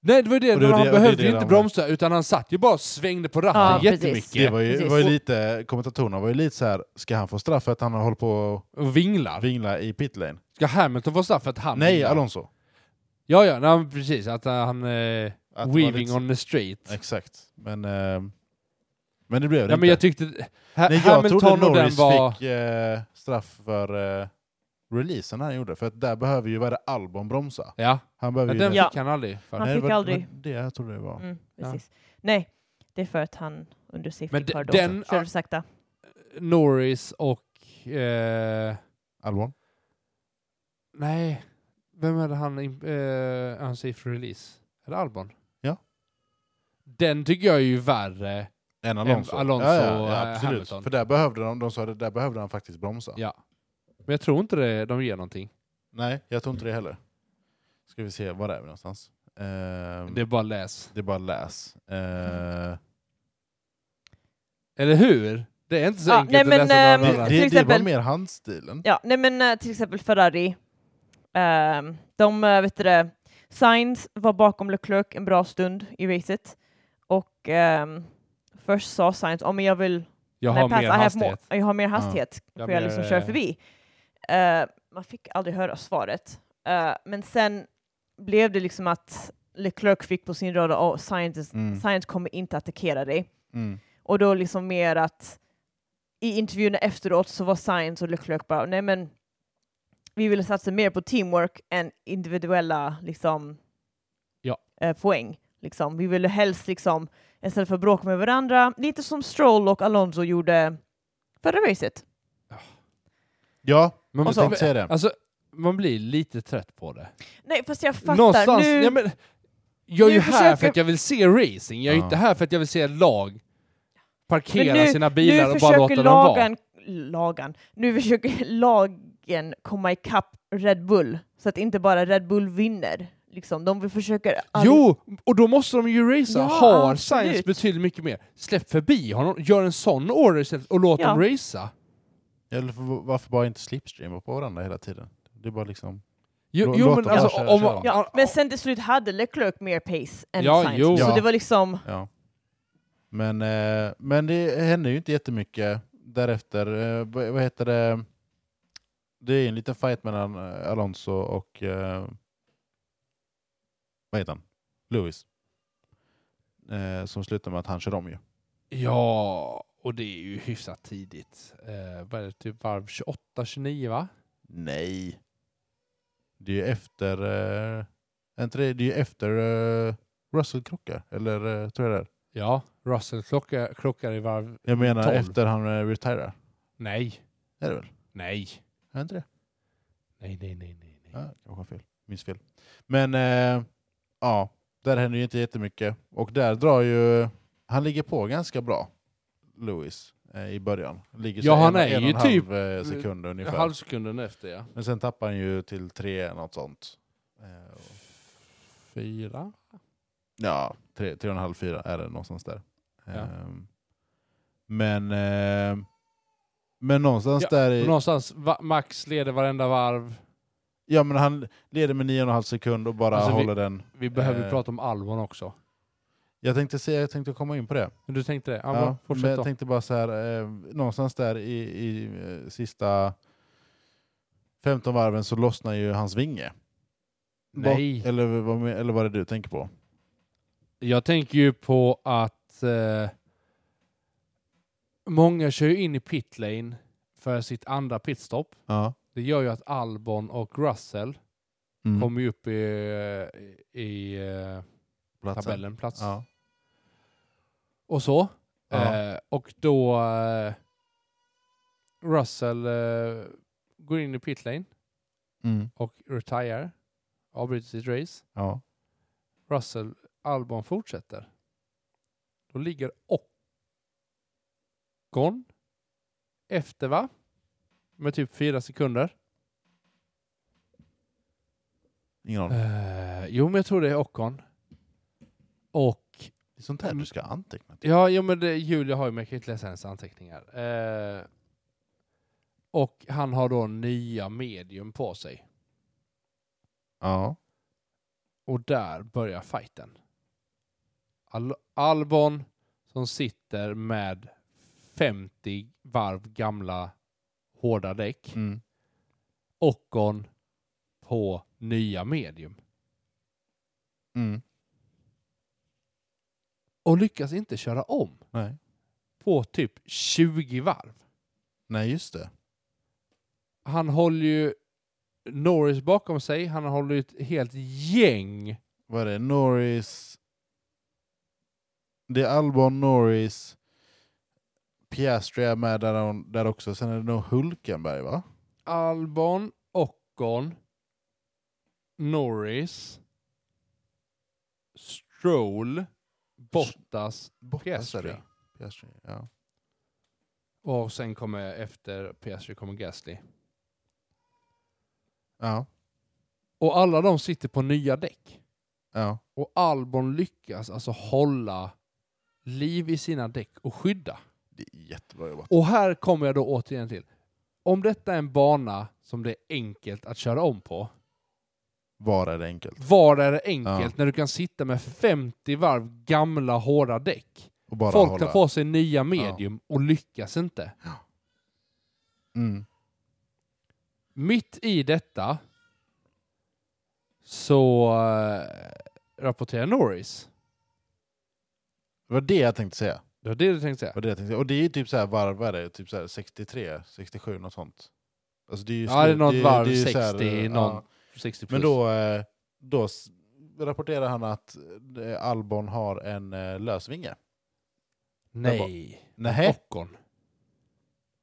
Speaker 3: Nej, det var ju det.
Speaker 1: Och det var
Speaker 3: han
Speaker 1: det- och det är
Speaker 3: behövde
Speaker 1: det
Speaker 3: ju inte
Speaker 1: de-
Speaker 3: bromsa, utan han satt ju bara och svängde på ratten
Speaker 2: Ja, precis.
Speaker 3: jättemycket.
Speaker 1: Det var ju,
Speaker 2: precis.
Speaker 1: var ju lite, kommentatorerna var ju lite så här, ska han få straff för att han håller på
Speaker 3: Och vinglar.
Speaker 1: att vingla i pit lane?
Speaker 3: Ska Hamilton få straff för att han
Speaker 1: Nej,
Speaker 3: vinglar?
Speaker 1: Alonso.
Speaker 3: Ja, ja, nej, men precis. Att eh, han... Eh,
Speaker 1: Att det var
Speaker 3: weaving
Speaker 1: lite-
Speaker 3: on the street.
Speaker 1: Exakt. Men, eh, men det blev det
Speaker 3: Ja,
Speaker 1: inte.
Speaker 3: men jag tyckte... Ha,
Speaker 1: Nej, jag trodde
Speaker 3: Hamilton och den
Speaker 1: Norris
Speaker 3: var...
Speaker 1: fick eh, straff för eh, releasen han gjorde, för att där behöver ju, vad är det, Albon bromsa?
Speaker 3: Ja,
Speaker 1: Han
Speaker 3: men
Speaker 1: behöver
Speaker 3: den
Speaker 1: ju...
Speaker 2: Ja.
Speaker 3: fick han aldrig. För.
Speaker 2: Han
Speaker 1: Nej, det
Speaker 2: fick
Speaker 1: var-
Speaker 2: aldrig.
Speaker 1: var Det jag trodde det var.
Speaker 2: Mm,
Speaker 3: Ja.
Speaker 2: precis. Nej, det är för att han under safety
Speaker 3: Men de-
Speaker 2: car då
Speaker 3: den-
Speaker 2: körde sakta.
Speaker 3: Norris och... Eh,
Speaker 1: Albon?
Speaker 3: nej, vem hade han... in- Eh, unsafe release? Är det Albon?
Speaker 1: Ja.
Speaker 3: Den tycker jag är ju värre.
Speaker 1: En Alonso.
Speaker 3: En Alonso
Speaker 1: ja,
Speaker 3: och,
Speaker 1: ja,
Speaker 3: eh,
Speaker 1: ja, absolut.
Speaker 3: Hamilton.
Speaker 1: För där behövde de, de sa det, där behövde han faktiskt bromsa.
Speaker 3: Ja. Men jag tror inte det, de ger någonting.
Speaker 1: Nej, jag tror inte det heller. Ska vi se, var är vi någonstans? Ehm,
Speaker 3: Det är bara läs.
Speaker 1: det är bara läs. Eh, Ehm,
Speaker 3: Eller hur? Det är inte så
Speaker 2: Ja,
Speaker 3: enkelt
Speaker 2: nej,
Speaker 3: att
Speaker 2: men,
Speaker 3: läsa
Speaker 1: det,
Speaker 3: någon
Speaker 2: ehm,
Speaker 3: annan.
Speaker 1: det,
Speaker 2: Till
Speaker 1: det
Speaker 2: exempel-
Speaker 1: var mer handstilen.
Speaker 2: Ja, nej men eh, till exempel Ferrari. Ehm, de, eh, vet du det, Sainz var bakom Leclerc en bra stund i racet och ehm, först sa Sainz, om men jag vill
Speaker 3: Jag
Speaker 2: när
Speaker 3: har
Speaker 2: pass,
Speaker 3: mer
Speaker 2: I have more-
Speaker 3: hastighet.
Speaker 2: Jag har mer hastighet,
Speaker 3: Jag
Speaker 2: för jag
Speaker 3: mer,
Speaker 2: liksom
Speaker 3: eh,
Speaker 2: kör förbi. Eh, man fick aldrig höra svaret. Eh, men sen blev det liksom att Leclerc fick på sin rad och science,
Speaker 1: Mm.
Speaker 2: science kommer inte attackera dig.
Speaker 1: Mm.
Speaker 2: Och då liksom mer att i intervjuerna efteråt så var Science och Leclerc bara, nej men vi ville satsa mer på teamwork än individuella liksom,
Speaker 3: Ja.
Speaker 2: eh, poäng. Liksom. Vi ville helst liksom, istället för att bråka med varandra, lite som Stroll och Alonso gjorde förra racet.
Speaker 1: Ja,
Speaker 3: Men,
Speaker 1: jag
Speaker 2: Och så-
Speaker 1: tänkte säga det.
Speaker 3: alltså, man blir lite trött på det.
Speaker 2: Nej, fast jag fattar.
Speaker 3: Någonstans,
Speaker 2: nu,
Speaker 3: ja, men, jag är
Speaker 2: nu
Speaker 3: ju här
Speaker 2: försöker-
Speaker 3: för att jag vill se racing, jag är ju
Speaker 1: Ja.
Speaker 3: inte här för att jag vill se lag parkera
Speaker 2: Men nu-
Speaker 3: sina
Speaker 2: nu
Speaker 3: bilar och bara låta
Speaker 2: försöker
Speaker 3: dem vara.
Speaker 2: lagen, lagen, nu försöker lagen komma ikapp Red Bull så att inte bara Red Bull vinner. Liksom, de vill försöka...
Speaker 3: Jo, och då måste de ju racea.
Speaker 2: Ja,
Speaker 3: Har
Speaker 2: absolut.
Speaker 3: Science betydligt mycket mer? Släpp förbi honom, gör en sån order istället och låt
Speaker 2: Ja.
Speaker 3: dem racea.
Speaker 1: Eller för- varför bara inte slipstreama på varandra hela tiden? Det är bara liksom...
Speaker 3: Jo,
Speaker 1: Lå-
Speaker 3: jo
Speaker 1: låt
Speaker 3: men
Speaker 1: dem
Speaker 3: alltså
Speaker 1: köra,
Speaker 3: om...
Speaker 1: köra.
Speaker 2: Ja, men sen till slut hade Leclerc mer pace än
Speaker 3: Ja,
Speaker 2: Sainz.
Speaker 3: jo.
Speaker 2: Så
Speaker 1: Ja.
Speaker 2: det var liksom...
Speaker 1: Ja. Men, eh, men det hände ju inte jättemycket därefter. Eh, vad, vad heter det? Det är en liten fight mellan eh, Alonso och... Eh, vad heter han? Lewis. Eh, som slutar med att han kör om ju.
Speaker 3: Ja, och det är ju hyfsat tidigt. Eh, vad är det, typ varv 28, 29 va?
Speaker 1: Nej. Det är ju efter... Eh, är inte det, det är ju efter eh, Russell krockar. Eller eh, tror jag det är.
Speaker 3: Ja, Russell klockar, klockar i varv...
Speaker 1: Jag menar
Speaker 3: Tolv.
Speaker 1: efter han eh, retirar.
Speaker 3: Nej,
Speaker 1: Är det väl?
Speaker 3: nej,
Speaker 1: Är det inte det?
Speaker 3: nej, nej, nej, nej. nej.
Speaker 1: Ja, kanske har fel. Minns fel. Men eh, ja, där händer ju inte jättemycket. Och där drar ju... Han ligger på ganska bra, Lewis, eh, i början. Ligger så
Speaker 3: Ja, han
Speaker 1: en,
Speaker 3: är
Speaker 1: en och
Speaker 3: ju
Speaker 1: en
Speaker 3: typ-
Speaker 1: halv eh, sekund ungefär.
Speaker 3: Halvsekunden efter ja.
Speaker 1: Men sen tappar han ju till tre, något sånt. Eh, och-
Speaker 3: Fyra?
Speaker 1: Ja, tre, tre och en halv, fyra är det någonstans där.
Speaker 3: Ja.
Speaker 1: Ehm, men, eh, men någonstans
Speaker 3: Ja,
Speaker 1: där
Speaker 3: Och
Speaker 1: i...
Speaker 3: någonstans, va, Max leder varenda varv.
Speaker 1: Ja, men han leder med nio och en halv sekund och bara
Speaker 3: Alltså, vi-
Speaker 1: håller den.
Speaker 3: Vi behöver
Speaker 1: Eh.
Speaker 3: prata om Albon också.
Speaker 1: Jag tänkte, se, jag tänkte komma in på det.
Speaker 3: Men Du tänkte det? Ja,
Speaker 1: Ja,
Speaker 3: bra.
Speaker 1: men
Speaker 3: Fortsätt
Speaker 1: jag
Speaker 3: då.
Speaker 1: tänkte bara så här, eh, någonstans där i, i eh, sista 15 varven så lossnar ju hans vinge.
Speaker 3: Nej.
Speaker 1: Bak, eller, vad, men- eller vad är det du tänker på?
Speaker 3: Jag tänker ju på att eh, många kör ju in i pitlane för sitt andra pitstop.
Speaker 1: Ja.
Speaker 3: Det gör ju att Albon och Russell
Speaker 1: Mm.
Speaker 3: kommer ju upp i, i, eh,
Speaker 1: Platsen.
Speaker 3: tabellen, plats
Speaker 1: Ja.
Speaker 3: och så.
Speaker 1: Ja.
Speaker 3: Eh, och då eh, Russell eh, går in i pitlane
Speaker 1: Mm.
Speaker 3: och retire, avbryter sitt race.
Speaker 1: Ja.
Speaker 3: Russell Albon fortsätter. Då ligger Ocon efter va? Med typ fyra sekunder.
Speaker 1: Ingen aning.
Speaker 3: Eh, jo men jag tror det är Ocon. Och
Speaker 1: Det är sånt här
Speaker 3: Mm.
Speaker 1: du ska anteckna till.
Speaker 3: Ja, jo, men det, Julia har ju, men jag kan ju inte läsa hennes anteckningar. Eh, och han har då nya medium på sig.
Speaker 1: Ja.
Speaker 3: Och där börjar fighten. Al- Albon som sitter med 50 varv gamla hårda däck.
Speaker 1: Mm.
Speaker 3: Ockon på nya medium.
Speaker 1: Mm.
Speaker 3: Och lyckas inte köra om
Speaker 1: Nej.
Speaker 3: på typ 20 varv.
Speaker 1: Nej, just det.
Speaker 3: han håller ju Norris bakom sig. Han håller ju ett helt gäng.
Speaker 1: Vad är det? Norris... Det är Albon, Norris, Piastri är med där, hon- där också. Sen är det nog Hulkenberg, va?
Speaker 3: Albon, Ockon, Norris, Stroll, Bottas,
Speaker 1: Bottas är
Speaker 3: Piastri.
Speaker 1: det. Piastri, ja.
Speaker 3: Och sen kommer efter Piastri kommer Gasly.
Speaker 1: Ja.
Speaker 3: Och alla de sitter på nya däck.
Speaker 1: ja.
Speaker 3: Och Albon lyckas alltså hålla liv i sina däck och skydda.
Speaker 1: Det är jättebra jobbat.
Speaker 3: Och här kommer jag då återigen till. Om detta är en bana som det är enkelt att köra om på,
Speaker 1: Var är det enkelt?
Speaker 3: var är det enkelt
Speaker 1: Ja.
Speaker 3: när du kan sitta med 50 varv gamla hårda däck?
Speaker 1: Och bara
Speaker 3: Folk
Speaker 1: hålla.
Speaker 3: tar på sig nya medium och lyckas inte.
Speaker 1: Mm.
Speaker 3: Mitt i detta så äh, rapporterar Norris.
Speaker 1: Det var det jag tänkte säga.
Speaker 3: Det var det du tänkte säga?
Speaker 1: Vad det jag tänkte. Och det är ju typ så här varv, vad är det? Typ så här 63, 67, något sånt. Alltså det är ju
Speaker 3: Ja, det är
Speaker 1: slut-
Speaker 3: något
Speaker 1: ju-
Speaker 3: varv,
Speaker 1: det är ju
Speaker 3: 60,
Speaker 1: så här, eh,
Speaker 3: någon
Speaker 1: ja.
Speaker 3: 60 plus.
Speaker 1: Men då, eh, då s- rapporterar han att eh, Albon har en eh, lösvinge.
Speaker 3: Nej.
Speaker 1: Nej.
Speaker 3: Ockon.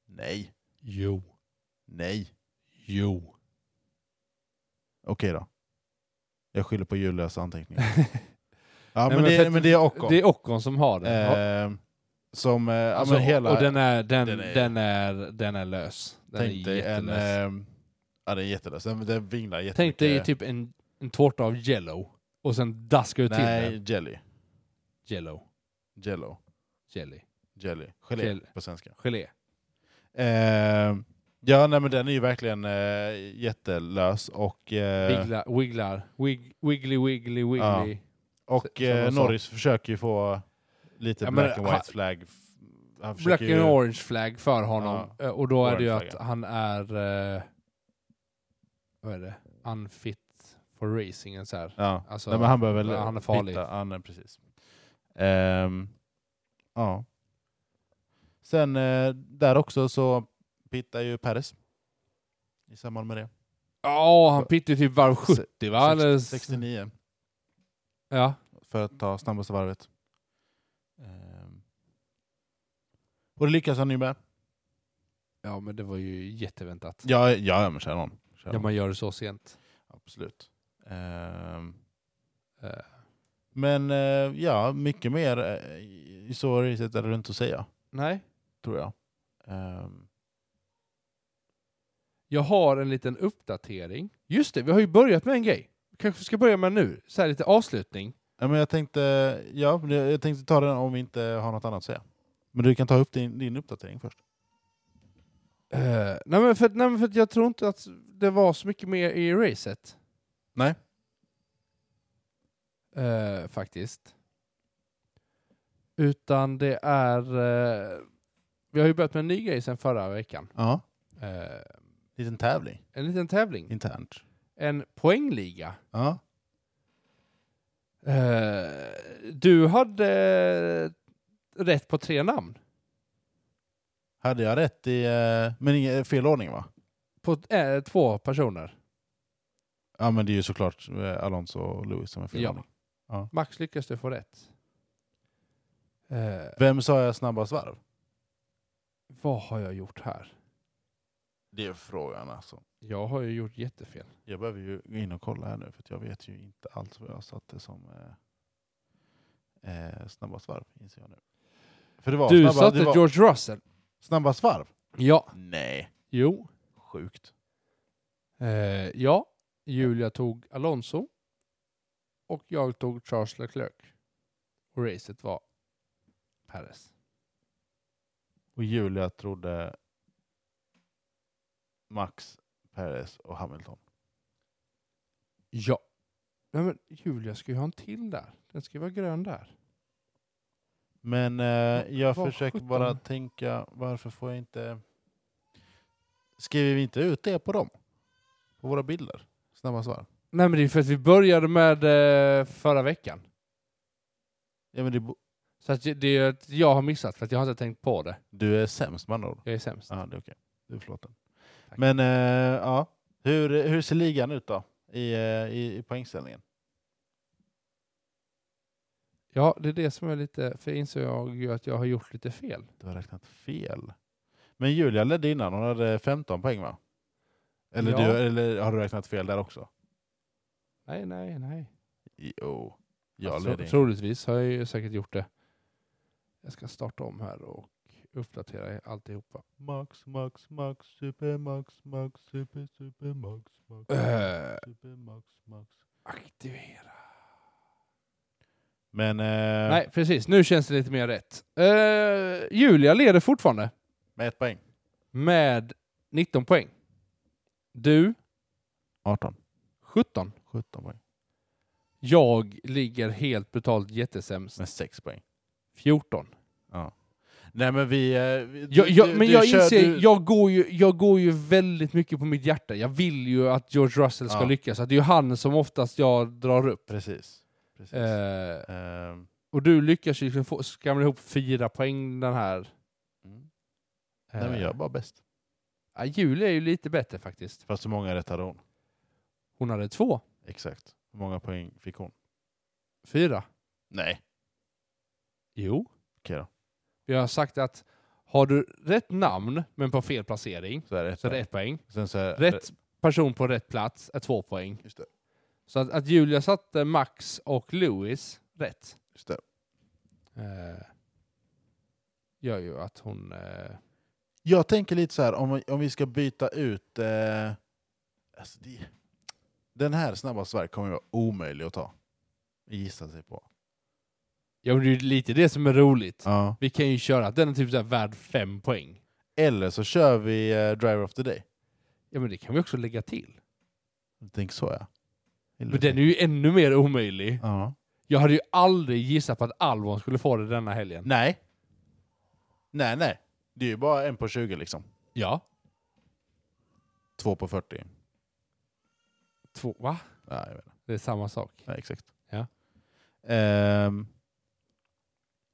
Speaker 1: Nej.
Speaker 3: Jo.
Speaker 1: Nej.
Speaker 3: Jo.
Speaker 1: Okej då. Jag skyller på Julias anteckningar. Ja, men,
Speaker 3: men för
Speaker 1: det,
Speaker 3: att-
Speaker 1: men det är Ockon.
Speaker 3: Det är Ockon som har den. Ja.
Speaker 1: eh, som, eh, ja,
Speaker 3: Alltså,
Speaker 1: men hela...
Speaker 3: Och den är, den,
Speaker 1: den
Speaker 3: den
Speaker 1: är-
Speaker 3: är, den är, lös. Den
Speaker 1: tänk
Speaker 3: är
Speaker 1: dig en...
Speaker 3: jättelös.
Speaker 1: Eh, ja, den är jättelös. Den, den vinglar jättemycket.
Speaker 3: Tänk dig typ en, en tårta av jello och sen daskar du till den.
Speaker 1: Nej, jelly.
Speaker 3: Jello.
Speaker 1: Jello.
Speaker 3: Jelly.
Speaker 1: Jelly. Gelé
Speaker 3: Gelé.
Speaker 1: på svenska.
Speaker 3: Gelé.
Speaker 1: Eh, ja, nej, men den är ju verkligen eh, jättelös. Och, eh,
Speaker 3: Wigglar, wigglar. Wig, wiggly, wiggly, wiggly.
Speaker 1: Ja. och
Speaker 3: som jag
Speaker 1: eh,
Speaker 3: sa.
Speaker 1: Norris försöker ju få lite
Speaker 3: Ja, men
Speaker 1: black and
Speaker 3: han-
Speaker 1: white flag. Han
Speaker 3: Black
Speaker 1: försöker
Speaker 3: and
Speaker 1: ju-
Speaker 3: orange flag för honom. Eh, Och då är det ju
Speaker 1: Orange
Speaker 3: att han är... eh, vad är det? Unfit for racingen så här.
Speaker 1: Ja.
Speaker 3: Alltså,
Speaker 1: nej, men han behöver väl
Speaker 3: han är farlig.
Speaker 1: hitta- Han är precis. Ehm, ja. Sen eh, där också så pittar ju Perez i samband med det.
Speaker 3: Ja, han pittar ju typ varv
Speaker 1: Se-
Speaker 3: 70 va? Eller s-
Speaker 1: 69
Speaker 3: Ja.
Speaker 1: för att ta snabbaste varvet. Ehm. Och det lyckas han ju med.
Speaker 3: ja, men det var ju jätteväntat.
Speaker 1: Ja, ja, ja men kör någon. Kör
Speaker 3: Ja,
Speaker 1: någon.
Speaker 3: man gör det så sent.
Speaker 1: Absolut. Ehm,
Speaker 3: Eh,
Speaker 1: men eh, ja, mycket mer eh, i i så racet är det inte att säga,
Speaker 3: nej.
Speaker 1: tror jag. Ehm,
Speaker 3: Jag har en liten uppdatering. Just det, vi har ju börjat med en grej. Vi kanske ska börja med nu. Så här lite avslutning.
Speaker 1: ja, men jag, tänkte, ja, jag tänkte ta den om vi inte har något annat att säga. Men du kan ta upp din, din uppdatering först.
Speaker 3: Eh, nej, men för, att- nej, men för att jag tror inte att det var så mycket mer i racet.
Speaker 1: Nej.
Speaker 3: Eh, faktiskt. Utan det är... eh, vi har ju börjat med en ny grej sen förra veckan.
Speaker 1: Ja.
Speaker 3: Eh,
Speaker 1: Liten tävling
Speaker 3: en liten tävling.
Speaker 1: internt.
Speaker 3: En poängliga.
Speaker 1: Ja.
Speaker 3: Eh, du hade eh, rätt på tre namn.
Speaker 1: Hade jag rätt i... eh, Men ingen, fel ordning va?
Speaker 3: På eh, två personer.
Speaker 1: Ja men det är ju såklart eh, Alonso och Lewis som är fel
Speaker 3: Ja.
Speaker 1: ordning.
Speaker 3: Max lyckas du få rätt. Eh,
Speaker 1: Vem sa jag snabbast varv?
Speaker 3: vad har jag gjort här?
Speaker 1: Det är frågan alltså.
Speaker 3: Jag har ju gjort jättefel.
Speaker 1: Jag behöver ju gå in och kolla här nu för att jag vet ju inte alls vad jag satte som eh, eh, snabbast varv. Inser jag nu. För det var,
Speaker 3: Du
Speaker 1: snabbast,
Speaker 3: satte
Speaker 1: det var
Speaker 3: George Russell.
Speaker 1: snabbast varv?
Speaker 3: Ja.
Speaker 1: Nej.
Speaker 3: Jo.
Speaker 1: Sjukt.
Speaker 3: Eh, ja. Julia tog Alonso. Och jag tog Charles Leclerc. Och racet var Perez.
Speaker 1: Och Julia trodde Max, Perez och Hamilton.
Speaker 3: Ja. Nej, men Julia ska ju ha en till där. Den ska ju vara grön där.
Speaker 1: Men eh, jag
Speaker 3: vad
Speaker 1: försöker
Speaker 3: sjutton?
Speaker 1: bara tänka, varför får jag inte... Skriver vi inte ut det på dem? På våra bilder? Snabba svar.
Speaker 3: Nej men det är för att vi började med eh, förra veckan.
Speaker 1: Ja, men det, bo-
Speaker 3: Så att det- det är att jag har missat för att jag har inte tänkt på det.
Speaker 1: du är sämst med andra ord.
Speaker 3: Jag är sämst.
Speaker 1: Ja, det är okej. Du är förlåten.
Speaker 3: Tack.
Speaker 1: Men eh, ja, hur, hur ser ligan ut då? I, eh, i, i poängställningen?
Speaker 3: Ja, det är det som är lite... För jag insåg jag ju att jag har gjort lite fel.
Speaker 1: Du har räknat fel. Men Julia ledde innan, hon hade 15 poäng va? Eller,
Speaker 3: Ja.
Speaker 1: du, eller har du räknat fel där också?
Speaker 3: Nej, nej, nej.
Speaker 1: Jo, jag
Speaker 3: Alltså,
Speaker 1: ledde innan.
Speaker 3: troligtvis har jag ju säkert gjort det. Jag ska starta om här och uppdatera alltihopa.
Speaker 1: Max, max, max, supermax, max, super, supermax, max,
Speaker 3: Eh.
Speaker 1: supermax, max.
Speaker 3: Aktivera.
Speaker 1: Men, eh,
Speaker 3: Nej, precis. Nu känns det lite mer rätt. Eh, Julia leder fortfarande
Speaker 1: med ett poäng.
Speaker 3: med 19 poäng. Du
Speaker 1: 18.
Speaker 3: 17.
Speaker 1: 17 poäng.
Speaker 3: Jag ligger helt brutalt jättesämst.
Speaker 1: Med 6 poäng.
Speaker 3: 14.
Speaker 1: Nej men vi... eh, vi
Speaker 3: Jag,
Speaker 1: du-
Speaker 3: jag,
Speaker 1: du-
Speaker 3: men
Speaker 1: du
Speaker 3: jag
Speaker 1: kör-
Speaker 3: inser,
Speaker 1: du-
Speaker 3: jag, går ju, jag går ju väldigt mycket på mitt hjärta. Jag vill ju att George Russell ska
Speaker 1: Ja.
Speaker 3: lyckas. Att det är ju han som oftast jag drar upp.
Speaker 1: Precis. precis.
Speaker 3: Eh,
Speaker 1: Ehm,
Speaker 3: och du lyckas ju liksom få, skramla ihop fyra poäng den här.
Speaker 1: mm.
Speaker 3: Eh,
Speaker 1: Nej men jag är bara bäst.
Speaker 3: ja, Julia är ju lite bättre faktiskt.
Speaker 1: Fast hur många rätt hade hon?
Speaker 3: Hon hade två,
Speaker 1: Exakt. Hur många poäng fick hon?
Speaker 3: fyra.
Speaker 1: Nej.
Speaker 3: Jo.
Speaker 1: Okej då.
Speaker 3: Vi har sagt att har du rätt namn men på fel placering
Speaker 1: Så är det ett
Speaker 3: så är det
Speaker 1: poäng.
Speaker 3: ett poäng.
Speaker 1: Sen så är
Speaker 3: Rätt person på rätt plats är två poäng.
Speaker 1: Just det.
Speaker 3: Så att, att Julia satte Max och Lewis rätt
Speaker 1: Just det.
Speaker 3: eh, gör ju att hon... Eh,
Speaker 1: Jag tänker lite så här, om, om vi ska byta ut... Eh, alltså det, den här snabba svär kommer ju vara omöjlig att ta. Gissa sig på.
Speaker 3: ja, men det är ju lite det som är roligt.
Speaker 1: Ja.
Speaker 3: Vi kan ju köra att den är typ så här värd fem poäng.
Speaker 1: Eller så kör vi eh, Driver of the Day.
Speaker 3: Ja, men det kan vi också lägga till.
Speaker 1: Tänk så ja. Eller
Speaker 3: Men
Speaker 1: så.
Speaker 3: den är ju ännu mer omöjlig.
Speaker 1: ja.
Speaker 3: Jag hade ju aldrig gissat på att Alvon skulle få det denna helgen.
Speaker 1: Nej. Nej, nej. Det är ju bara en på 20 liksom.
Speaker 3: Ja.
Speaker 1: Två på 40.
Speaker 3: Två, va?
Speaker 1: Ja, jag vet inte.
Speaker 3: Det är samma sak.
Speaker 1: Ja, exakt.
Speaker 3: Ja.
Speaker 1: Ehm,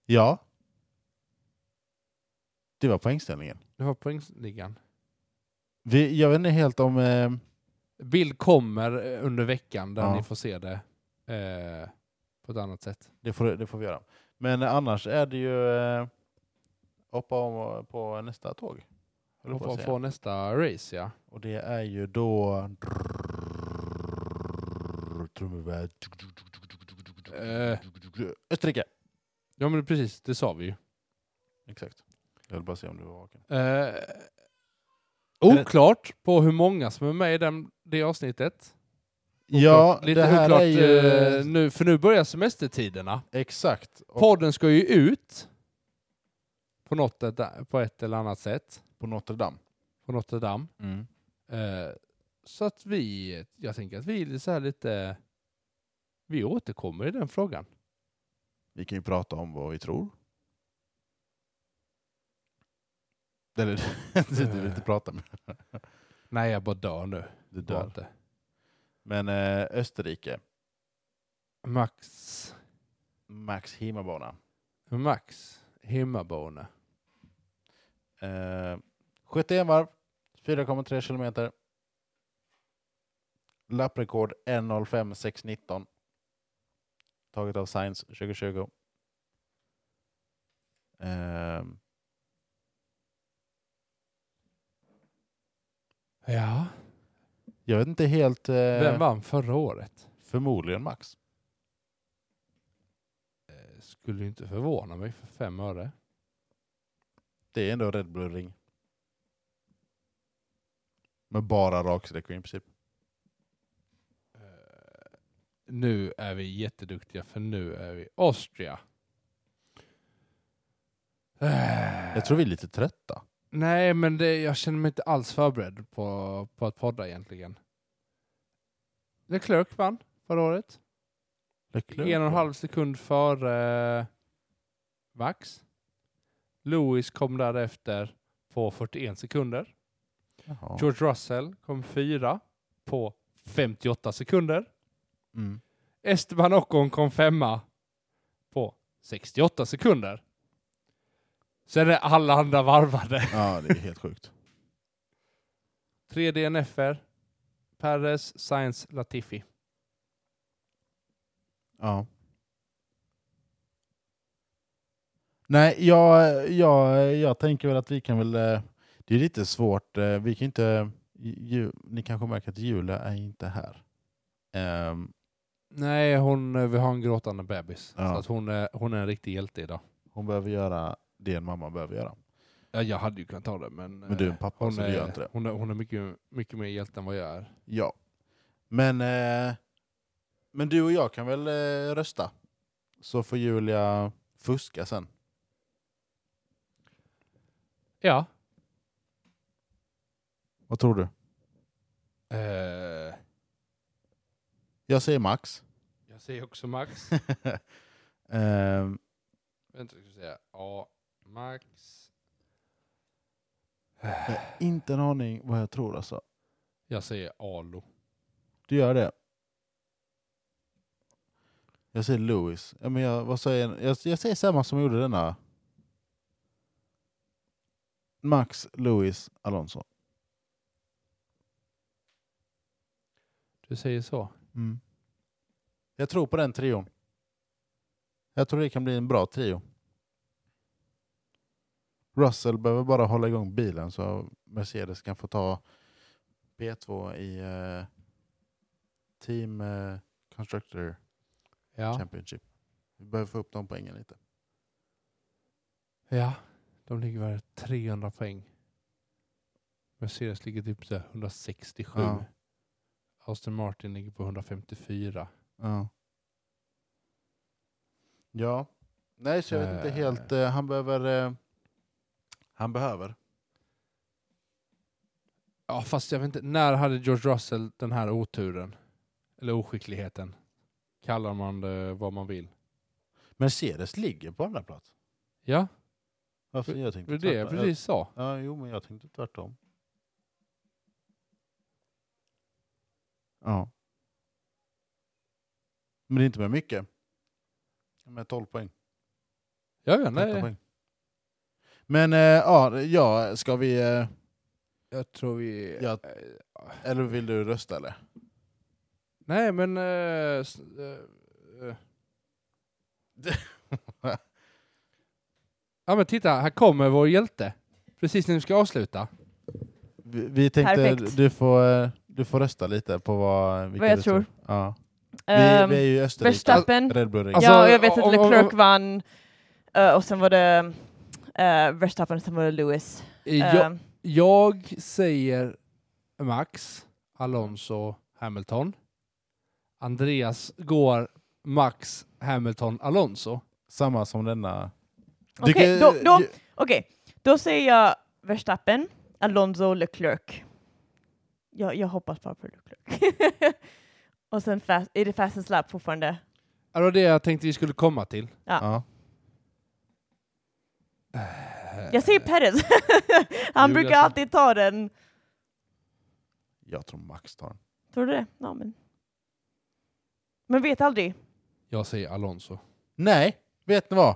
Speaker 1: ja. Det var poängställningen.
Speaker 3: Det var poängsligan.
Speaker 1: Vi, jag vet inte helt om... Eh,
Speaker 3: Bild kommer eh, under veckan där
Speaker 1: Ja.
Speaker 3: ni får se det eh, på ett annat sätt.
Speaker 1: det, får, det får vi göra. Men annars är det ju... Eh, hoppa om på nästa tåg. höll jag på att
Speaker 3: Hoppas
Speaker 1: säga.
Speaker 3: få nästa race, ja.
Speaker 1: Och det är ju då... Trumvirvel.
Speaker 3: Eh.
Speaker 1: Österrike!
Speaker 3: Ja men precis, det sa vi ju.
Speaker 1: Exakt. Jag vill bara se om du var vaken.
Speaker 3: Eh, oklart på hur många som är med i den, det avsnittet.
Speaker 1: Ja,
Speaker 3: Lite
Speaker 1: det här
Speaker 3: oklart
Speaker 1: är ju...
Speaker 3: eh, nu, för nu börjar semestertiderna.
Speaker 1: Exakt. Och
Speaker 3: Podden ska ju ut på, något, ett- på ett eller annat sätt,
Speaker 1: på Notre Dame.
Speaker 3: på Notre Dame.
Speaker 1: Mm.
Speaker 3: Eh, så att vi, jag tänker att vi är så här lite, vi återkommer i den frågan.
Speaker 1: Vi kan ju prata om vad vi tror. Eller, du vill inte prata med
Speaker 3: Nej, jag bara dör nu.
Speaker 1: Du
Speaker 3: Dör.
Speaker 1: dör.
Speaker 3: Inte.
Speaker 1: Men eh, Österrike,
Speaker 3: Max,
Speaker 1: Max Himabana.
Speaker 3: Max, hemmabana.
Speaker 1: Eh, 71 varv, 4,3 kilometer. Lapprekord 1.05.619. Taget av Science 2020. Ehm,
Speaker 3: Ja.
Speaker 1: jag vet inte helt... eh,
Speaker 3: Vem vann förra året?
Speaker 1: Förmodligen Max.
Speaker 3: Eh, Skulle ju inte förvåna mig för fem öre.
Speaker 1: Det är ändå Red Bull Ring. Med bara raksträckor i princip.
Speaker 3: Eh, Nu är vi jätteduktiga för nu är vi Austria. Eh,
Speaker 1: Jag tror vi är lite trötta.
Speaker 3: Nej, men det, jag känner mig inte alls förberedd på, på att podda egentligen. Leclerc vann förra året.
Speaker 1: Leclerc.
Speaker 3: En och en halv sekund före eh, Vax. Lewis kom därefter på 41 sekunder.
Speaker 1: Jaha.
Speaker 3: George Russell kom fyra på 58 sekunder.
Speaker 1: Mm.
Speaker 3: Esteban Ocon kom femma på 68 sekunder. Sen är alla andra varvade.
Speaker 1: Ja, det är helt sjukt.
Speaker 3: Tre DNFer. Perez, Sainz, Latifi.
Speaker 1: Ja. Nej, jag, jag, jag tänker väl att vi kan väl... eh, Det är lite svårt. eh, Vi kan inte... Ju, ni kanske märker att Julia är inte här. Ehm,
Speaker 3: Nej, hon, eh, vi har en gråtande bebis.
Speaker 1: Ja.
Speaker 3: Så att hon, är, hon är en riktig hjälte idag.
Speaker 1: hon behöver göra det en mamma behöver göra.
Speaker 3: Ja, jag hade ju kunnat ta det, men...
Speaker 1: Men du är en
Speaker 3: eh,
Speaker 1: pappa,
Speaker 3: hon
Speaker 1: så du gör inte det.
Speaker 3: är, hon är, hon är mycket, mycket mer hjälte än vad jag är.
Speaker 1: Ja. Men, eh, men du och jag kan väl eh, rösta? Så får Julia fuska sen.
Speaker 3: Ja.
Speaker 1: Vad tror du?
Speaker 3: Eh,
Speaker 1: Jag säger Max.
Speaker 3: jag säger också Max.
Speaker 1: Ehm,
Speaker 3: Vänta, ska vi säga. Ja, Max.
Speaker 1: jag har inte en aning vad jag tror alltså.
Speaker 3: Jag säger Alo.
Speaker 1: Du gör det? Jag säger Lewis. Ja, men jag, vad säger jag? Jag, jag säger samma som gjorde denna. Max, Lewis, Alonso.
Speaker 3: Du säger så?
Speaker 1: Mm. Jag tror på den trion. Jag tror det kan bli en bra trio. Russell behöver bara hålla igång bilen så Mercedes kan få ta P2 i eh, Team eh, Constructor
Speaker 3: Ja.
Speaker 1: Championship. Vi behöver få upp de poängen lite.
Speaker 3: ja. De ligger väl 300 poäng. Mercedes ligger typ så här 167.
Speaker 1: Ja.
Speaker 3: Aston Martin ligger på 154.
Speaker 1: Ja. Ja. Nej, så jag vet inte
Speaker 3: Eh.
Speaker 1: helt. eh, Han behöver... eh, Han behöver.
Speaker 3: Ja, fast jag vet inte. När hade George Russell den här oturen? Eller oskickligheten? Kallar man det vad man vill.
Speaker 1: Mercedes ligger på andra plats.
Speaker 3: Ja,
Speaker 1: Varför? Jag
Speaker 3: det
Speaker 1: tänkte
Speaker 3: var det jag
Speaker 1: tvärtom.
Speaker 3: precis sa.
Speaker 1: Ja, jo, men jag tänkte tvärtom. Ja. Men det är inte med mycket. Med 12 poäng.
Speaker 3: Ja, ja,
Speaker 1: 13
Speaker 3: nej.
Speaker 1: poäng. Men eh, ja, ja, ska vi... Eh,
Speaker 3: Jag tror vi...
Speaker 1: Ja. eller vill du rösta eller?
Speaker 3: Nej, men... eh, s- eh, eh. ja, men titta. Här kommer vår hjälte. Precis när vi ska avsluta.
Speaker 1: Vi, vi tänkte
Speaker 2: Perfekt.
Speaker 1: du får, eh, du får rösta lite på vad... vilka
Speaker 2: jag
Speaker 1: du
Speaker 2: tror.
Speaker 1: Ja. Vi,
Speaker 2: Ehm,
Speaker 1: vi är ju i Österrike.
Speaker 2: Verstappen.
Speaker 1: Red Bull Ring.
Speaker 3: Alltså,
Speaker 2: ja, jag vet
Speaker 3: om-
Speaker 2: att
Speaker 3: om-
Speaker 2: Leclerc
Speaker 3: om-
Speaker 2: vann eh, och sen var det eh, Verstappen, sen var det Lewis. Eh,
Speaker 3: Jag, jag säger Max, Alonso, Hamilton. Andreas går Max, Hamilton, Alonso.
Speaker 1: Samma som denna.
Speaker 2: Okej,
Speaker 1: Tycker-
Speaker 2: då- då- Okej, då säger jag Verstappen, Alonso, Leclerc. Jag, jag hoppas bara på Leclerc. och sen fast, är det fastest lap fortfarande?
Speaker 3: Ja, Det var det jag tänkte vi skulle komma till.
Speaker 1: Ja.
Speaker 2: Jag säger Perez. Han
Speaker 3: Julia
Speaker 2: brukar
Speaker 3: Eh. sa-
Speaker 2: alltid ta den.
Speaker 1: Jag tror Max tar den.
Speaker 2: Tror du det? Ja, men. men vet aldrig.
Speaker 3: Jag säger Alonso.
Speaker 1: Nej, vet ni vad?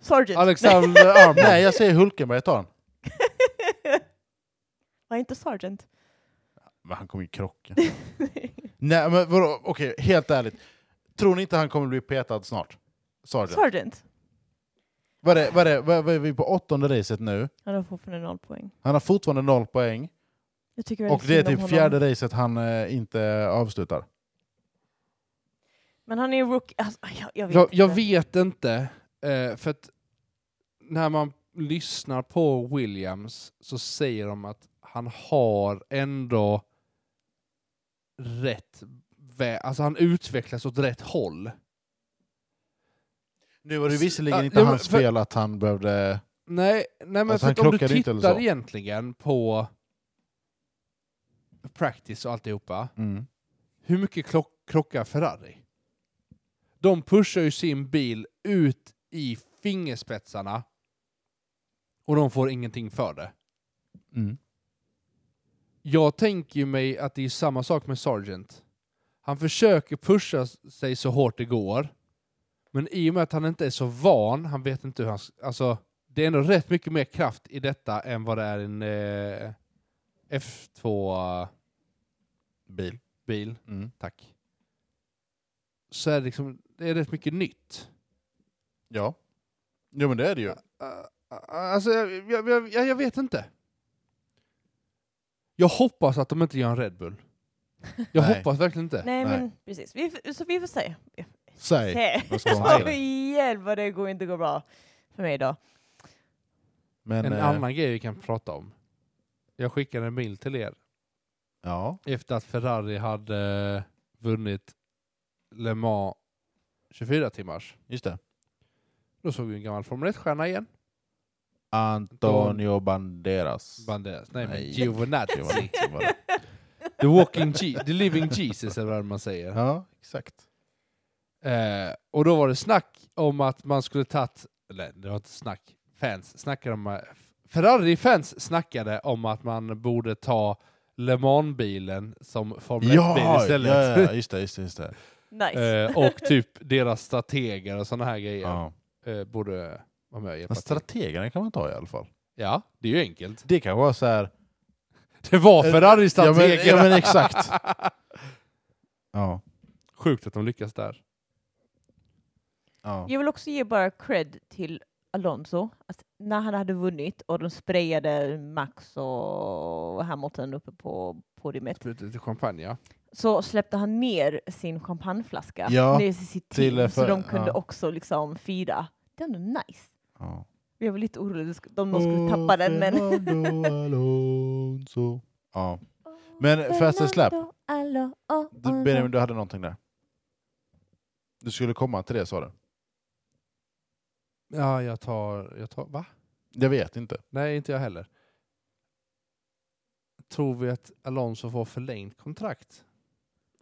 Speaker 2: Sergeant.
Speaker 3: Alexander Armstrong.
Speaker 1: Nej, jag säger Hulkenberg, jag tar han.
Speaker 2: Var inte Sergeant.
Speaker 1: Men han kommer ju krocka. Nej, men vadå? Okej, helt ärligt. Tror ni inte han kommer bli petad snart? Sargent.
Speaker 2: Sergeant.
Speaker 1: Vad är, vad, är, vad, vad är vi på åttonde racet nu?
Speaker 2: Han har fortfarande noll poäng.
Speaker 1: Han har fortfarande noll poäng.
Speaker 2: Jag tycker
Speaker 1: Och
Speaker 2: väldigt
Speaker 1: det är
Speaker 2: synd om
Speaker 1: typ
Speaker 2: honom.
Speaker 1: fjärde racet han eh, inte avslutar.
Speaker 2: Men han är ju rookie. Alltså, jag, jag vet
Speaker 3: Jag,
Speaker 2: inte.
Speaker 3: jag vet inte, eh, för att när man lyssnar på Williams så säger de att han har ändå rätt väg, alltså han utvecklas åt rätt håll.
Speaker 1: Nu var det
Speaker 3: S-
Speaker 1: visserligen
Speaker 3: ja,
Speaker 1: inte
Speaker 3: ja, men
Speaker 1: hans
Speaker 3: för-
Speaker 1: fel att han behövde...
Speaker 3: Nej, nej men
Speaker 1: Alltså, han
Speaker 3: för att om du
Speaker 1: krockade inte eller
Speaker 3: tittar
Speaker 1: så?
Speaker 3: egentligen på practice och alltihopa,
Speaker 1: Mm.
Speaker 3: hur mycket klock, krockar Ferrari? De pushar ju sin bil ut i fingerspetsarna och de får ingenting för det.
Speaker 1: Mm.
Speaker 3: Jag tänker ju mig att det är samma sak med Sargent. Han försöker pusha s- sig så hårt det går. Men i och med att han inte är så van, han vet inte hur han... s- Alltså, det är ändå rätt mycket mer kraft i detta än vad det är i en eh, F2-bil.
Speaker 1: Bil. Mm.
Speaker 3: Tack. Så är det, liksom, det är rätt mycket nytt.
Speaker 1: Ja. Jo men det är det ju.
Speaker 3: Uh, alltså, jag, jag, jag, jag vet inte. Jag hoppas att de inte gör en Red Bull. Jag
Speaker 1: Nej.
Speaker 3: hoppas verkligen inte.
Speaker 2: Nej,
Speaker 1: Nej.
Speaker 2: men precis. Vi, f- så vi får se.
Speaker 1: Säg.
Speaker 2: Se.
Speaker 1: Vad ska man
Speaker 2: Åh,
Speaker 1: säga?
Speaker 2: Hjälp vad det går inte går bra för mig idag.
Speaker 1: Men,
Speaker 3: En
Speaker 1: eh,
Speaker 3: annan grej vi kan prata om. Jag skickade en bild till er
Speaker 1: Ja.
Speaker 3: efter att Ferrari hade eh, vunnit Le Mans 24 timmars.
Speaker 1: Just det.
Speaker 3: Då såg vi en gammal Formel 1-stjärna igen.
Speaker 1: Antonio Banderas.
Speaker 3: Banderas. Nej, men
Speaker 1: Nej. Det var
Speaker 3: Giovinazzi.
Speaker 1: lite som var det.
Speaker 3: The Walking Je- The Living Jesus eller vad man säger.
Speaker 1: Ja, exakt.
Speaker 3: Eh, och då var det snack om att man skulle tagit, eller det var inte snack, fans snackade om, eh, Ferrari-fans snackade om att man borde ta Le Mans-bilen som Formel 1-bil
Speaker 1: Ja, ja,
Speaker 3: istället.
Speaker 1: ja, just det. Just det, just det.
Speaker 2: Nice.
Speaker 3: Eh, och typ deras strateger och sådana här grejer
Speaker 1: Ja.
Speaker 3: eh, borde vara med och hjälpa
Speaker 1: Men
Speaker 3: till.
Speaker 1: strategerna kan man ta i alla fall.
Speaker 3: Ja, det är ju enkelt.
Speaker 1: Det kan vara så här...
Speaker 3: Det var
Speaker 1: Eh, Ja
Speaker 3: Ferrari-strategerna!
Speaker 1: men, ja, men exakt. Ja.
Speaker 3: Sjukt att de lyckas där.
Speaker 1: ja.
Speaker 2: Jag vill också ge bara cred till Alonso. Att när han hade vunnit och de sprayade Max och Hamilton uppe på podiumet
Speaker 3: Spruta lite champagne, ja.
Speaker 2: så släppte han ner sin champagneflaska
Speaker 1: Ja,
Speaker 2: ner till sitt
Speaker 1: till,
Speaker 2: team
Speaker 1: eh,
Speaker 2: så
Speaker 1: för-
Speaker 2: de kunde
Speaker 1: ja.
Speaker 2: också liksom fira. Det är ändå nice.
Speaker 1: ja.
Speaker 2: Jag var lite orolig att de de skulle tappa den men...
Speaker 1: Alonso. Ja. Men fastest lap.
Speaker 2: Fernando ah, Alonso.
Speaker 1: Du, Benjamin, du hade någonting där. Du skulle komma till det sa du.
Speaker 3: Ja, jag tar... Jag tar va?
Speaker 1: Jag vet inte.
Speaker 3: Nej, inte jag heller. Tror vi att Alonso får förlängt kontrakt?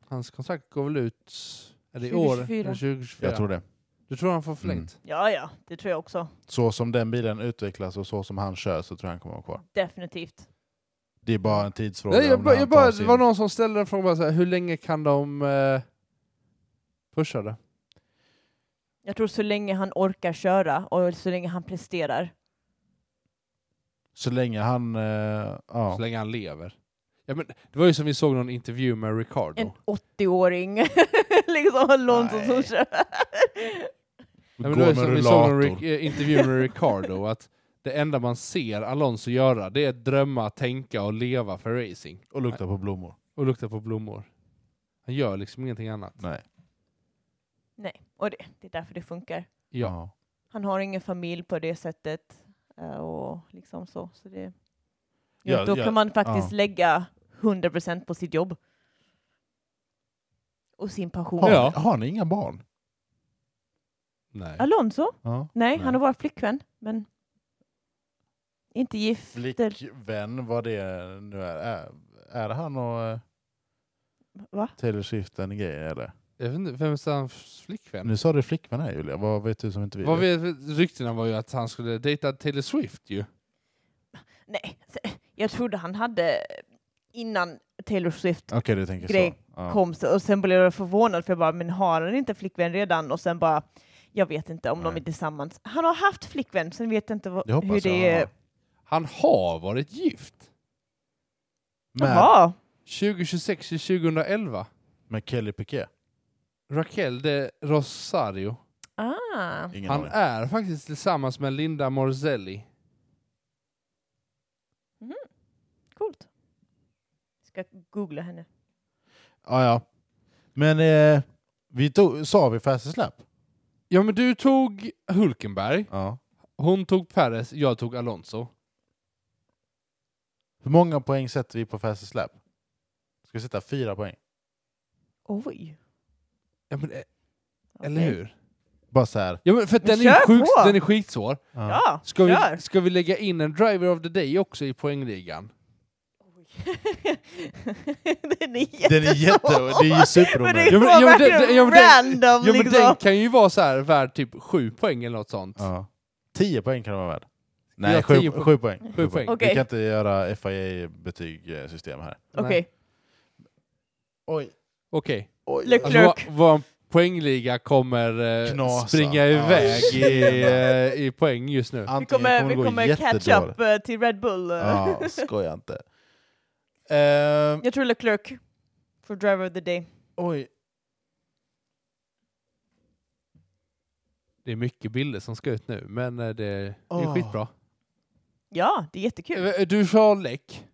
Speaker 3: Hans kontrakt går väl ut... Eller i år?
Speaker 2: 2024.
Speaker 3: eller 2024.
Speaker 1: Jag tror det. Mm.
Speaker 3: Du tror han får förlängt?
Speaker 2: Ja, ja, det tror jag också.
Speaker 1: Så som den bilen utvecklas och så som han kör så tror jag han kommer vara kvar.
Speaker 2: Definitivt.
Speaker 1: Det är bara en tidsfråga.
Speaker 3: Nej, jag
Speaker 1: om
Speaker 3: bara,
Speaker 1: han
Speaker 3: jag
Speaker 1: tar
Speaker 3: bara, det
Speaker 1: sin-
Speaker 3: var någon som ställde en fråga, bara så här, hur länge kan de eh, pusha det?
Speaker 2: Jag tror så länge han orkar köra och så länge han presterar.
Speaker 1: Så länge han... eh, ja.
Speaker 3: Så länge han lever. Ja, men, det var ju som vi såg någon intervju med Ricardo.
Speaker 2: En 80-åring, liksom Alonso som
Speaker 1: Oh. Nej.
Speaker 2: kör.
Speaker 3: Ja, men
Speaker 1: Går
Speaker 3: det var ju
Speaker 1: med
Speaker 3: som vi såg någon
Speaker 1: rullator.
Speaker 3: ri- eh, intervju med Ricardo, att det enda man ser Alonso göra, det är att drömma, tänka och leva för racing.
Speaker 1: Och luktar på blommor.
Speaker 3: Och lukta på blommor. Han gör liksom ingenting annat.
Speaker 1: Nej.
Speaker 2: Nej, och det, det är därför det funkar.
Speaker 3: Ja.
Speaker 2: Han har ingen familj på det sättet. eh, Och liksom så. så det,
Speaker 1: Ja,
Speaker 2: då
Speaker 1: ja,
Speaker 2: kan man faktiskt
Speaker 1: ja.
Speaker 2: lägga 100% på sitt jobb. Och sin passion.
Speaker 1: Har,
Speaker 3: Ja.
Speaker 1: har ni inga barn?
Speaker 3: Nej.
Speaker 2: Alonso?
Speaker 1: Ja.
Speaker 2: Nej,
Speaker 1: Nej.
Speaker 2: han har varit flickvän, men inte gift. eller-
Speaker 1: Flickvän, vad det nu är. Är, är han och eh,
Speaker 2: Va?
Speaker 1: Taylor Swift en grej eller?
Speaker 3: Jag vet inte, vem är hans flickvän?
Speaker 1: Nu sa du flickvän här Julia, vad vet du som inte vi
Speaker 3: Vad
Speaker 1: vet?
Speaker 3: vi, ryktena var ju att han skulle dejta Taylor Swift ju.
Speaker 2: Nej, se- jag trodde han hade innan Taylor Swift
Speaker 1: Okej, du tänker
Speaker 2: Grej
Speaker 1: så. Ja.
Speaker 2: kom så- och sen blev jag förvånad för jag bara, men har han inte flickvän redan? Och sen bara, Jag vet inte om de
Speaker 1: Nej.
Speaker 2: är tillsammans. Han har haft flickvän, sen vet jag inte vad,
Speaker 1: Det hoppas
Speaker 2: hur det
Speaker 1: jag.
Speaker 2: är.
Speaker 3: Han har varit gift.
Speaker 1: Med,
Speaker 2: Jaha,
Speaker 3: 2026 till 2011.
Speaker 1: med Kelly Piqué?
Speaker 3: Raquel de Rosario.
Speaker 2: ah.
Speaker 1: Ingen
Speaker 3: Han
Speaker 1: aning.
Speaker 3: är faktiskt tillsammans med Linda Morzelli.
Speaker 2: coolt. Ska googla henne.
Speaker 1: Ja, ja. Men eh, vi tog, sa vi Fast Slap?
Speaker 3: Ja men du tog Hulkenberg,
Speaker 1: Ja.
Speaker 3: hon tog Perez, jag tog Alonso.
Speaker 1: Hur många poäng sätter vi på Fast Slap? Ska vi sätta fyra poäng?
Speaker 2: Oj.
Speaker 3: Ja, men, eh, Eller
Speaker 2: Okej.
Speaker 3: hur?
Speaker 1: Bara så här.
Speaker 3: Ja men för att
Speaker 2: Men
Speaker 3: den är, ju
Speaker 2: kör
Speaker 3: sjukt,
Speaker 2: på!
Speaker 3: den är skitsvår.
Speaker 2: Ja,
Speaker 3: Ska vi,
Speaker 2: kör!
Speaker 3: ska vi lägga in en driver of the day också i poängligan?
Speaker 1: Den
Speaker 2: den är jättesvår.
Speaker 1: är jätte... Det är ju
Speaker 2: Men
Speaker 1: superrolig.
Speaker 2: det var
Speaker 3: Ja, men- ja, men den-
Speaker 2: verkligen
Speaker 3: ja, men den-
Speaker 2: random
Speaker 3: Ja men
Speaker 2: liksom.
Speaker 3: den kan ju vara så här värd typ sju poäng eller något sånt.
Speaker 1: Ja. Tio poäng kan det vara värd.
Speaker 3: Ja,
Speaker 1: Nej, sju,
Speaker 3: tio poäng.
Speaker 1: sju poäng. Sju
Speaker 3: poäng.
Speaker 2: Okej.
Speaker 1: Vi kan inte göra FIA-betygssystem här.
Speaker 2: Okej,
Speaker 1: Oj,
Speaker 3: Okej.
Speaker 1: oj.
Speaker 2: Leclerc.
Speaker 3: Alltså, vad, vad en poängliga kommer eh,
Speaker 1: Knasa.
Speaker 3: springa
Speaker 1: Ja,
Speaker 3: iväg i,
Speaker 1: tjena.
Speaker 3: eh, i poäng just nu.
Speaker 2: vi kommer, vi kommer catch up eh, till Red Bull. eh.
Speaker 1: Ja, skoja inte. Ehm,
Speaker 2: Jag tror Leclerc för driver of the day.
Speaker 1: oj,
Speaker 3: Det är mycket bilder som ska ut nu, men eh, det, det är
Speaker 1: Åh.
Speaker 3: skitbra.
Speaker 2: Ja, det är jättekul.
Speaker 3: Eh, Du sa läck.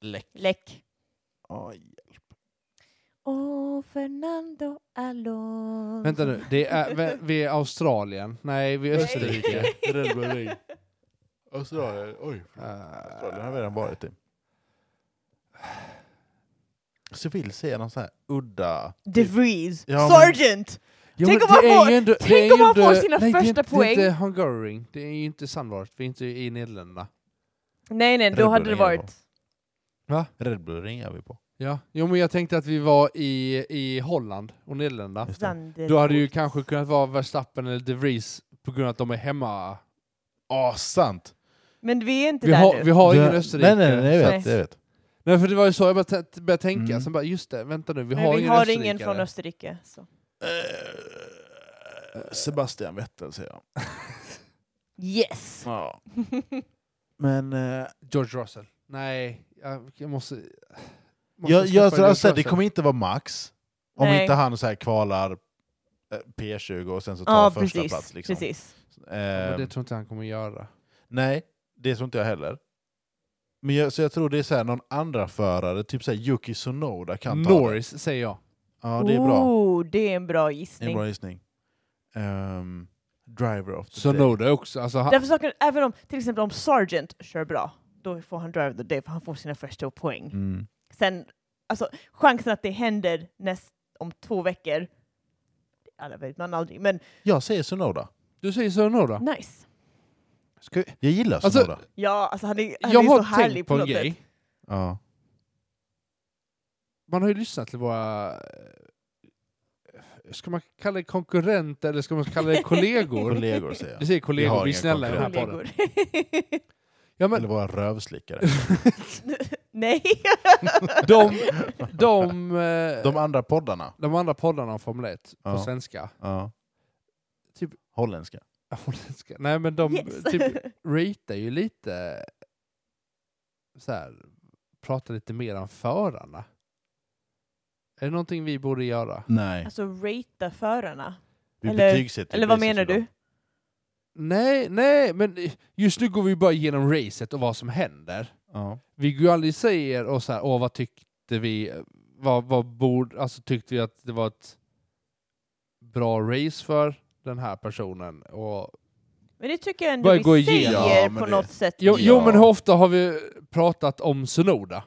Speaker 1: läck.
Speaker 2: Läck.
Speaker 1: Oj.
Speaker 2: Åh, Fernando Alonso.
Speaker 3: Vänta nu, det är, vä- vi är Australien. Nej, vi är
Speaker 1: Nej.
Speaker 3: Österrike. Eh.
Speaker 1: Red Bull Ring. Australien, oj. Australien har vi redan varit i. Så vill se någon sån här udda...
Speaker 2: De Vries.
Speaker 1: Ja, men-
Speaker 2: Sergeant!
Speaker 3: Ja,
Speaker 2: Tänk
Speaker 3: men
Speaker 2: om han
Speaker 3: det är
Speaker 2: får-
Speaker 3: ju ändå-
Speaker 2: tänk
Speaker 3: det är ju
Speaker 2: om han
Speaker 3: ändå-
Speaker 2: får sina
Speaker 3: nej, det är
Speaker 2: första
Speaker 3: inte-
Speaker 2: poäng.
Speaker 3: Det är inte Hungaroring, det är ju inte Sandvart, vi är inte i Nederländerna.
Speaker 2: Nej, nej,
Speaker 1: Red
Speaker 2: då
Speaker 1: Bull
Speaker 2: hade det
Speaker 1: är bra.
Speaker 2: varit...
Speaker 1: Red Bull Ring är vi på.
Speaker 3: Ja, jo, men jag tänkte att vi var i, i Holland och Nederländerna.
Speaker 1: Just det.
Speaker 2: Zandervoort.
Speaker 3: Då hade det ju kanske kunnat vara Verstappen eller De Vries på grund av att de är hemma.
Speaker 1: Ah, sant!
Speaker 2: Men vi är inte
Speaker 3: Vi
Speaker 2: där
Speaker 3: har,
Speaker 2: nu.
Speaker 3: vi har ingen
Speaker 1: Du-
Speaker 3: Österrike.
Speaker 1: Nej, nej, nej, jag vet.
Speaker 2: Nej.
Speaker 1: Jag vet.
Speaker 3: Nej, för det var ju så jag började, t- började tänka,
Speaker 1: Mm.
Speaker 3: sen bara just det, vänta nu, vi
Speaker 2: Men
Speaker 3: har
Speaker 2: vi
Speaker 3: ingen
Speaker 2: har
Speaker 3: österrikare.
Speaker 2: ingen från Österrike. Så.
Speaker 1: Eh, Sebastian Vettel säger jag.
Speaker 2: Yes!
Speaker 1: Ja. Men... eh,
Speaker 3: George Russell. Nej, jag, jag måste... måste
Speaker 1: jag,
Speaker 3: släppa
Speaker 1: jag tror
Speaker 3: George
Speaker 1: alltså, det
Speaker 3: Russell.
Speaker 1: kommer inte vara Max om
Speaker 2: Nej.
Speaker 1: inte han så här kvalar eh, P20 och sen så tar
Speaker 2: Ja,
Speaker 1: första
Speaker 2: precis.
Speaker 1: plats. Liksom.
Speaker 2: precis.
Speaker 1: Eh,
Speaker 3: Ja, men det tror inte han kommer göra.
Speaker 1: Nej, det tror inte jag heller. Men jag, så jag tror det är så här, någon andra förare, typ så här Yuki Sonoda kan ta det.
Speaker 3: Norris säger jag.
Speaker 1: Ja, det är bra.
Speaker 2: Oh, det är en bra
Speaker 1: Det är
Speaker 2: gissning.
Speaker 1: en bra gissning. Ehm, driver of the day.
Speaker 3: Sonoda också. Alltså, han,
Speaker 2: Därför saker, även om till exempel om Sargent kör bra, då får han drive the day för han får sina första poäng.
Speaker 1: Mm.
Speaker 2: Sen, alltså chansen att det händer näst, om två veckor, alla vet man aldrig, men
Speaker 1: Jag säger Sonoda.
Speaker 3: du säger Sonoda.
Speaker 1: Mm.
Speaker 2: nice.
Speaker 3: Ska vi,
Speaker 1: Jag gillar
Speaker 3: Alltså-
Speaker 1: Sonoda.
Speaker 2: Ja, alltså han är, han
Speaker 3: jag
Speaker 2: är så
Speaker 3: har
Speaker 2: härlig
Speaker 3: tänkt
Speaker 2: på,
Speaker 3: på en
Speaker 2: något
Speaker 3: grej.
Speaker 2: sätt.
Speaker 1: ja.
Speaker 3: Man har ju lyssnat till våra... eh, Ska man kalla det konkurrenter eller ska man kalla det kollegor?
Speaker 1: Kollegor säger jag.
Speaker 3: Vi säger
Speaker 1: Vi
Speaker 3: kollegor,
Speaker 1: har
Speaker 3: vi är
Speaker 1: inga
Speaker 3: snälla i den här podden.
Speaker 2: Kollegor.
Speaker 3: Ja, men
Speaker 1: Eller våra rövslickare.
Speaker 2: Nej,
Speaker 3: de, de, eh,
Speaker 1: De andra poddarna.
Speaker 3: de andra poddarna om Formel 1 på
Speaker 1: Ja.
Speaker 3: svenska.
Speaker 1: Ja.
Speaker 3: Typ-
Speaker 1: Holländska.
Speaker 3: Ja, Holländska. Nej men de
Speaker 2: yes.
Speaker 3: typ, ratear ju lite eh, så här, pratar lite mer om förarna. Är det någonting vi borde göra?
Speaker 1: Nej.
Speaker 2: alltså ratea förarna.
Speaker 1: Vi
Speaker 2: Eller-
Speaker 3: typ
Speaker 1: betygsätter
Speaker 2: Eller vad
Speaker 1: priset
Speaker 2: menar
Speaker 1: för dem.
Speaker 2: du?
Speaker 3: Nej, nej, men just nu går vi bara igenom racet och vad som händer.
Speaker 1: Ja.
Speaker 3: Vi går ju aldrig säger och så här, åh vad tyckte vi, vad, vad borde, alltså tyckte vi att det var ett bra race för den här personen? Och,
Speaker 2: Men det tycker jag ändå
Speaker 3: Bara
Speaker 2: vi
Speaker 3: gå
Speaker 2: säger
Speaker 3: igenom.
Speaker 1: Ja, men
Speaker 2: på
Speaker 1: det-
Speaker 2: något sätt.
Speaker 3: jo, jo
Speaker 1: Ja.
Speaker 3: men hur ofta har vi pratat om Sonoda?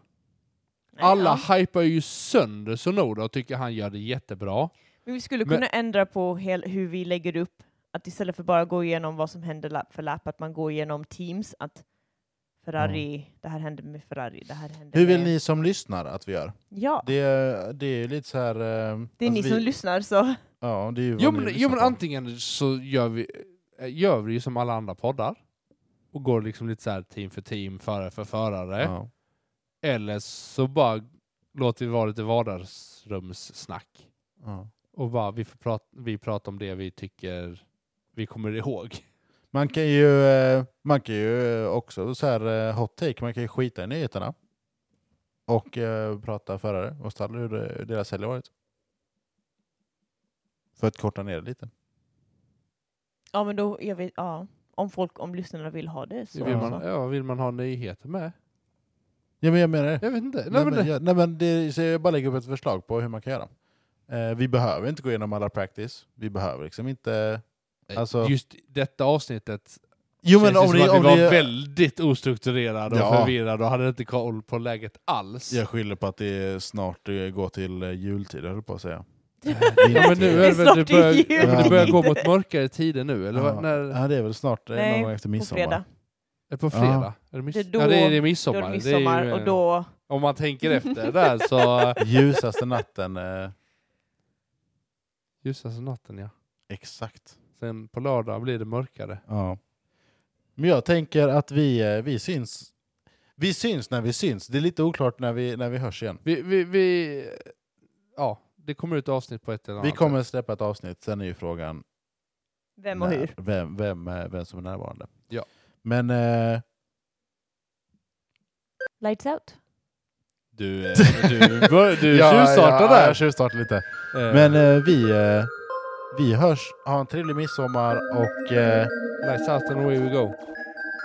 Speaker 3: Alla
Speaker 2: Ja.
Speaker 3: hypar ju sönder Sonoda och tycker han gör det jättebra.
Speaker 2: Men vi skulle
Speaker 3: Men-
Speaker 2: kunna ändra på hel, hur vi lägger upp, att istället för bara gå igenom vad som händer lapp för lapp, att man går igenom teams, att Ferrari, det här hände med Ferrari, det här hände
Speaker 1: Mm. Hur
Speaker 2: med...
Speaker 1: vill ni som lyssnar att vi gör?
Speaker 2: Ja,
Speaker 1: Det är, det är lite så här... eh,
Speaker 2: det är
Speaker 1: alltså
Speaker 2: ni
Speaker 1: vi,
Speaker 2: som lyssnar så.
Speaker 1: Ja, det är ju vad
Speaker 3: Jo
Speaker 1: ni
Speaker 3: men, jo,
Speaker 1: lyssnar
Speaker 3: men
Speaker 1: på.
Speaker 3: antingen så gör vi, eh, gör vi ju som alla andra poddar och går liksom lite så här team för team, förare för förare.
Speaker 1: Ja.
Speaker 3: Eller så bara låter vi vara lite vardagsrumssnack.
Speaker 1: Ja.
Speaker 3: Och bara, vi, får prata, vi pratar om det vi tycker vi kommer ihåg.
Speaker 1: Man kan ju, eh, man kan ju eh, också, så här eh, hot take, man kan ju skita i nyheterna. Och eh, prata förare och stall hur det- hur deras helg har varit. För att korta ner det lite.
Speaker 2: Ja, men då är vi, ja. Om folk, om lyssnarna vill ha det så.
Speaker 3: Vill
Speaker 1: Ja.
Speaker 3: man, ja, vill man ha nyheter med?
Speaker 1: Ja men jag menar det.
Speaker 3: Jag vet inte.
Speaker 1: Nej,
Speaker 3: Nej, men
Speaker 1: men,
Speaker 3: det,
Speaker 1: jag, nej, men det, så jag bara lägger upp ett förslag på hur man kan göra. Eh, vi behöver inte gå igenom alla practice. Vi behöver liksom inte... alltså-
Speaker 3: just detta avsnittet
Speaker 1: Jo
Speaker 3: känns
Speaker 1: men om
Speaker 3: som
Speaker 1: ni...
Speaker 3: att vi
Speaker 1: Om
Speaker 3: var
Speaker 1: ni
Speaker 3: väldigt ostrukturerade och
Speaker 1: Ja.
Speaker 3: förvirrade och hade inte koll på läget alls.
Speaker 1: jag skyller på att det snart eh, går till eh, jultid, höll jag på att säga.
Speaker 3: Ja, men nu är det, väl,
Speaker 2: snart
Speaker 3: det,
Speaker 2: är
Speaker 3: börjar,
Speaker 2: jul.
Speaker 3: ja, men det börjar gå
Speaker 2: Ja.
Speaker 3: mot mörkare tider nu, eller? vad-
Speaker 1: Ja.
Speaker 3: När,
Speaker 1: Ja, det är väl snart eh, någon gång efter
Speaker 2: på
Speaker 1: midsommar.
Speaker 2: fredag.
Speaker 3: är det på
Speaker 1: Ja.
Speaker 3: fredag? Är det, mids-
Speaker 2: Det är då-
Speaker 3: ja, det är det
Speaker 2: Då
Speaker 3: midsommar.
Speaker 2: är det
Speaker 3: Det är ju,
Speaker 2: midsommar och
Speaker 3: eh,
Speaker 2: då...
Speaker 3: Om man tänker efter där så...
Speaker 1: Ljusaste natten, eh,
Speaker 3: Ljusaste natten ja.
Speaker 1: exakt.
Speaker 3: Sen på lördag blir det mörkare.
Speaker 1: Ja. Men jag tänker att vi, eh, vi syns. Vi syns när vi syns. Det är lite oklart när vi, när vi hörs igen.
Speaker 3: Vi, vi, vi... Ja, det kommer ut avsnitt på ett eller annat
Speaker 1: Vi
Speaker 3: sätt.
Speaker 1: kommer släppa ett avsnitt, sen är ju frågan
Speaker 2: Vem och
Speaker 1: när-
Speaker 2: hur?
Speaker 1: Vem, vem, eh, vem som är närvarande.
Speaker 3: Ja.
Speaker 1: Men eh,
Speaker 2: Lights out.
Speaker 3: Du, eh, du, bör- du
Speaker 1: Ja,
Speaker 3: tjuvstartar
Speaker 1: ja,
Speaker 3: där.
Speaker 1: Jag tjuvstartar lite.
Speaker 3: Eh,
Speaker 1: Men eh, vi, eh, vi hörs. Ha en trevlig midsommar och eh,
Speaker 3: Lights out and away we go.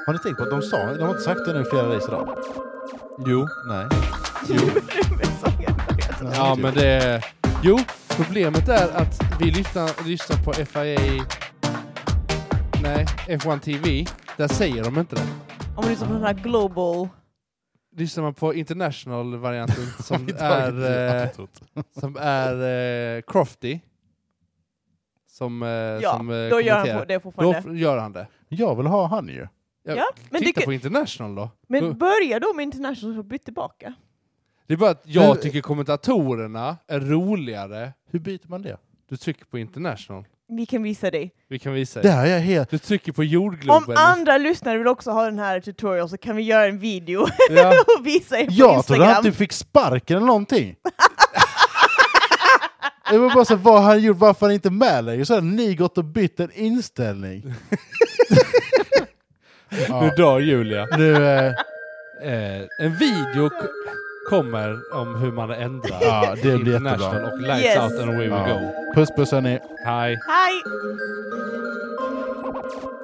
Speaker 1: har ni tänkt på att de sa, de har inte sagt det nu i flera race idag?
Speaker 3: Jo.
Speaker 1: Nej. Nej,
Speaker 3: Ja
Speaker 1: typ.
Speaker 3: men det... Jo, problemet är att vi lyssnar, lyssnar på FIA... Nej, F1 TV. Där säger de inte det.
Speaker 2: Om du lyssnar på sån här global...
Speaker 3: Lyssnar man på international-varianten som
Speaker 1: Vi tar inte
Speaker 3: är... Eh,
Speaker 1: outot.
Speaker 3: Som är eh, Crofty. Som, eh,
Speaker 2: ja,
Speaker 3: som eh,
Speaker 2: då gör han
Speaker 3: kommenterar.
Speaker 2: på- det
Speaker 3: Då
Speaker 2: fortfarande.
Speaker 3: f- gör han det.
Speaker 1: Jag vill ha han ju.
Speaker 3: jag-
Speaker 2: ja, men,
Speaker 3: Titta
Speaker 2: du,
Speaker 3: på
Speaker 2: kan-
Speaker 3: International då. Då-
Speaker 2: men börja då med International så byt tillbaka.
Speaker 3: Det är bara att jag
Speaker 1: Men-
Speaker 3: tycker kommentatorerna är roligare.
Speaker 1: Hur byter man det?
Speaker 3: Du trycker på International.
Speaker 2: Vi kan visa dig.
Speaker 3: Vi kan visa
Speaker 1: Det
Speaker 3: dig.
Speaker 1: här är jag helt...
Speaker 3: Du trycker på
Speaker 2: Om
Speaker 3: jordgloben.
Speaker 2: andra lyssnare vill också ha den här tutorial så kan vi göra en video
Speaker 3: Ja.
Speaker 2: och visa er på
Speaker 1: Jag trodde
Speaker 2: Instagram.
Speaker 1: att du fick sparken eller någonting. Det var bara så, här, vad har han gjort, varför är han inte med längre? Så har ni gått och bytt en inställning.
Speaker 3: Nu dör Julia.
Speaker 1: Nu, eh,
Speaker 3: Eh, en video k- kommer om hur man ändrar
Speaker 1: ja, det blir
Speaker 3: International
Speaker 1: jättebra.
Speaker 3: och Lights
Speaker 2: Yes.
Speaker 1: Oh.
Speaker 3: Out and Away We
Speaker 1: Ja.
Speaker 3: Go.
Speaker 1: Puss puss hörni.
Speaker 3: Hej!
Speaker 2: Hej!